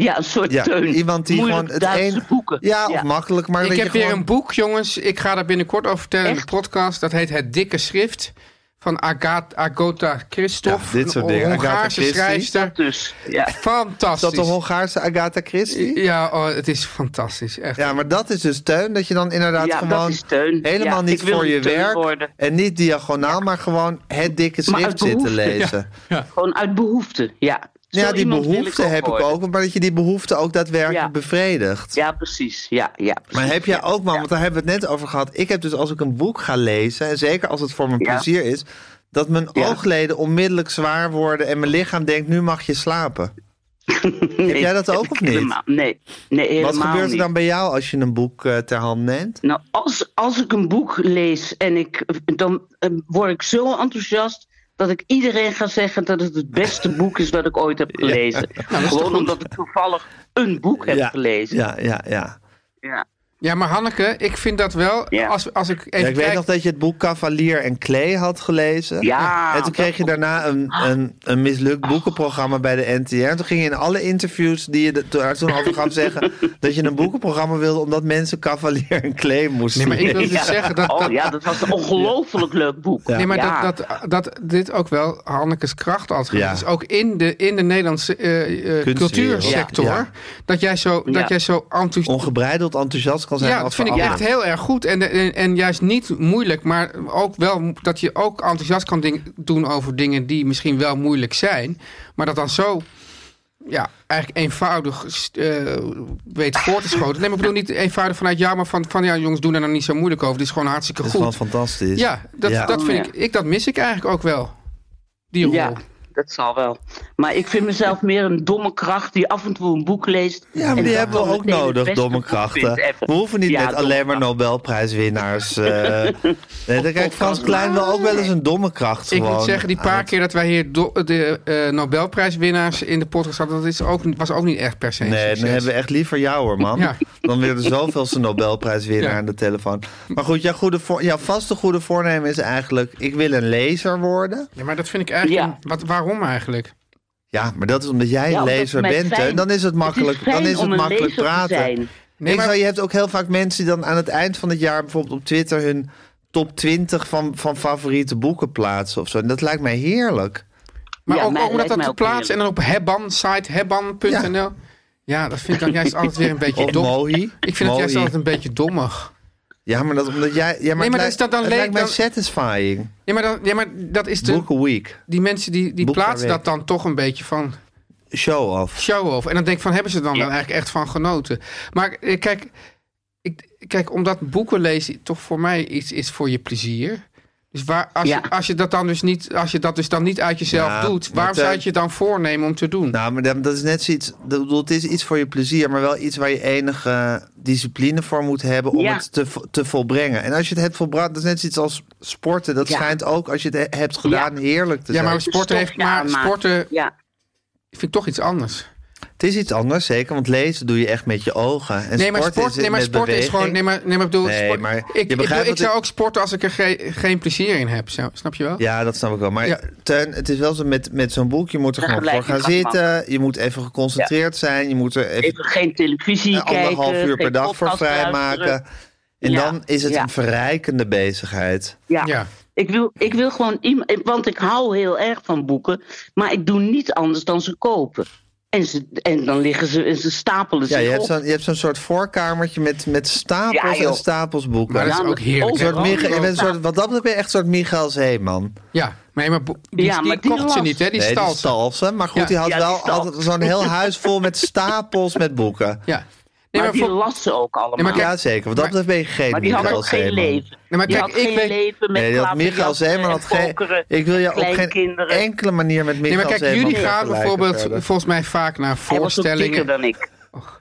E: Ja, een soort
A: Ja,
E: teun.
A: iemand die
E: Moeilijk
A: gewoon het
E: Duitse
A: een-
E: boeken.
A: Ja, of makkelijk, maar
B: Ik
A: dat
B: heb
A: je
B: weer
A: gewoon...
B: een boek, jongens. Ik ga daar binnenkort over vertellen in de
E: Echt?
B: podcast. Dat heet Het Dikke Schrift van Agatha, Agota Christoph.
A: Ja, dit soort
B: een
A: dingen. Agatha
B: Hongaarse
A: Christie.
B: schrijfster.
E: Dus, ja.
A: Is dat
B: Fantastisch.
A: de Hongaarse Agatha Christie?
B: ja, oh, het is fantastisch. Echt.
A: Ja, maar dat is dus steun. Dat je dan inderdaad
E: Ja, dat
A: gewoon
E: is steun.
A: helemaal
E: Ja,
A: niet
E: ik wil
A: voor
E: een
A: je
E: steun
A: werk.
E: worden.
A: En niet diagonaal, maar gewoon het dikke
E: Maar
A: schrift
E: uit
A: zitten
E: behoefte.
A: lezen.
E: Gewoon uit behoefte, ja.
A: ja, die
E: iemand wil ik
A: behoefte
E: ook
A: heb ik
E: worden.
A: ook, maar dat je die behoefte ook daadwerkelijk
E: Ja.
A: bevredigt.
E: Ja, precies. Ja, ja, precies.
A: Maar heb jij
E: Ja,
A: ook, man,
E: ja.
A: want daar hebben we het net over gehad. Ik heb dus als ik een boek ga lezen, en zeker als het voor mijn
E: Ja.
A: plezier is, dat mijn
E: Ja.
A: oogleden onmiddellijk zwaar worden en mijn lichaam denkt, nu mag je slapen.
E: Nee,
A: jij dat ook
E: ik
A: of niet?
E: helemaal- nee, nee, helemaal
A: Wat gebeurt er
E: niet.
A: dan bij jou als je een boek eh, ter hand neemt?
E: Nou, als, als ik een boek lees en ik, dan eh, word ik zo enthousiast dat ik iedereen ga zeggen dat het het beste boek is wat ik ooit heb gelezen.
A: Nou,
E: Gewoon omdat ik toevallig een boek heb
A: ja.
E: gelezen. Ja.
A: Ja, ja, ja.
B: Ja, maar Hanneke, ik vind dat wel.
E: Ja.
B: Als, als ik even
A: ja ik weet
B: kijk-
A: nog dat eh, je het boek Cavalier en Klee had gelezen.
E: Ja,
A: En toen kreeg je daarna een, een, een mislukt boekenprogramma bij de NTR. En toen ging je in alle interviews die je de- daar toen over gaf zeggen... dat je een boekenprogramma wilde omdat mensen Cavalier en Klee moesten
B: Nee, maar ik wil
A: lezen.
B: dus zeggen dat.
E: Oh
B: dat-
E: ja, dat was een ongelooflijk leuk boek.
B: Nee, maar
E: Ja.
B: dat, dat, dat dit ook wel Hanneke's kracht had geweest.
A: Ja.
B: Dus ook in de, in de Nederlandse eh, eh, cultuursector.
A: Ja, ja.
B: Dat jij zo,
E: Ja.
B: dat jij zo enthousiast.
A: Ongebreideld enthousiast kan zijn.
B: Ja, dat
A: als
B: vind ik
A: we
B: echt heel erg goed. En, en, en juist niet moeilijk, maar ook wel dat je ook enthousiast kan ding- doen over dingen die misschien wel moeilijk zijn. Maar dat dan zo ja, eigenlijk eenvoudig eh, weet voor te schoten. Nee, maar ik bedoel niet eenvoudig vanuit jou, maar van, van ja, jongens, doen er nou niet zo moeilijk over. Dit is gewoon hartstikke
A: Dat is gewoon
B: goed.
A: fantastisch.
B: Ja, dat,
A: Ja.
B: dat vind
E: Ja.
B: ik, ik, dat mis ik eigenlijk ook wel. Die rol.
E: Ja, dat zal wel. Maar ik vind mezelf meer een domme kracht die af en toe een boek leest.
A: Ja, maar
E: en
A: die
E: dat
A: hebben we
E: dan
A: ook
E: meteen het
A: nodig,
E: beste
A: domme
E: boek vindt
A: krachten.
E: ever.
A: We hoeven niet
E: Ja,
A: met
E: domme
A: alleen maar
E: krachten.
A: Nobelprijswinnaars. eh nee, dan krijgt Frans Klein wel ook wel eens een domme kracht.
B: Ik moet
A: gewoon
B: zeggen, die paar
A: uit.
B: keer dat wij hier do- de eh, Nobelprijswinnaars in de podcast hadden, dat is ook, was ook niet echt per se. een
A: Nee, dan
B: succes.
A: hebben we echt liever jou hoor, man.
B: Ja.
A: Dan weer de zoveelste Nobelprijswinnaar
B: Ja.
A: aan de telefoon. Maar goed, jouw, goede voor, jouw vaste goede voornemen is eigenlijk... ik wil een lezer worden.
B: Ja, maar dat vind ik eigenlijk.
E: Ja.
B: een- wat, waarom eigenlijk?
A: Ja, maar dat is omdat jij
E: Ja,
A: een
E: omdat
A: lezer
E: het mij
A: bent. hè.
E: fijn-
A: En dan is het makkelijk,
E: Het is fijn
A: dan is het
E: om een
A: makkelijk
E: lezer te
A: praten.
E: zijn.
B: Nee,
A: ik
B: maar,
A: zou- je hebt ook heel vaak mensen die dan aan het eind van het jaar bijvoorbeeld op Twitter hun top 20 van, van favoriete boeken plaatsen of zo. En dat lijkt mij heerlijk.
B: maar
E: Ja,
B: ook
E: mij-
B: ook om
E: lijkt
B: dat
E: mij
B: te
E: ook
B: plaatsen en dan op Hebban, site hebban.nl. Ja. dat vind ik dan juist altijd weer een beetje
A: Of
B: dom.
A: Mohi.
B: Ik vind het
A: Mohi.
B: juist altijd een beetje dommig.
A: Ja, maar dat omdat jij. Ja, maar
B: maar
A: het
B: dat
A: lijkt-
B: is dat dan
A: het
B: leuk
A: lijkt mij
B: dan-
A: satisfying.
B: Ja, maar dat, ja, maar dat is de,
A: Book a week.
B: die mensen die, die
A: Boek per
B: plaatsen
A: week.
B: dat dan toch een beetje van
A: Show off.
B: show-off. En dan denk ik van, hebben ze er dan,
E: Ja.
B: dan eigenlijk echt van genoten? Maar eh, kijk, ik, kijk, omdat boeken lezen toch voor mij iets is voor je plezier. Dus waar, als,
E: Ja.
B: je, als je dat dan dus niet, als je dat dus dan niet uit jezelf
A: Ja,
B: doet,
A: maar eh,
B: waarom
A: Teun-
B: zou je het je dan voornemen om te doen?
A: Nou, maar dat dat is net zoiets. dat- bedoel, Het is iets voor je plezier, maar wel iets waar je enige discipline voor moet hebben om
E: Ja.
A: het te, vo- te volbrengen. En als je het hebt volbracht, dat is net zoiets als sporten. Dat
E: Ja.
A: schijnt ook als je het he- hebt gedaan heerlijk te
B: ja,
A: zijn.
B: maar sporten heeft
E: stofje
B: maar
E: aanmaken.
B: sporten
E: Ja,
B: vind ik toch iets anders.
A: Het is iets anders, zeker, want lezen doe je echt met je ogen. En
B: nee, maar
A: sport,
B: sport,
A: is
B: nee, maar
A: met
B: sport is
A: beweging.
B: gewoon. Nee, maar, nee, maar, ik bedoel,
A: Nee,
B: sport-
A: maar je
B: ik, ik,
A: begrijpt
B: bedoel, ik
A: wat
B: zou
A: ik-
B: ook sporten als ik er geen, geen plezier in heb. Zo, snap je wel?
A: Ja, dat snap ik wel. Maar
B: Ja.
A: Teun, het is wel zo met, met zo'n boek. Je moet er
E: Ja,
A: gewoon voor
E: gelijk,
A: gaan
E: ik had hem
A: zitten. Je moet even geconcentreerd zijn. Je moet er even,
E: even geen televisie kijken.
A: anderhalf uur per
E: geen
A: dag voor
E: podcast
A: vrijmaken.
E: luisteren.
A: En
E: Ja,
A: dan is het
E: ja.
A: een verrijkende bezigheid.
E: Ja,
B: Ja.
E: Ik, wil, ik wil gewoon iemand, want ik hou heel erg van boeken, maar ik doe niet anders dan ze kopen. En, ze, en dan liggen ze en ze stapelen
A: Ja,
E: zich
A: je hebt
E: op.
A: zo'n je hebt zo'n soort voorkamertje met, met
E: Ja,
A: stapels
E: joh.
A: en stapels boeken.
B: Maar dat
E: Ja,
B: is
E: maar
B: ook heerlijk.
A: Een soort
E: overal
A: Micha-
E: gewoon
A: je bent een
E: stapels.
A: soort, wat dat betreft ben je echt een soort Michael Zeeman.
B: Ja, nee, maar bo- die,
E: Ja,
B: die
E: maar die
B: kocht ze
E: las-
B: niet, hè? Die
A: nee,
B: stal
A: die
B: ze.
A: stal ze. Maar goed,
B: Ja.
A: die had
E: Ja, die
A: wel
E: stal.
A: altijd zo'n heel huis vol met stapels met boeken.
B: Ja. Nee,
E: maar,
B: maar,
E: die
B: voor-
E: las ze ook allemaal.
B: Nee, maar
E: maar,
B: kijk,
A: Ja, zeker. Wat dat
B: Maar-
A: betreft ben je geen
E: die had
A: Michael
E: ook geen
A: Zeeman.
E: leven.
B: nee, maar
E: Die
B: kijk,
E: had geen
B: ik weet.
E: leven met
A: Nee, dat
E: klaverjassen
A: Michael Zeeman
E: en
A: had geen...
E: pokeren,
A: Ik wil je op geen
E: kleinkinderen.
A: enkele manier met Michael
B: eh, Nee, maar kijk,
A: Zeeman
B: jullie gaan
A: vergelijken
B: bijvoorbeeld
A: verder.
B: volgens mij vaak naar
E: Hij was ook dikker
B: voorstellingen.
E: dan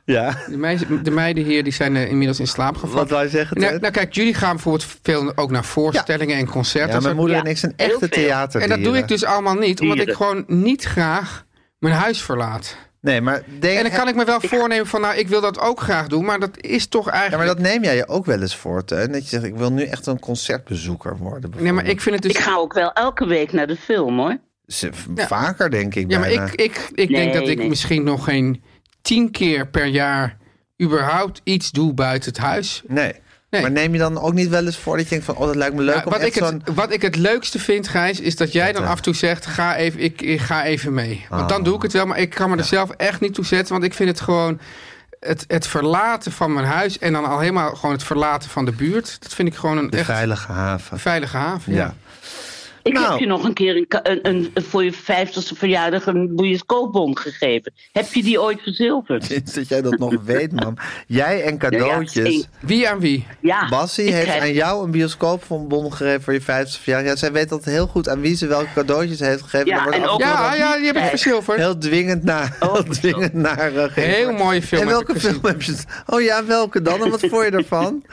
E: ik.
A: Ja,
B: De, meis- de meiden hier die zijn eh, inmiddels in slaap gevallen.
A: wat wij zeggen.
B: Nou,
A: Ted?
B: nou, kijk, jullie gaan bijvoorbeeld veel ook naar voorstellingen en concerten.
A: ja,
B: en zo.
A: mijn moeder
E: Ja,
A: en ik zijn
E: heel
A: echte
E: veel.
A: theater.
B: en dat doe ik dus allemaal niet, omdat ik
E: Dieren.
B: gewoon niet graag mijn huis verlaat.
A: Nee, maar denk...
B: En dan kan ik me wel voornemen van, nou, ik wil dat ook graag doen, maar dat is toch
A: Ja, maar
B: eigenlijk...
A: dat neem jij je ook wel eens voor, Teun. Dat je zegt, ik wil nu echt een concertbezoeker worden.
B: Nee, maar ik
A: bijvoorbeeld.
B: vind het dus...
E: Ik ga ook wel elke week naar de film hoor.
A: Ze- v-
B: Ja.
A: Vaker, denk ik
B: Ja, maar
A: bijna.
B: ik, ik, ik denk
E: Nee,
B: dat ik
E: nee.
B: misschien nog geen tien keer per jaar überhaupt iets doe buiten het huis.
A: Nee.
B: Nee.
A: Maar neem je dan ook niet wel eens voor dat je denkt van... Oh, dat lijkt me leuk
B: Ja,
A: om
B: Nou, wat, ik
A: echt zo'n...
B: het, wat ik het leukste vind, Gijs, is dat jij dan af en toe zegt: ga even, ik, ik ga even mee. Want dan doe ik het wel, maar ik kan me er zelf echt niet toe zetten. Want ik vind het gewoon het, het verlaten van mijn huis en dan al helemaal gewoon het verlaten van de buurt. Dat vind ik gewoon een
A: De
B: echt
A: veilige haven.
B: veilige haven.
A: Ja.
B: Ja.
E: Ik
A: Nou.
E: heb je nog een keer een, ka- een, een- voor je vijftigste verjaardag een boeienskoopbon gegeven. Heb je die ooit verzilverd?
A: Sinds dat jij dat nog weet, mam. Jij en
E: Ja, ja,
A: cadeautjes.
E: ik-
B: Wie aan wie?
E: Ja.
A: Bassie
E: ik
A: heeft
E: krijg-
A: aan jou een bioscoopbon gegeven voor je 50 verjaardag. Ja, zij weet altijd heel goed aan wie ze welke cadeautjes heeft gegeven.
E: Ja, Oh,
A: Daar wordt
E: en ook-
A: altijd
B: Ja, ah,
E: dat
B: ja,
E: niet
B: die heb ik
E: krijg.
B: verzilverd.
A: Eh, heel dwingend naar, heel dwingend naar eh, gegeven.
B: Heel mooie film
A: En
B: heb
A: welke
B: ik
A: film
B: gezien.
A: heb je? Oh ja, welke dan? En wat vond je ervan?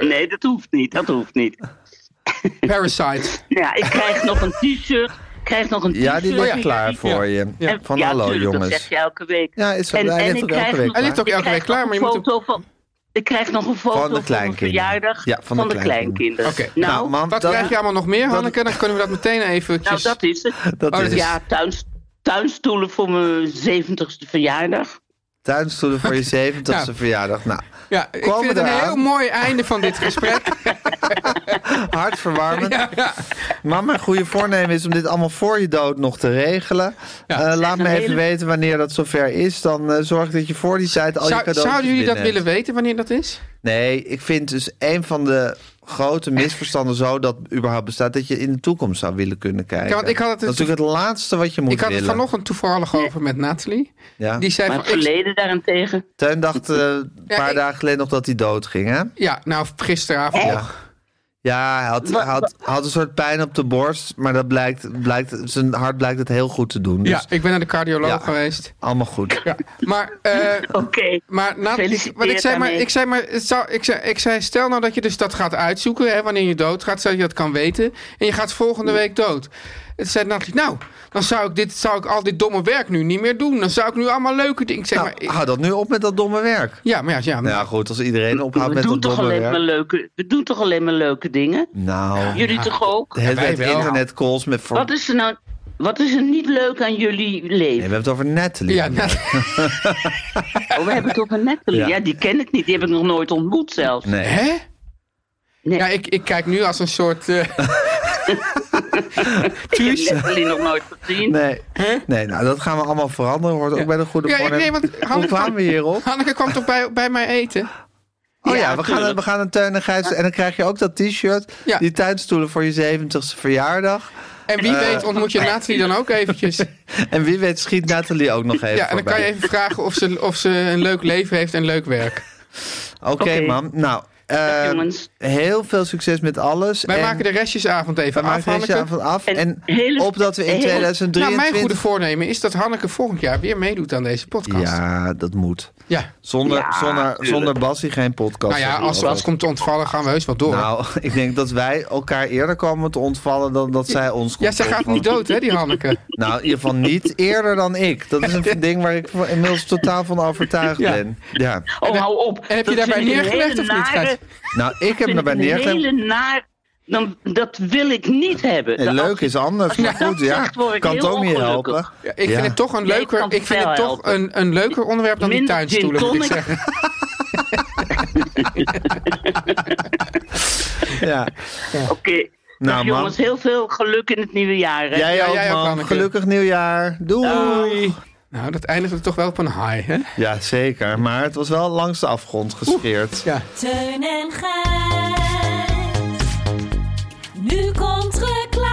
E: Nee, dat hoeft niet. Dat hoeft niet.
B: Parasite.
E: Ja, ik krijg nog een t-shirt. ik Krijg nog een t-shirt.
A: Ja, die ligt
E: ik
A: klaar
E: krijg-
A: voor je.
E: En-
A: Van
E: ja,
A: hallo
E: tuurlijk, Dat
A: jongens.
E: zeg je elke week.
A: Ja, is zo- hij ligt
E: ik
A: ook elke week
E: krijg nog-
A: klaar. Hij ligt
B: ook elke
E: ik krijg
B: week klaar,
E: nog
B: maar
E: een
B: je moet hem-
E: foto van- Ik krijg nog een foto
A: de
E: van, mijn
A: kleinkinderen.
E: verjaardag
A: Ja,
E: van, de kleinkinderen.
B: Oké.
E: Nou,
A: mam,
B: Wat
A: dat-
B: krijg je allemaal nog meer, Hanneke? Dan kunnen we dat meteen
E: nou,
B: eventjes...
E: dat is het.
A: Dat
B: Oh, dat
A: is
B: is-
E: Ja, tuins, tuinstoelen voor mijn 70ste verjaardag.
A: tuinstoelen voor je 70ste
B: Nou.
A: verjaardag. Nou,
B: Ja, ik
A: Komen
B: vind het een
A: eraan.
B: heel mooi einde van dit gesprek.
A: hartverwarmend.
B: ja, ja.
A: Maar mijn goede voornemen is om dit allemaal voor je dood nog te regelen.
B: Ja.
A: Eh, laat
E: Een
A: me even
E: hele-
A: weten wanneer dat zover is. Dan eh, zorg dat je voor die tijd al je
B: Zou,
A: cadeautjes
B: zouden jullie dat
A: binnen
B: willen
A: hebt.
B: weten, wanneer dat is?
A: Nee, ik vind dus een van de grote misverstanden zo dat überhaupt bestaat... dat je in de toekomst zou willen kunnen kijken.
B: Ja, want ik had het- dus-
A: dat is natuurlijk het laatste wat je moet
B: Ik had het
A: willen.
B: vanochtend toevallig over met Nathalie.
A: Ja.
B: Die zei
E: Maar
B: van,
E: het
B: ik,
E: verleden daarentegen.
A: Teun dacht eh, een
B: Ja,
A: paar
B: ik-
A: dagen geleden nog dat hij dood ging, hè?
B: ja, nou gisteravond nog.
A: Ja, hij had, hij had, hij had een soort pijn op de borst, maar dat blijkt, blijkt, zijn hart blijkt het heel goed te doen. Dus
B: Ja, ik ben naar de cardioloog
A: Ja.
B: geweest.
A: allemaal goed.
B: Ja. Maar, eh,
E: Oké.
B: maar Nathalie,
E: Gefeliciteerd
B: wat ik zei, maar,
E: daarmee.
B: ik zei, maar het zou, ik, zei, ik zei, stel nou dat je dus dat gaat uitzoeken, hè, wanneer je dood gaat, zodat je dat kan weten. En je gaat volgende week dood. En toen zei Nathalie, nou, dan zou ik, dit, zou ik al dit domme werk nu niet meer doen. Dan zou ik nu allemaal leuke dingen... Ik zeg,
A: Nou,
B: maar, ik-
A: hou dat nu op met dat domme werk.
B: ja, maar ja, ja,
A: Nou
B: maar-
A: ja, goed, als iedereen ophoudt
E: We
A: met
E: doen,
A: dat
E: toch
A: domme
E: alleen
A: werk.
E: maar leuke, we doen toch alleen maar leuke dingen?
A: Nou,
E: Jullie toch ook?
A: het
B: wij
A: werd
B: wel.
A: internetcalls met... Voor...
E: Wat is er nou... Wat is er niet leuk aan jullie leven?
A: Nee, we hebben het over Natalie.
B: ja, Nathalie.
E: Oh, we hebben het over Natalie.
A: Ja.
E: Ja. die ken ik niet. Die heb ik nog nooit ontmoet zelfs.
A: Nee.
B: Hè?
E: Nee.
B: Ja, ik, ik kijk nu als een soort. eh,
E: ik heb Natalie nog nooit gezien.
A: Nee. nee, nou dat gaan we allemaal veranderen. Hoort ook bij de goede
B: Ja, ik-
A: voornemen.
B: nee, want
A: Hoe
B: Hanneke-
A: kwamen we hierop?
B: Hanneke kwam toch bij, bij mij eten?
A: Oh ja,
E: Ja,
A: we, gaan,
E: tuurlijk.
A: we gaan een Teun en Gijs... En dan krijg je ook dat t-shirt.
B: Ja.
A: Die tuinstoelen voor je 70ste verjaardag.
B: En
A: Eh.
B: wie weet ontmoet je Nathalie dan ook eventjes.
A: En wie weet schiet Natalie ook nog even
B: ja, en dan kan je
A: voorbij.
B: even vragen of ze, of ze een leuk leven heeft en leuk werk.
A: Oké,
E: Oké.
A: mam. Nou, eh,
E: jongens.
A: heel veel succes met alles.
B: Wij
A: en
B: maken de restjesavond
A: we
B: even af,
A: maken deze
B: Hanneke.
A: avond af.
E: En
A: En,
E: hele-
A: opdat we in
E: hele-
B: Nou, mijn
A: 2023...
B: goede voornemen is dat Hanneke volgend jaar weer meedoet aan deze podcast. Ja.
A: ja, dat moet.
B: ja.
A: Zonder,
E: Ja,
A: zonder,
E: tuurlijk.
A: zonder Bassie geen podcast.
B: Nou ja, als ze ons komt te ontvallen, gaan we heus wel door.
A: Nou, ik denk dat wij elkaar eerder komen te ontvallen dan dat zij ons
B: ja,
A: komt
B: zij
A: te
B: gaat niet
A: ontvallen.
B: dood, hè, die Hanneke?
A: Nou, in ieder geval niet eerder dan ik. Dat is een ding waar ik van- inmiddels totaal van overtuigd
B: Ja.
A: ben. Ja.
E: Oh, hou op.
B: En heb je daarbij neergelegd of niet, Gijs?
A: Nou, ik
E: Ik
A: heb me bij
E: een
A: neergelegd.
E: hele naar... Dan, dat wil ik niet hebben.
A: Nee,
E: Dat-
A: leuk is anders, maar
E: Ja,
A: goed, ja.
E: echt word ik
A: Kan het
E: heel
A: ook niet
E: ongelukkig.
A: helpen.
B: Ja, ik
A: Ja.
B: vind het toch een
E: Jij
B: leuker,
E: kan
B: ik vind het
E: wel
B: toch
E: helpen.
B: een, een leuker onderwerp dan die
E: Minder gin
B: tuinstoelen, moet ik
E: tonic.
B: zeggen.
A: Ja.
E: Oké.
A: Nou,
E: Dag,
A: man.
E: jongens, heel veel geluk in het nieuwe jaar. Hè?
A: Jij
B: Ja,
A: ook,
B: jij ook,
A: man.
B: Hanneke.
A: Gelukkig nieuwjaar. Doei.
B: Nou, dat eindigde toch wel op een high, hè?
A: Ja, zeker. Maar het was wel langs de afgrond gescheerd.
B: Ja.
D: Teun en Gijs. Nu komt reclame.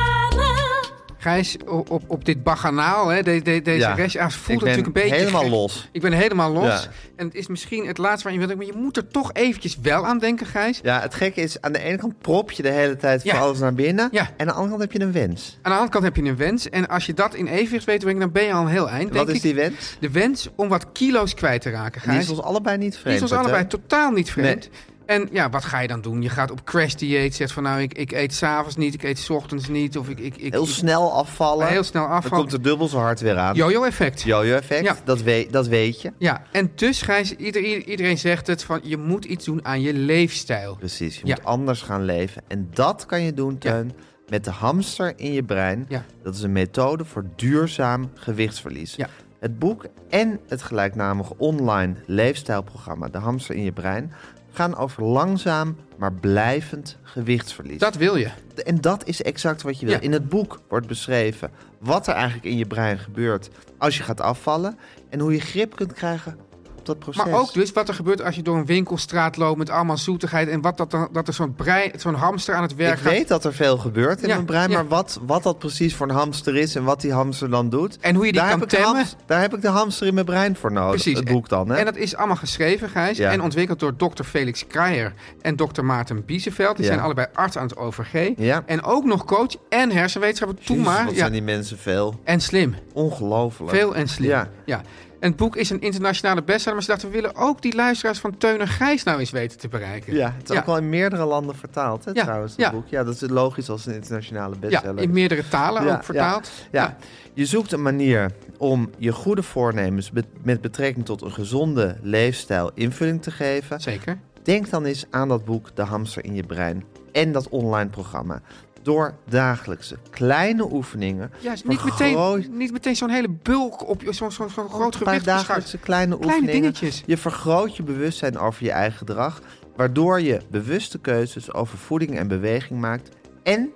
B: Gijs, op, op, op dit baganaal, hè, de, de- deze
A: Ja.
B: ja.
A: Ik
B: voelt het
A: ben
B: natuurlijk een beetje...
A: helemaal
B: gek.
A: los.
B: Ik ben helemaal los.
A: Ja.
B: En het is misschien het laatste waar je wilt, maar je moet er toch eventjes wel aan denken, Gijs.
A: Ja, het gekke is, aan de ene kant prop je de hele tijd
B: Ja.
A: voor alles naar binnen.
B: Ja.
A: En aan de andere kant heb je een wens.
B: Aan de andere kant heb je een wens. En als je dat in evenwicht weet te brengen, dan ben je al een heel eind,
A: Wat
B: denk
A: is
B: ik.
A: die wens?
B: De wens om wat kilo's kwijt te raken,
A: Die
B: Gijs.
A: is ons allebei niet
B: Die
A: vreemd.
B: is ons
A: Peter.
B: allebei totaal niet vreemd.
A: Nee.
B: En ja, wat ga je dan doen? Je gaat op crash dieet, zegt van nou, ik, ik eet s'avonds niet, ik eet 's ochtends niet. Of ik, ik, ik,
A: Heel
B: ik-
A: snel afvallen.
B: Heel snel
A: Dan
B: afvallen.
A: komt er dubbel zo hard weer aan.
B: Jojo-effect.
A: Jojo-effect,
B: Ja.
A: dat, weet, dat weet je.
B: Ja, en dus Gijs, ieder, ieder- iedereen zegt het van je moet iets doen aan je leefstijl.
A: Precies, je
B: Ja.
A: moet anders gaan leven. En dat kan je doen, Teun, met de hamster in je brein.
B: Ja.
A: Dat is een methode voor duurzaam gewichtsverlies.
B: Ja.
A: Het boek en het gelijknamige online leefstijlprogramma De Hamster in je brein gaan over langzaam maar blijvend gewichtsverlies.
B: Dat wil je.
A: En dat is exact wat je wil.
B: Ja.
A: In het boek wordt beschreven wat er eigenlijk in je brein gebeurt als je gaat afvallen en hoe je grip kunt krijgen dat proces.
B: Maar ook dus wat er gebeurt als je door een winkelstraat loopt met allemaal zoetigheid. En wat dat dan, dat er zo'n brei, zo'n hamster aan het werk
A: ik
B: gaat.
A: weet dat er veel gebeurt in
B: Ja,
A: mijn brein,
B: ja.
A: maar wat, wat dat precies voor een hamster is en wat die hamster dan doet.
B: En hoe je die
A: daar
B: kan
A: heb ik de
B: temmen.
A: hams- daar heb ik de hamster in mijn brein voor nodig.
B: Precies.
A: Oh, Het boek dan, hè?
B: En dat is allemaal geschreven, Gijs.
A: Ja.
B: En ontwikkeld door dokter Felix Kreijer en dokter Maarten Biezenveld. Die
A: Ja.
B: zijn allebei arts aan het OVG.
A: Ja.
B: En ook nog coach en hersenwetenschapper. Toen
A: Jezus,
B: maar.
A: wat
B: ja.
A: zijn die mensen veel.
B: En slim.
A: Ongelooflijk.
B: Veel en slim.
A: Ja.
B: Ja. En het boek is een internationale bestseller. Maar ze dachten, we willen ook die luisteraars van Teun en Gijs nou eens weten te bereiken.
A: Ja, het is ook wel in meerdere landen vertaald, hè,
B: Ja,
A: trouwens, dat
B: ja.
A: boek. Ja, dat is logisch als een internationale
B: Ja,
A: bestseller.
B: in meerdere talen
A: Ja,
B: ook vertaald.
A: Ja. je zoekt een manier om je goede voornemens be- met betrekking tot een gezonde leefstijl invulling te geven.
B: Zeker.
A: Denk dan eens aan dat boek De Hamster in je Brein en dat online programma. Door dagelijkse kleine oefeningen.
B: Ja, is niet,
A: vergroot-
B: meteen, niet meteen zo'n hele bulk op je- zo'n zo'n zo'n groot
A: een paar
B: gewicht.
A: dagelijkse
B: beschuit.
A: kleine,
B: Kleine
A: oefeningen.
B: dingetjes.
A: Je vergroot je bewustzijn over je eigen gedrag, waardoor je bewuste keuzes over voeding en beweging maakt en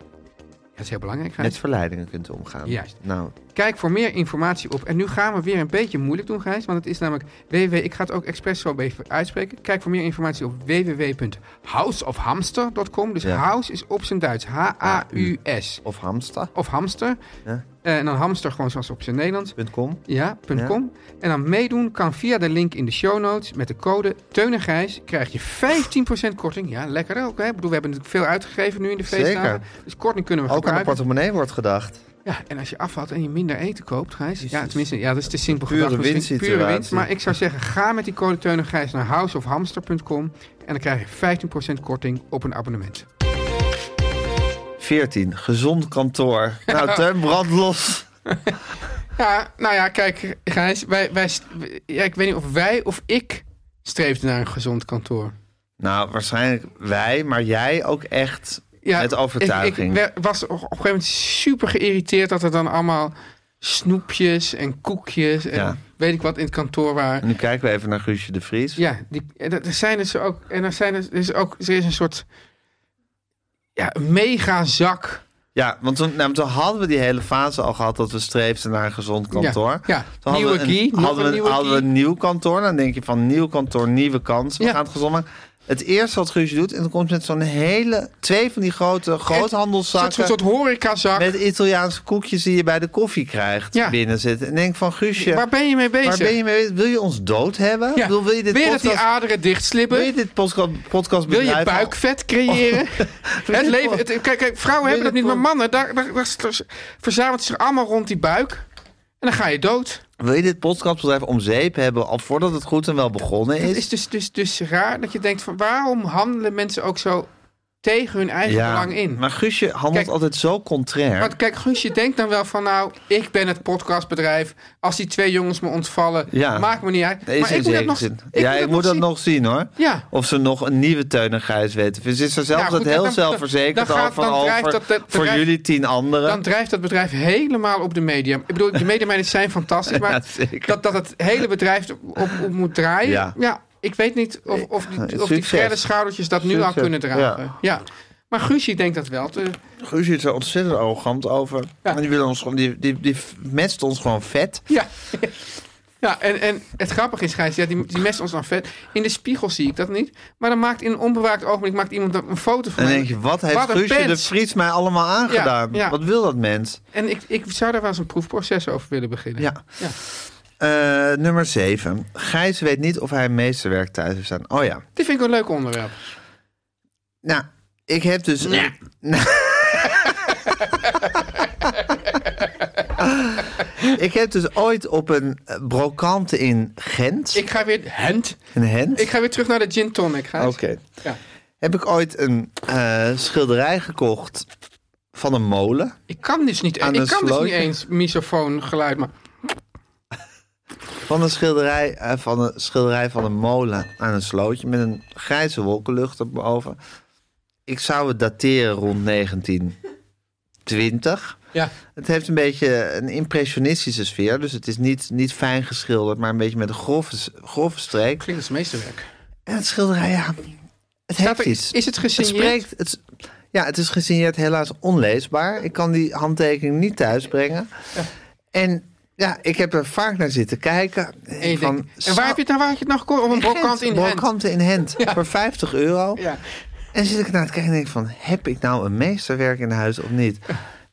B: Dat is heel belangrijk, Gijs.
A: met verleidingen kunt omgaan.
B: Juist.
A: Nou,
B: Kijk voor meer informatie op. En nu gaan we weer een beetje moeilijk doen, Gijs. Want het is namelijk www. Ik ga het ook expres zo even uitspreken. Kijk voor meer informatie op www.houseofhamster.com. Dus
A: Ja.
B: house is op zijn Duits. H-A-U-S.
A: of hamster.
B: Of hamster.
A: Ja.
B: Eh, En dan hamster gewoon zoals op zijn Nederlands.
A: .com.
B: Ja,
A: Ja.
B: .com. En dan meedoen kan via de link in de show notes met de code Teun en Gijs krijg je 15% korting. Ja, lekker ook. Hè? Ik bedoel, we hebben natuurlijk veel uitgegeven nu in de
A: Zeker.
B: feestdagen. Dus korting kunnen we
A: Ook aan de
B: gebruiken.
A: portemonnee wordt gedacht.
B: Ja, en als je afvalt en je minder eten koopt, Gijs. Ja, tenminste, ja, dat is te simpel
A: Pure
B: gedacht. misschien.
A: winstsituatie.
B: Pure winst. Maar ik zou zeggen, ga met die code Teun en Gijs naar houseofhamster.com. En dan krijg je 15% korting op een abonnement.
A: 14. Gezond kantoor. Nou, Teun, brand los.
B: Ja, nou ja, kijk, Gijs. Wij, wij, st- ja, ik weet niet of wij of ik streefde naar een gezond kantoor.
A: Nou, waarschijnlijk wij, maar jij ook echt
B: Ja,
A: met
B: Ik, ik
A: overtuiging.
B: wer- was op een gegeven moment super geïrriteerd dat er dan allemaal snoepjes en koekjes en
A: Ja.
B: weet ik wat in het kantoor waren.
A: nu kijken we even naar Guusje de Vries.
B: Ja, die, en dat- er zijn dus ook. En er, zijn dus, er is ook. Er is een soort. Ja, een megazak.
A: Ja, want toen, nou, toen hadden we die hele fase al gehad dat we streefden naar een gezond kantoor.
B: Ja, ja.
A: Toen hadden
B: Nieuwe
A: we een,
B: key, nog
A: hadden we,
B: een nieuwe
A: hadden we
B: key.
A: een nieuw kantoor. Dan denk je van nieuw kantoor, nieuwe kans. We
B: Ja.
A: gaan het gezond maken. Het eerste wat Guusje doet, en dan komt ze met zo'n hele... Twee van die grote
B: Een soort,
A: groothandelszakken...
B: soort horecazak.
A: Met Italiaanse koekjes die je bij de koffie krijgt
B: Ja.
A: binnen zitten. En denk van, Guusje,
B: Waar ben je mee bezig?
A: waar ben je mee bezig? Wil je ons dood hebben?
B: Ja.
A: Ik bedoel, wil je dit
B: Weer dat die
A: podcast,
B: aderen dichtslippen?
A: wil je dit Oh, podcast, podcast
B: Wil je
A: bedrijf al-
B: buikvet creëren? het leven, het- kijk, kijk, vrouwen hebben dat niet, maar mannen, daar, daar, daar, daar verzamelt zich allemaal rond die buik. En dan ga je dood.
A: Wil je dit podcastbedrijf om zeep hebben al voordat het goed en wel begonnen
B: Het
A: is?
B: is dus, dus, dus raar dat je denkt van waarom handelen mensen ook zo tegen hun eigen belang in?
A: Maar Guusje handelt
B: Kijk-
A: altijd zo contrair.
B: Want kijk, Guusje denkt dan wel van nou, ik ben het podcastbedrijf. Als die twee jongens me ontvallen,
A: Ja.
B: maakt me niet uit.
A: Nee, is
B: maar
A: in
B: ik moet dat
A: zekere
B: nog,
A: zin. ja, ik moet dat
B: zien.
A: nog zien hoor.
B: Ja.
A: Of ze nog een nieuwe Teun en Gijs weten. Ze is er zelf
B: Ja, goed,
A: dat heel
B: dan- dan-
A: zelfverzekerd
B: dan gaat-
A: over.
B: dan
A: over
B: drijft dat- dat
A: voor
B: bedrijf-
A: jullie tien anderen.
B: Dan drijft dat bedrijf helemaal op de media. Ik bedoel, de mediamijnen zijn fantastisch, maar
A: Ja, zeker.
B: dat, dat het hele bedrijf op, op moet draaien.
A: Ja.
B: Ja. ik weet niet of, of die, of die
A: Succes.
B: verre schoudertjes dat nu al
A: Succes,
B: kunnen
A: ja.
B: dragen. Ja. Maar Guusje denkt dat wel. te-
A: Guusje is er ontzettend arrogant over.
B: Ja.
A: En die, willen ons, gewoon- die, die, die metst ons gewoon vet.
B: Ja. Ja, en, en het grappige is, Gijs, ja, die, die mest ons dan vet. In de spiegel zie ik dat niet. Maar dan maakt in een onbewaakt ogenblik maakt iemand dan een foto van
A: En dan
B: mij.
A: denk je, wat heeft
B: Wat een
A: Guusje de
B: pens.
A: Vries mij allemaal aangedaan?
B: Ja, ja.
A: Wat wil dat mens?
B: En ik, ik zou daar wel eens een proefproces over willen beginnen.
A: Ja.
B: Ja.
A: Eh, nummer 7. Gijs weet niet of hij een meesterwerk thuis heeft staan. Oh ja.
B: Dit vind ik een leuk onderwerp.
A: Nou, ik heb dus. ik heb dus ooit op een eh, brokante in Gent.
B: Ik ga weer... Hent?
A: in Gent.
B: Ik ga weer terug naar de gin tonic, Gijs.
A: Oké.
B: Ja.
A: Heb ik ooit een eh, schilderij gekocht van een molen.
B: Ik kan dus niet,
A: Aan
B: ik
A: een
B: kan dus niet
A: slootje.
B: eens misofoon geluid maken.
A: Van een schilderij, eh, van een, schilderij van een molen aan een slootje met een grijze wolkenlucht erboven. Ik zou het dateren rond 1920.
B: Ja.
A: Het heeft een beetje een impressionistische sfeer. Dus het is niet, niet fijn geschilderd, maar een beetje met een grove, grove streek.
B: Klinkt als meesterwerk.
A: En het schilderij, ja, het heeft
B: Staat er-
A: iets.
B: is het
A: Het
B: gesigneerd?
A: spreekt, het, ja, het is gesigneerd helaas onleesbaar. Ik kan die handtekening niet thuisbrengen. En Ja, ik heb er vaak naar zitten kijken.
B: En, je
A: Van,
B: denkt, en waar heb je het, nou, waar heb je het nou gekocht? Of een
A: Gent,
B: brokant in Gent.
A: Brokkanten in Gent. Voor 50 euro.
B: Ja.
A: En zit ik naar het kijken en denk van... heb ik nou een meesterwerk in huis of niet?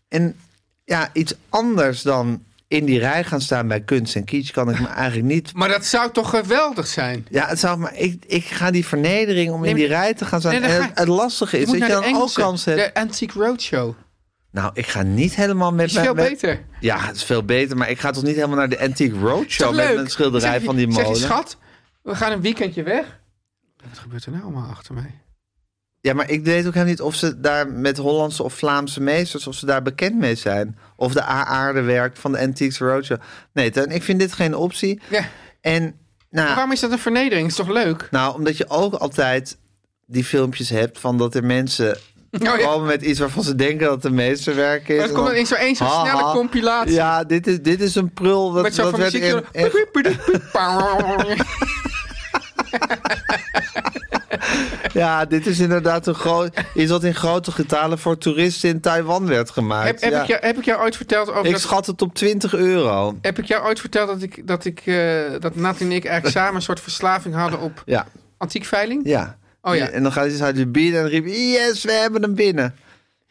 A: En ja, iets anders dan in die rij gaan staan bij kunst en kitsch... kan ik me eigenlijk niet...
B: Maar dat zou toch geweldig zijn?
A: Ja, het zou, maar ik, ik ga die vernedering om in
B: maar-
A: die rij te gaan staan...
B: Nee, dan
A: en
B: ga
A: het,
B: je-
A: het lastige is
B: moet
A: dat je
B: naar
A: dan
B: de
A: ook
B: Engelse,
A: kans hebt...
B: De Antique Roadshow.
A: Nou, ik ga niet helemaal met...
B: Is veel
A: met-
B: beter.
A: Ja, het is veel beter, maar ik ga toch niet helemaal naar de Antique Roadshow... met
B: leuk?
A: een schilderij
B: Zeg je-
A: van die
B: zeg
A: molen.
B: je, schat, we gaan een weekendje weg. Wat gebeurt er nou allemaal achter mij?
A: Ja, maar ik weet ook helemaal niet of ze daar met Hollandse of Vlaamse meesters, of ze daar bekend mee zijn. Of de aarde werkt van de Antiques Roadshow. Nee, Teun, ik vind dit geen optie.
B: Ja.
A: En
B: Maar
A: nou,
B: Waarom is dat een vernedering? Is toch leuk?
A: nou, omdat je ook altijd die filmpjes hebt van dat er mensen
B: Oh, ja.
A: komen met iets waarvan ze denken dat het de meesterwerk is.
B: Maar er komt
A: En dan-
B: ineens zo één zo'n
A: Ha,
B: snelle
A: ha.
B: compilatie.
A: Ja, dit is, dit is een prul. Dat,
B: met zo'n
A: dat
B: van
A: werd
B: muziekje.
A: in- echt- ja, dit is inderdaad een groot, iets wat in grote getalen voor toeristen in Taiwan werd gemaakt.
B: heb, heb,
A: Ja.
B: ik jou, heb ik jou ooit verteld over
A: ik
B: dat...
A: schat het op 20 euro.
B: Heb ik jou ooit verteld dat ik, dat ik, eh, dat Nat en ik eigenlijk samen een soort verslaving hadden op
A: Ja,
B: antiek veiling?
A: ja.
B: Oh ja.
A: En dan gaat hij ze uit de bieden en riep: Yes, we hebben hem binnen.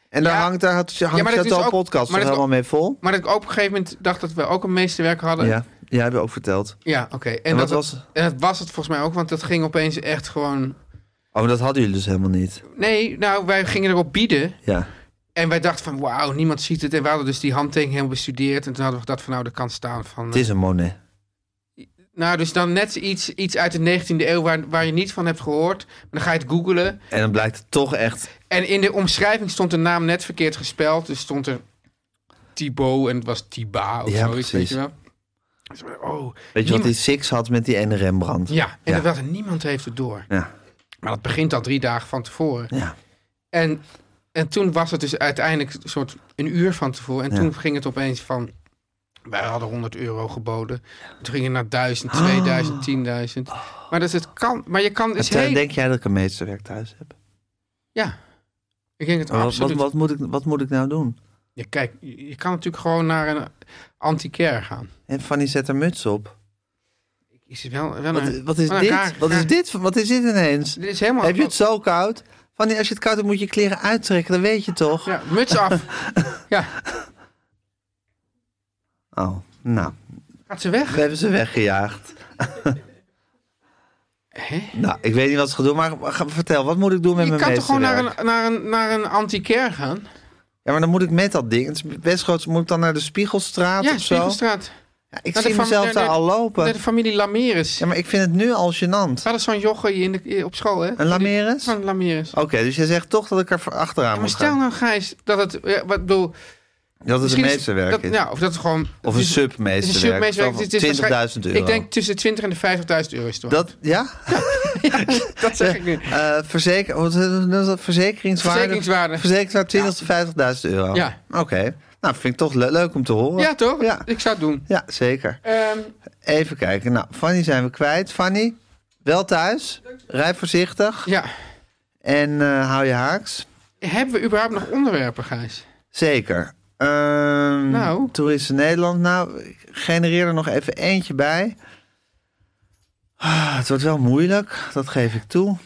A: En daar
B: Ja.
A: hangt daar hangt, hangt
B: Ja, maar dat
A: Chateau
B: is ook-
A: podcast
B: maar
A: toch
B: dat is
A: helemaal mee vol.
B: Maar dat ik op een gegeven moment dacht dat we ook een meesterwerk hadden.
A: Ja, ja, heb je ook verteld.
B: Ja, oké. En,
A: En
B: dat
A: wat
B: het-
A: was?
B: en dat was het volgens mij ook, want dat ging opeens echt gewoon...
A: Oh, maar dat hadden jullie dus helemaal niet.
B: Nee, nou, wij gingen erop bieden.
A: Ja.
B: En wij dachten van, wauw, niemand ziet het. En we hadden dus die handtekening helemaal bestudeerd. En toen hadden we gedacht van, nou, dat kan staan van...
A: Het is een Monet.
B: Nou, dus dan net iets, iets uit de 19e eeuw waar, waar je niet van hebt gehoord. Maar dan ga je het googelen.
A: En dan blijkt het toch echt.
B: En in de omschrijving stond de naam net verkeerd gespeld. Dus stond er Thibaut en het was Tiba of
A: Ja,
B: zoiets, weet
A: precies.
B: je wel. Dus we-
A: Weet
B: Oh,
A: je wat
B: niemand-
A: die Six had met die ene Rembrandt?
B: Ja, en
A: Ja.
B: dat was- niemand heeft het door.
A: Ja.
B: Maar dat begint al drie dagen van tevoren.
A: Ja.
B: En, en toen was het dus uiteindelijk een soort een uur van tevoren. En
A: Ja.
B: toen ging het opeens van... Wij hadden 100 euro geboden. Toen ging het naar 1000,
A: Ah.
B: 2000, 10.000. Maar, dus het kan, maar je kan...
A: En
B: Dus
A: Teun,
B: heel-
A: denk jij dat ik een meesterwerk thuis heb?
B: Ja, ik denk het
A: Wat, wat,
B: Oh, absoluut.
A: wat, moet ik, wat moet ik nou doen?
B: Ja, kijk, je je kan natuurlijk gewoon naar een antiquaire gaan.
A: En Fanny zet haar muts op.
B: Ah, Is het wel, wel
A: Wat,
B: een,
A: wat is
B: wel een
A: dit?
B: raar-
A: Wat is
B: raar-
A: dit? Wat is dit ineens?
B: Dit is helemaal...
A: Heb je het zo koud? Fanny, als je het koud hebt, moet je je kleren uittrekken. Dat weet je toch?
B: Ja, muts af. ja,
A: Oh, nou.
B: gaat ze weg?
A: We hebben ze weggejaagd.
B: Hè?
A: Nou, ik weet niet wat ze gaan doen, maar ga- vertel, wat moet ik doen met
B: Je
A: mijn
B: kan toch gewoon naar
A: meesterwerk?
B: een, naar een, naar een antiquaire gaan?
A: Ja, maar dan moet ik met dat ding, het is best groot, moet ik dan naar de Spiegelstraat
B: Ja,
A: of zo?
B: Spiegelstraat.
A: Ja, ik
B: Naar de
A: zie
B: fam-
A: mezelf
B: naar
A: daar
B: de-
A: al lopen.
B: Bij de familie Lameres.
A: Ja, maar ik vind het nu al gênant.
B: We hadden zo'n jochie in de, eh, op school, hè?
A: Een Lameres?
B: Van Lameres.
A: Oké, dus jij zegt toch dat ik er voor- achteraan
B: Ja, maar
A: moet
B: stel
A: gaan.
B: nou, Gijs, dat het... Ja, wat, ik bedoel,
A: dat het een
B: misschien is-
A: meesterwerk
B: dat-
A: is.
B: Ja, of dat het gewoon...
A: Of een
B: het is- het is een
A: submeesterwerk.
B: submeesterwerk.
A: Zo
B: Het is waarschijnlijk-
A: van 20.000 euro.
B: Ik denk tussen de 20 en de 50.000 euro is het waard.
A: Dat, ja?
B: dat zeg ik nu.
A: Eh, verzeker, wat is dat? Verzekeringswaarde?
B: Verzekeringswaarde.
A: Verzekeringswaarde 20 tot 50.000 euro.
B: Ja.
A: Oké. Nou, vind ik toch le- leuk om te horen.
B: Ja, toch?
A: Ja,
B: Ik zou het doen.
A: ja zeker.
B: Ehm,
A: Even kijken. Nou, Fanny zijn we kwijt. Fanny, wel thuis. Rij voorzichtig.
B: ja.
A: En eh, hou je haaks.
B: Hebben we überhaupt nog onderwerpen, Gijs?
A: Zeker. Ehm
B: Nou.
A: Toeristen Nederland. Nou, ik genereer er nog even eentje bij. Ah, het wordt wel moeilijk. Dat geef ik toe.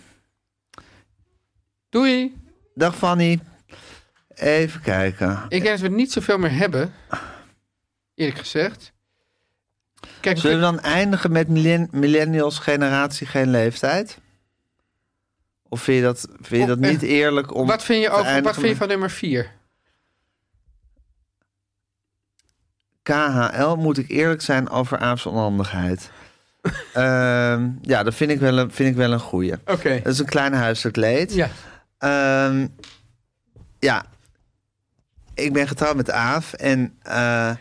B: Doei.
A: Dag Fanny. Even kijken.
B: Ik denk dat we niet zoveel meer hebben. Eerlijk gezegd. Kijk,
A: Zullen we dan eindigen met millen- millennials generatie geen leeftijd? Of vind je dat, vind je
B: Oh,
A: dat niet
B: eh,
A: eerlijk om
B: wat vind je,
A: te
B: over, wat
A: eindigen
B: vind je
A: met-
B: van nummer 4?
A: KHL moet ik eerlijk zijn over Aafse onhandigheid. Ehm, ja, dat vind ik wel een, vind ik wel een goeie.
B: Oké.
A: Dat is een klein huiselijk leed.
B: Ja.
A: Ehm, ja. Ik ben getrouwd met Aaf. En eh,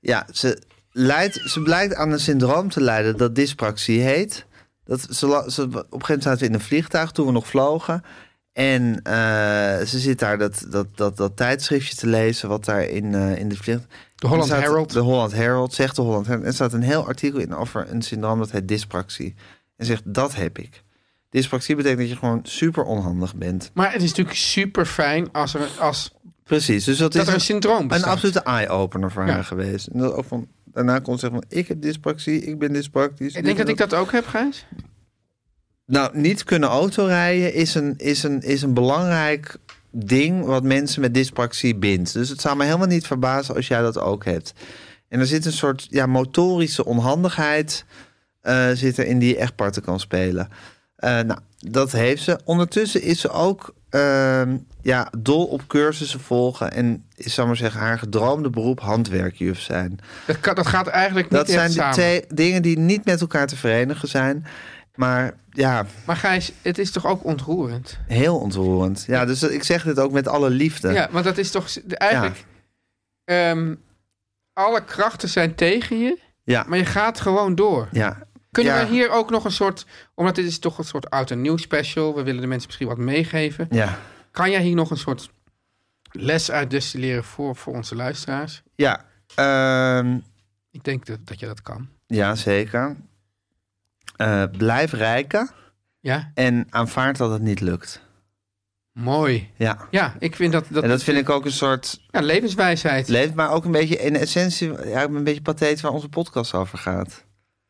A: ja, ze, leidt, ze blijkt aan een syndroom te lijden dat dyspraxie heet. Dat ze, la- ze- op een gegeven moment zaten we in een vliegtuig toen we nog vlogen. En eh, ze zit daar dat, dat, dat, dat tijdschriftje te lezen wat daar in, eh, in de vliegtuig...
B: De Holland
A: Er staat-
B: Herald.
A: De Holland Herald, zegt de Holland Herald. Er staat een heel artikel in over een syndroom dat heet dyspraxie. En zegt, dat heb ik. Dyspraxie betekent dat je gewoon super onhandig bent.
B: Maar het is natuurlijk super fijn als er, als,
A: Precies, dus dat,
B: dat
A: is
B: er een syndroom
A: een
B: bestaat.
A: absolute eye-opener voor
B: Ja.
A: haar geweest. En dat ook van, daarna kon zeggen van ik heb dyspraxie, ik ben dyspractisch.
B: Ik denk dat ik dat ook heb, Gijs.
A: Nou, niet kunnen autorijden is een, is, een, is een belangrijk ding wat mensen met dyspraxie bindt. Dus het zou me helemaal niet verbazen als jij dat ook hebt. En er zit een soort ja, motorische onhandigheid eh, zit er in die je echt parten kan spelen. Eh, nou, dat heeft ze. Ondertussen is ze ook ehm, ja, dol op cursussen volgen. En is, zal ik maar zeggen, haar gedroomde beroep handwerkjuf zijn.
B: Dat, kan, dat gaat eigenlijk niet
A: Dat
B: echt
A: zijn de
B: samen.
A: twee dingen die niet met elkaar te verenigen zijn. Maar ja,
B: Maar Gijs, het is toch ook ontroerend?
A: heel ontroerend. Ja, dus ik zeg dit ook met alle liefde.
B: Ja, want dat is toch de- eigenlijk... ehm, alle krachten zijn tegen je,
A: Ja.
B: maar je gaat gewoon door.
A: Ja.
B: Kunnen
A: Ja.
B: we hier ook nog een soort... Omdat dit is toch een soort oud en nieuw special. We willen de mensen misschien wat meegeven.
A: Ja.
B: Kan jij hier nog een soort les uit destilleren voor, voor onze luisteraars?
A: Ja. Ehm,
B: Ik denk dat, dat je dat kan.
A: ja, zeker. Eh, blijf rijken
B: Ja,
A: en aanvaard dat het niet lukt.
B: mooi.
A: Ja.
B: Ja, ik vind dat... dat,
A: en dat vind ik ook een soort
B: Ja, levenswijsheid.
A: leeft, maar ook een beetje in essentie, ja, een beetje pathetisch waar onze podcast over gaat.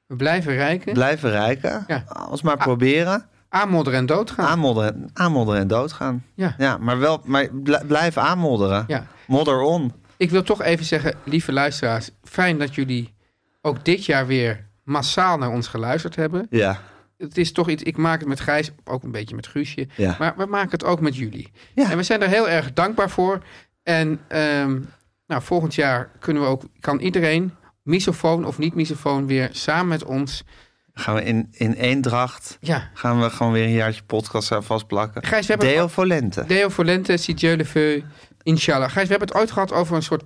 B: we blijven rijken.
A: Blijven rijken,
B: Ja. Ah.
A: als maar proberen,
B: aanmodderen en doodgaan.
A: aanmodderen, aanmodderen en doodgaan.
B: ja.
A: Ja, maar wel, maar bl- blijf aanmodderen.
B: ja.
A: Modder on.
B: Ik wil toch even zeggen, lieve luisteraars, fijn dat jullie ook dit jaar weer massaal naar ons geluisterd hebben.
A: Ja.
B: Het is toch iets, ik maak het met Gijs, ook een beetje met Guusje,
A: Ja.
B: maar we maken het ook met jullie.
A: Ja.
B: En we zijn er heel erg dankbaar voor. En ehm, nou, volgend jaar kunnen we ook, kan iedereen, misofoon of niet misofoon, weer samen met ons.
A: Gaan we in, in één dracht,
B: Ja,
A: gaan we gewoon weer een jaartje podcast aan vastplakken.
B: Gijs, we hebben
A: Deo Volente.
B: Deo Volente, si Dieu le veut, inshallah. Gijs, we hebben het ooit gehad over een soort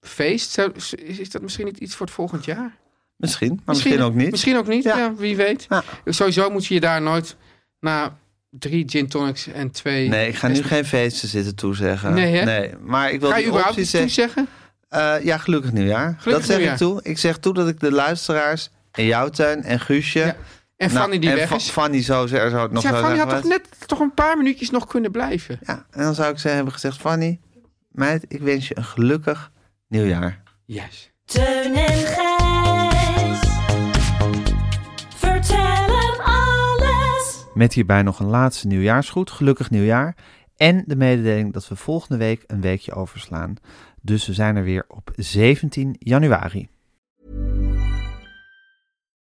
B: feest. Zou- Is is dat misschien niet iets voor het volgend jaar?
A: Misschien, maar misschien, ook niet.
B: Misschien ook niet, ja.
A: Ja.
B: wie weet.
A: Ja.
B: Sowieso moet je je daar nooit na drie gin tonics en twee...
A: Nee, ik ga nu geen feesten zitten toezeggen.
B: Nee, hè?
A: Maar ik wil
B: Ga je
A: die
B: überhaupt
A: optie
B: iets toe
A: zeggen.
B: zeggen?
A: Eh, ja, gelukkig nieuwjaar. dat zeg
B: nieuwjaar.
A: ik toe. Ik zeg toe dat ik de luisteraars en jouw tuin en Guusje...
B: Ja, En
A: Nou,
B: Fanny die
A: en
B: weg
A: Fa-
B: is.
A: Fanny zo, zo, zo nog
B: Ja,
A: zo
B: Fanny
A: zijn
B: had toch
A: geweest.
B: net toch een paar minuutjes nog kunnen blijven.
A: Ja, en dan zou ik ze hebben gezegd... Fanny, meid, ik wens je een gelukkig nieuwjaar.
B: Yes.
D: Teun en Gijs. Vertel hem alles.
A: Met hierbij nog een laatste nieuwjaarsgroet. Gelukkig nieuwjaar. En de mededeling dat we volgende week een weekje overslaan. Dus we zijn er weer op 17 januari.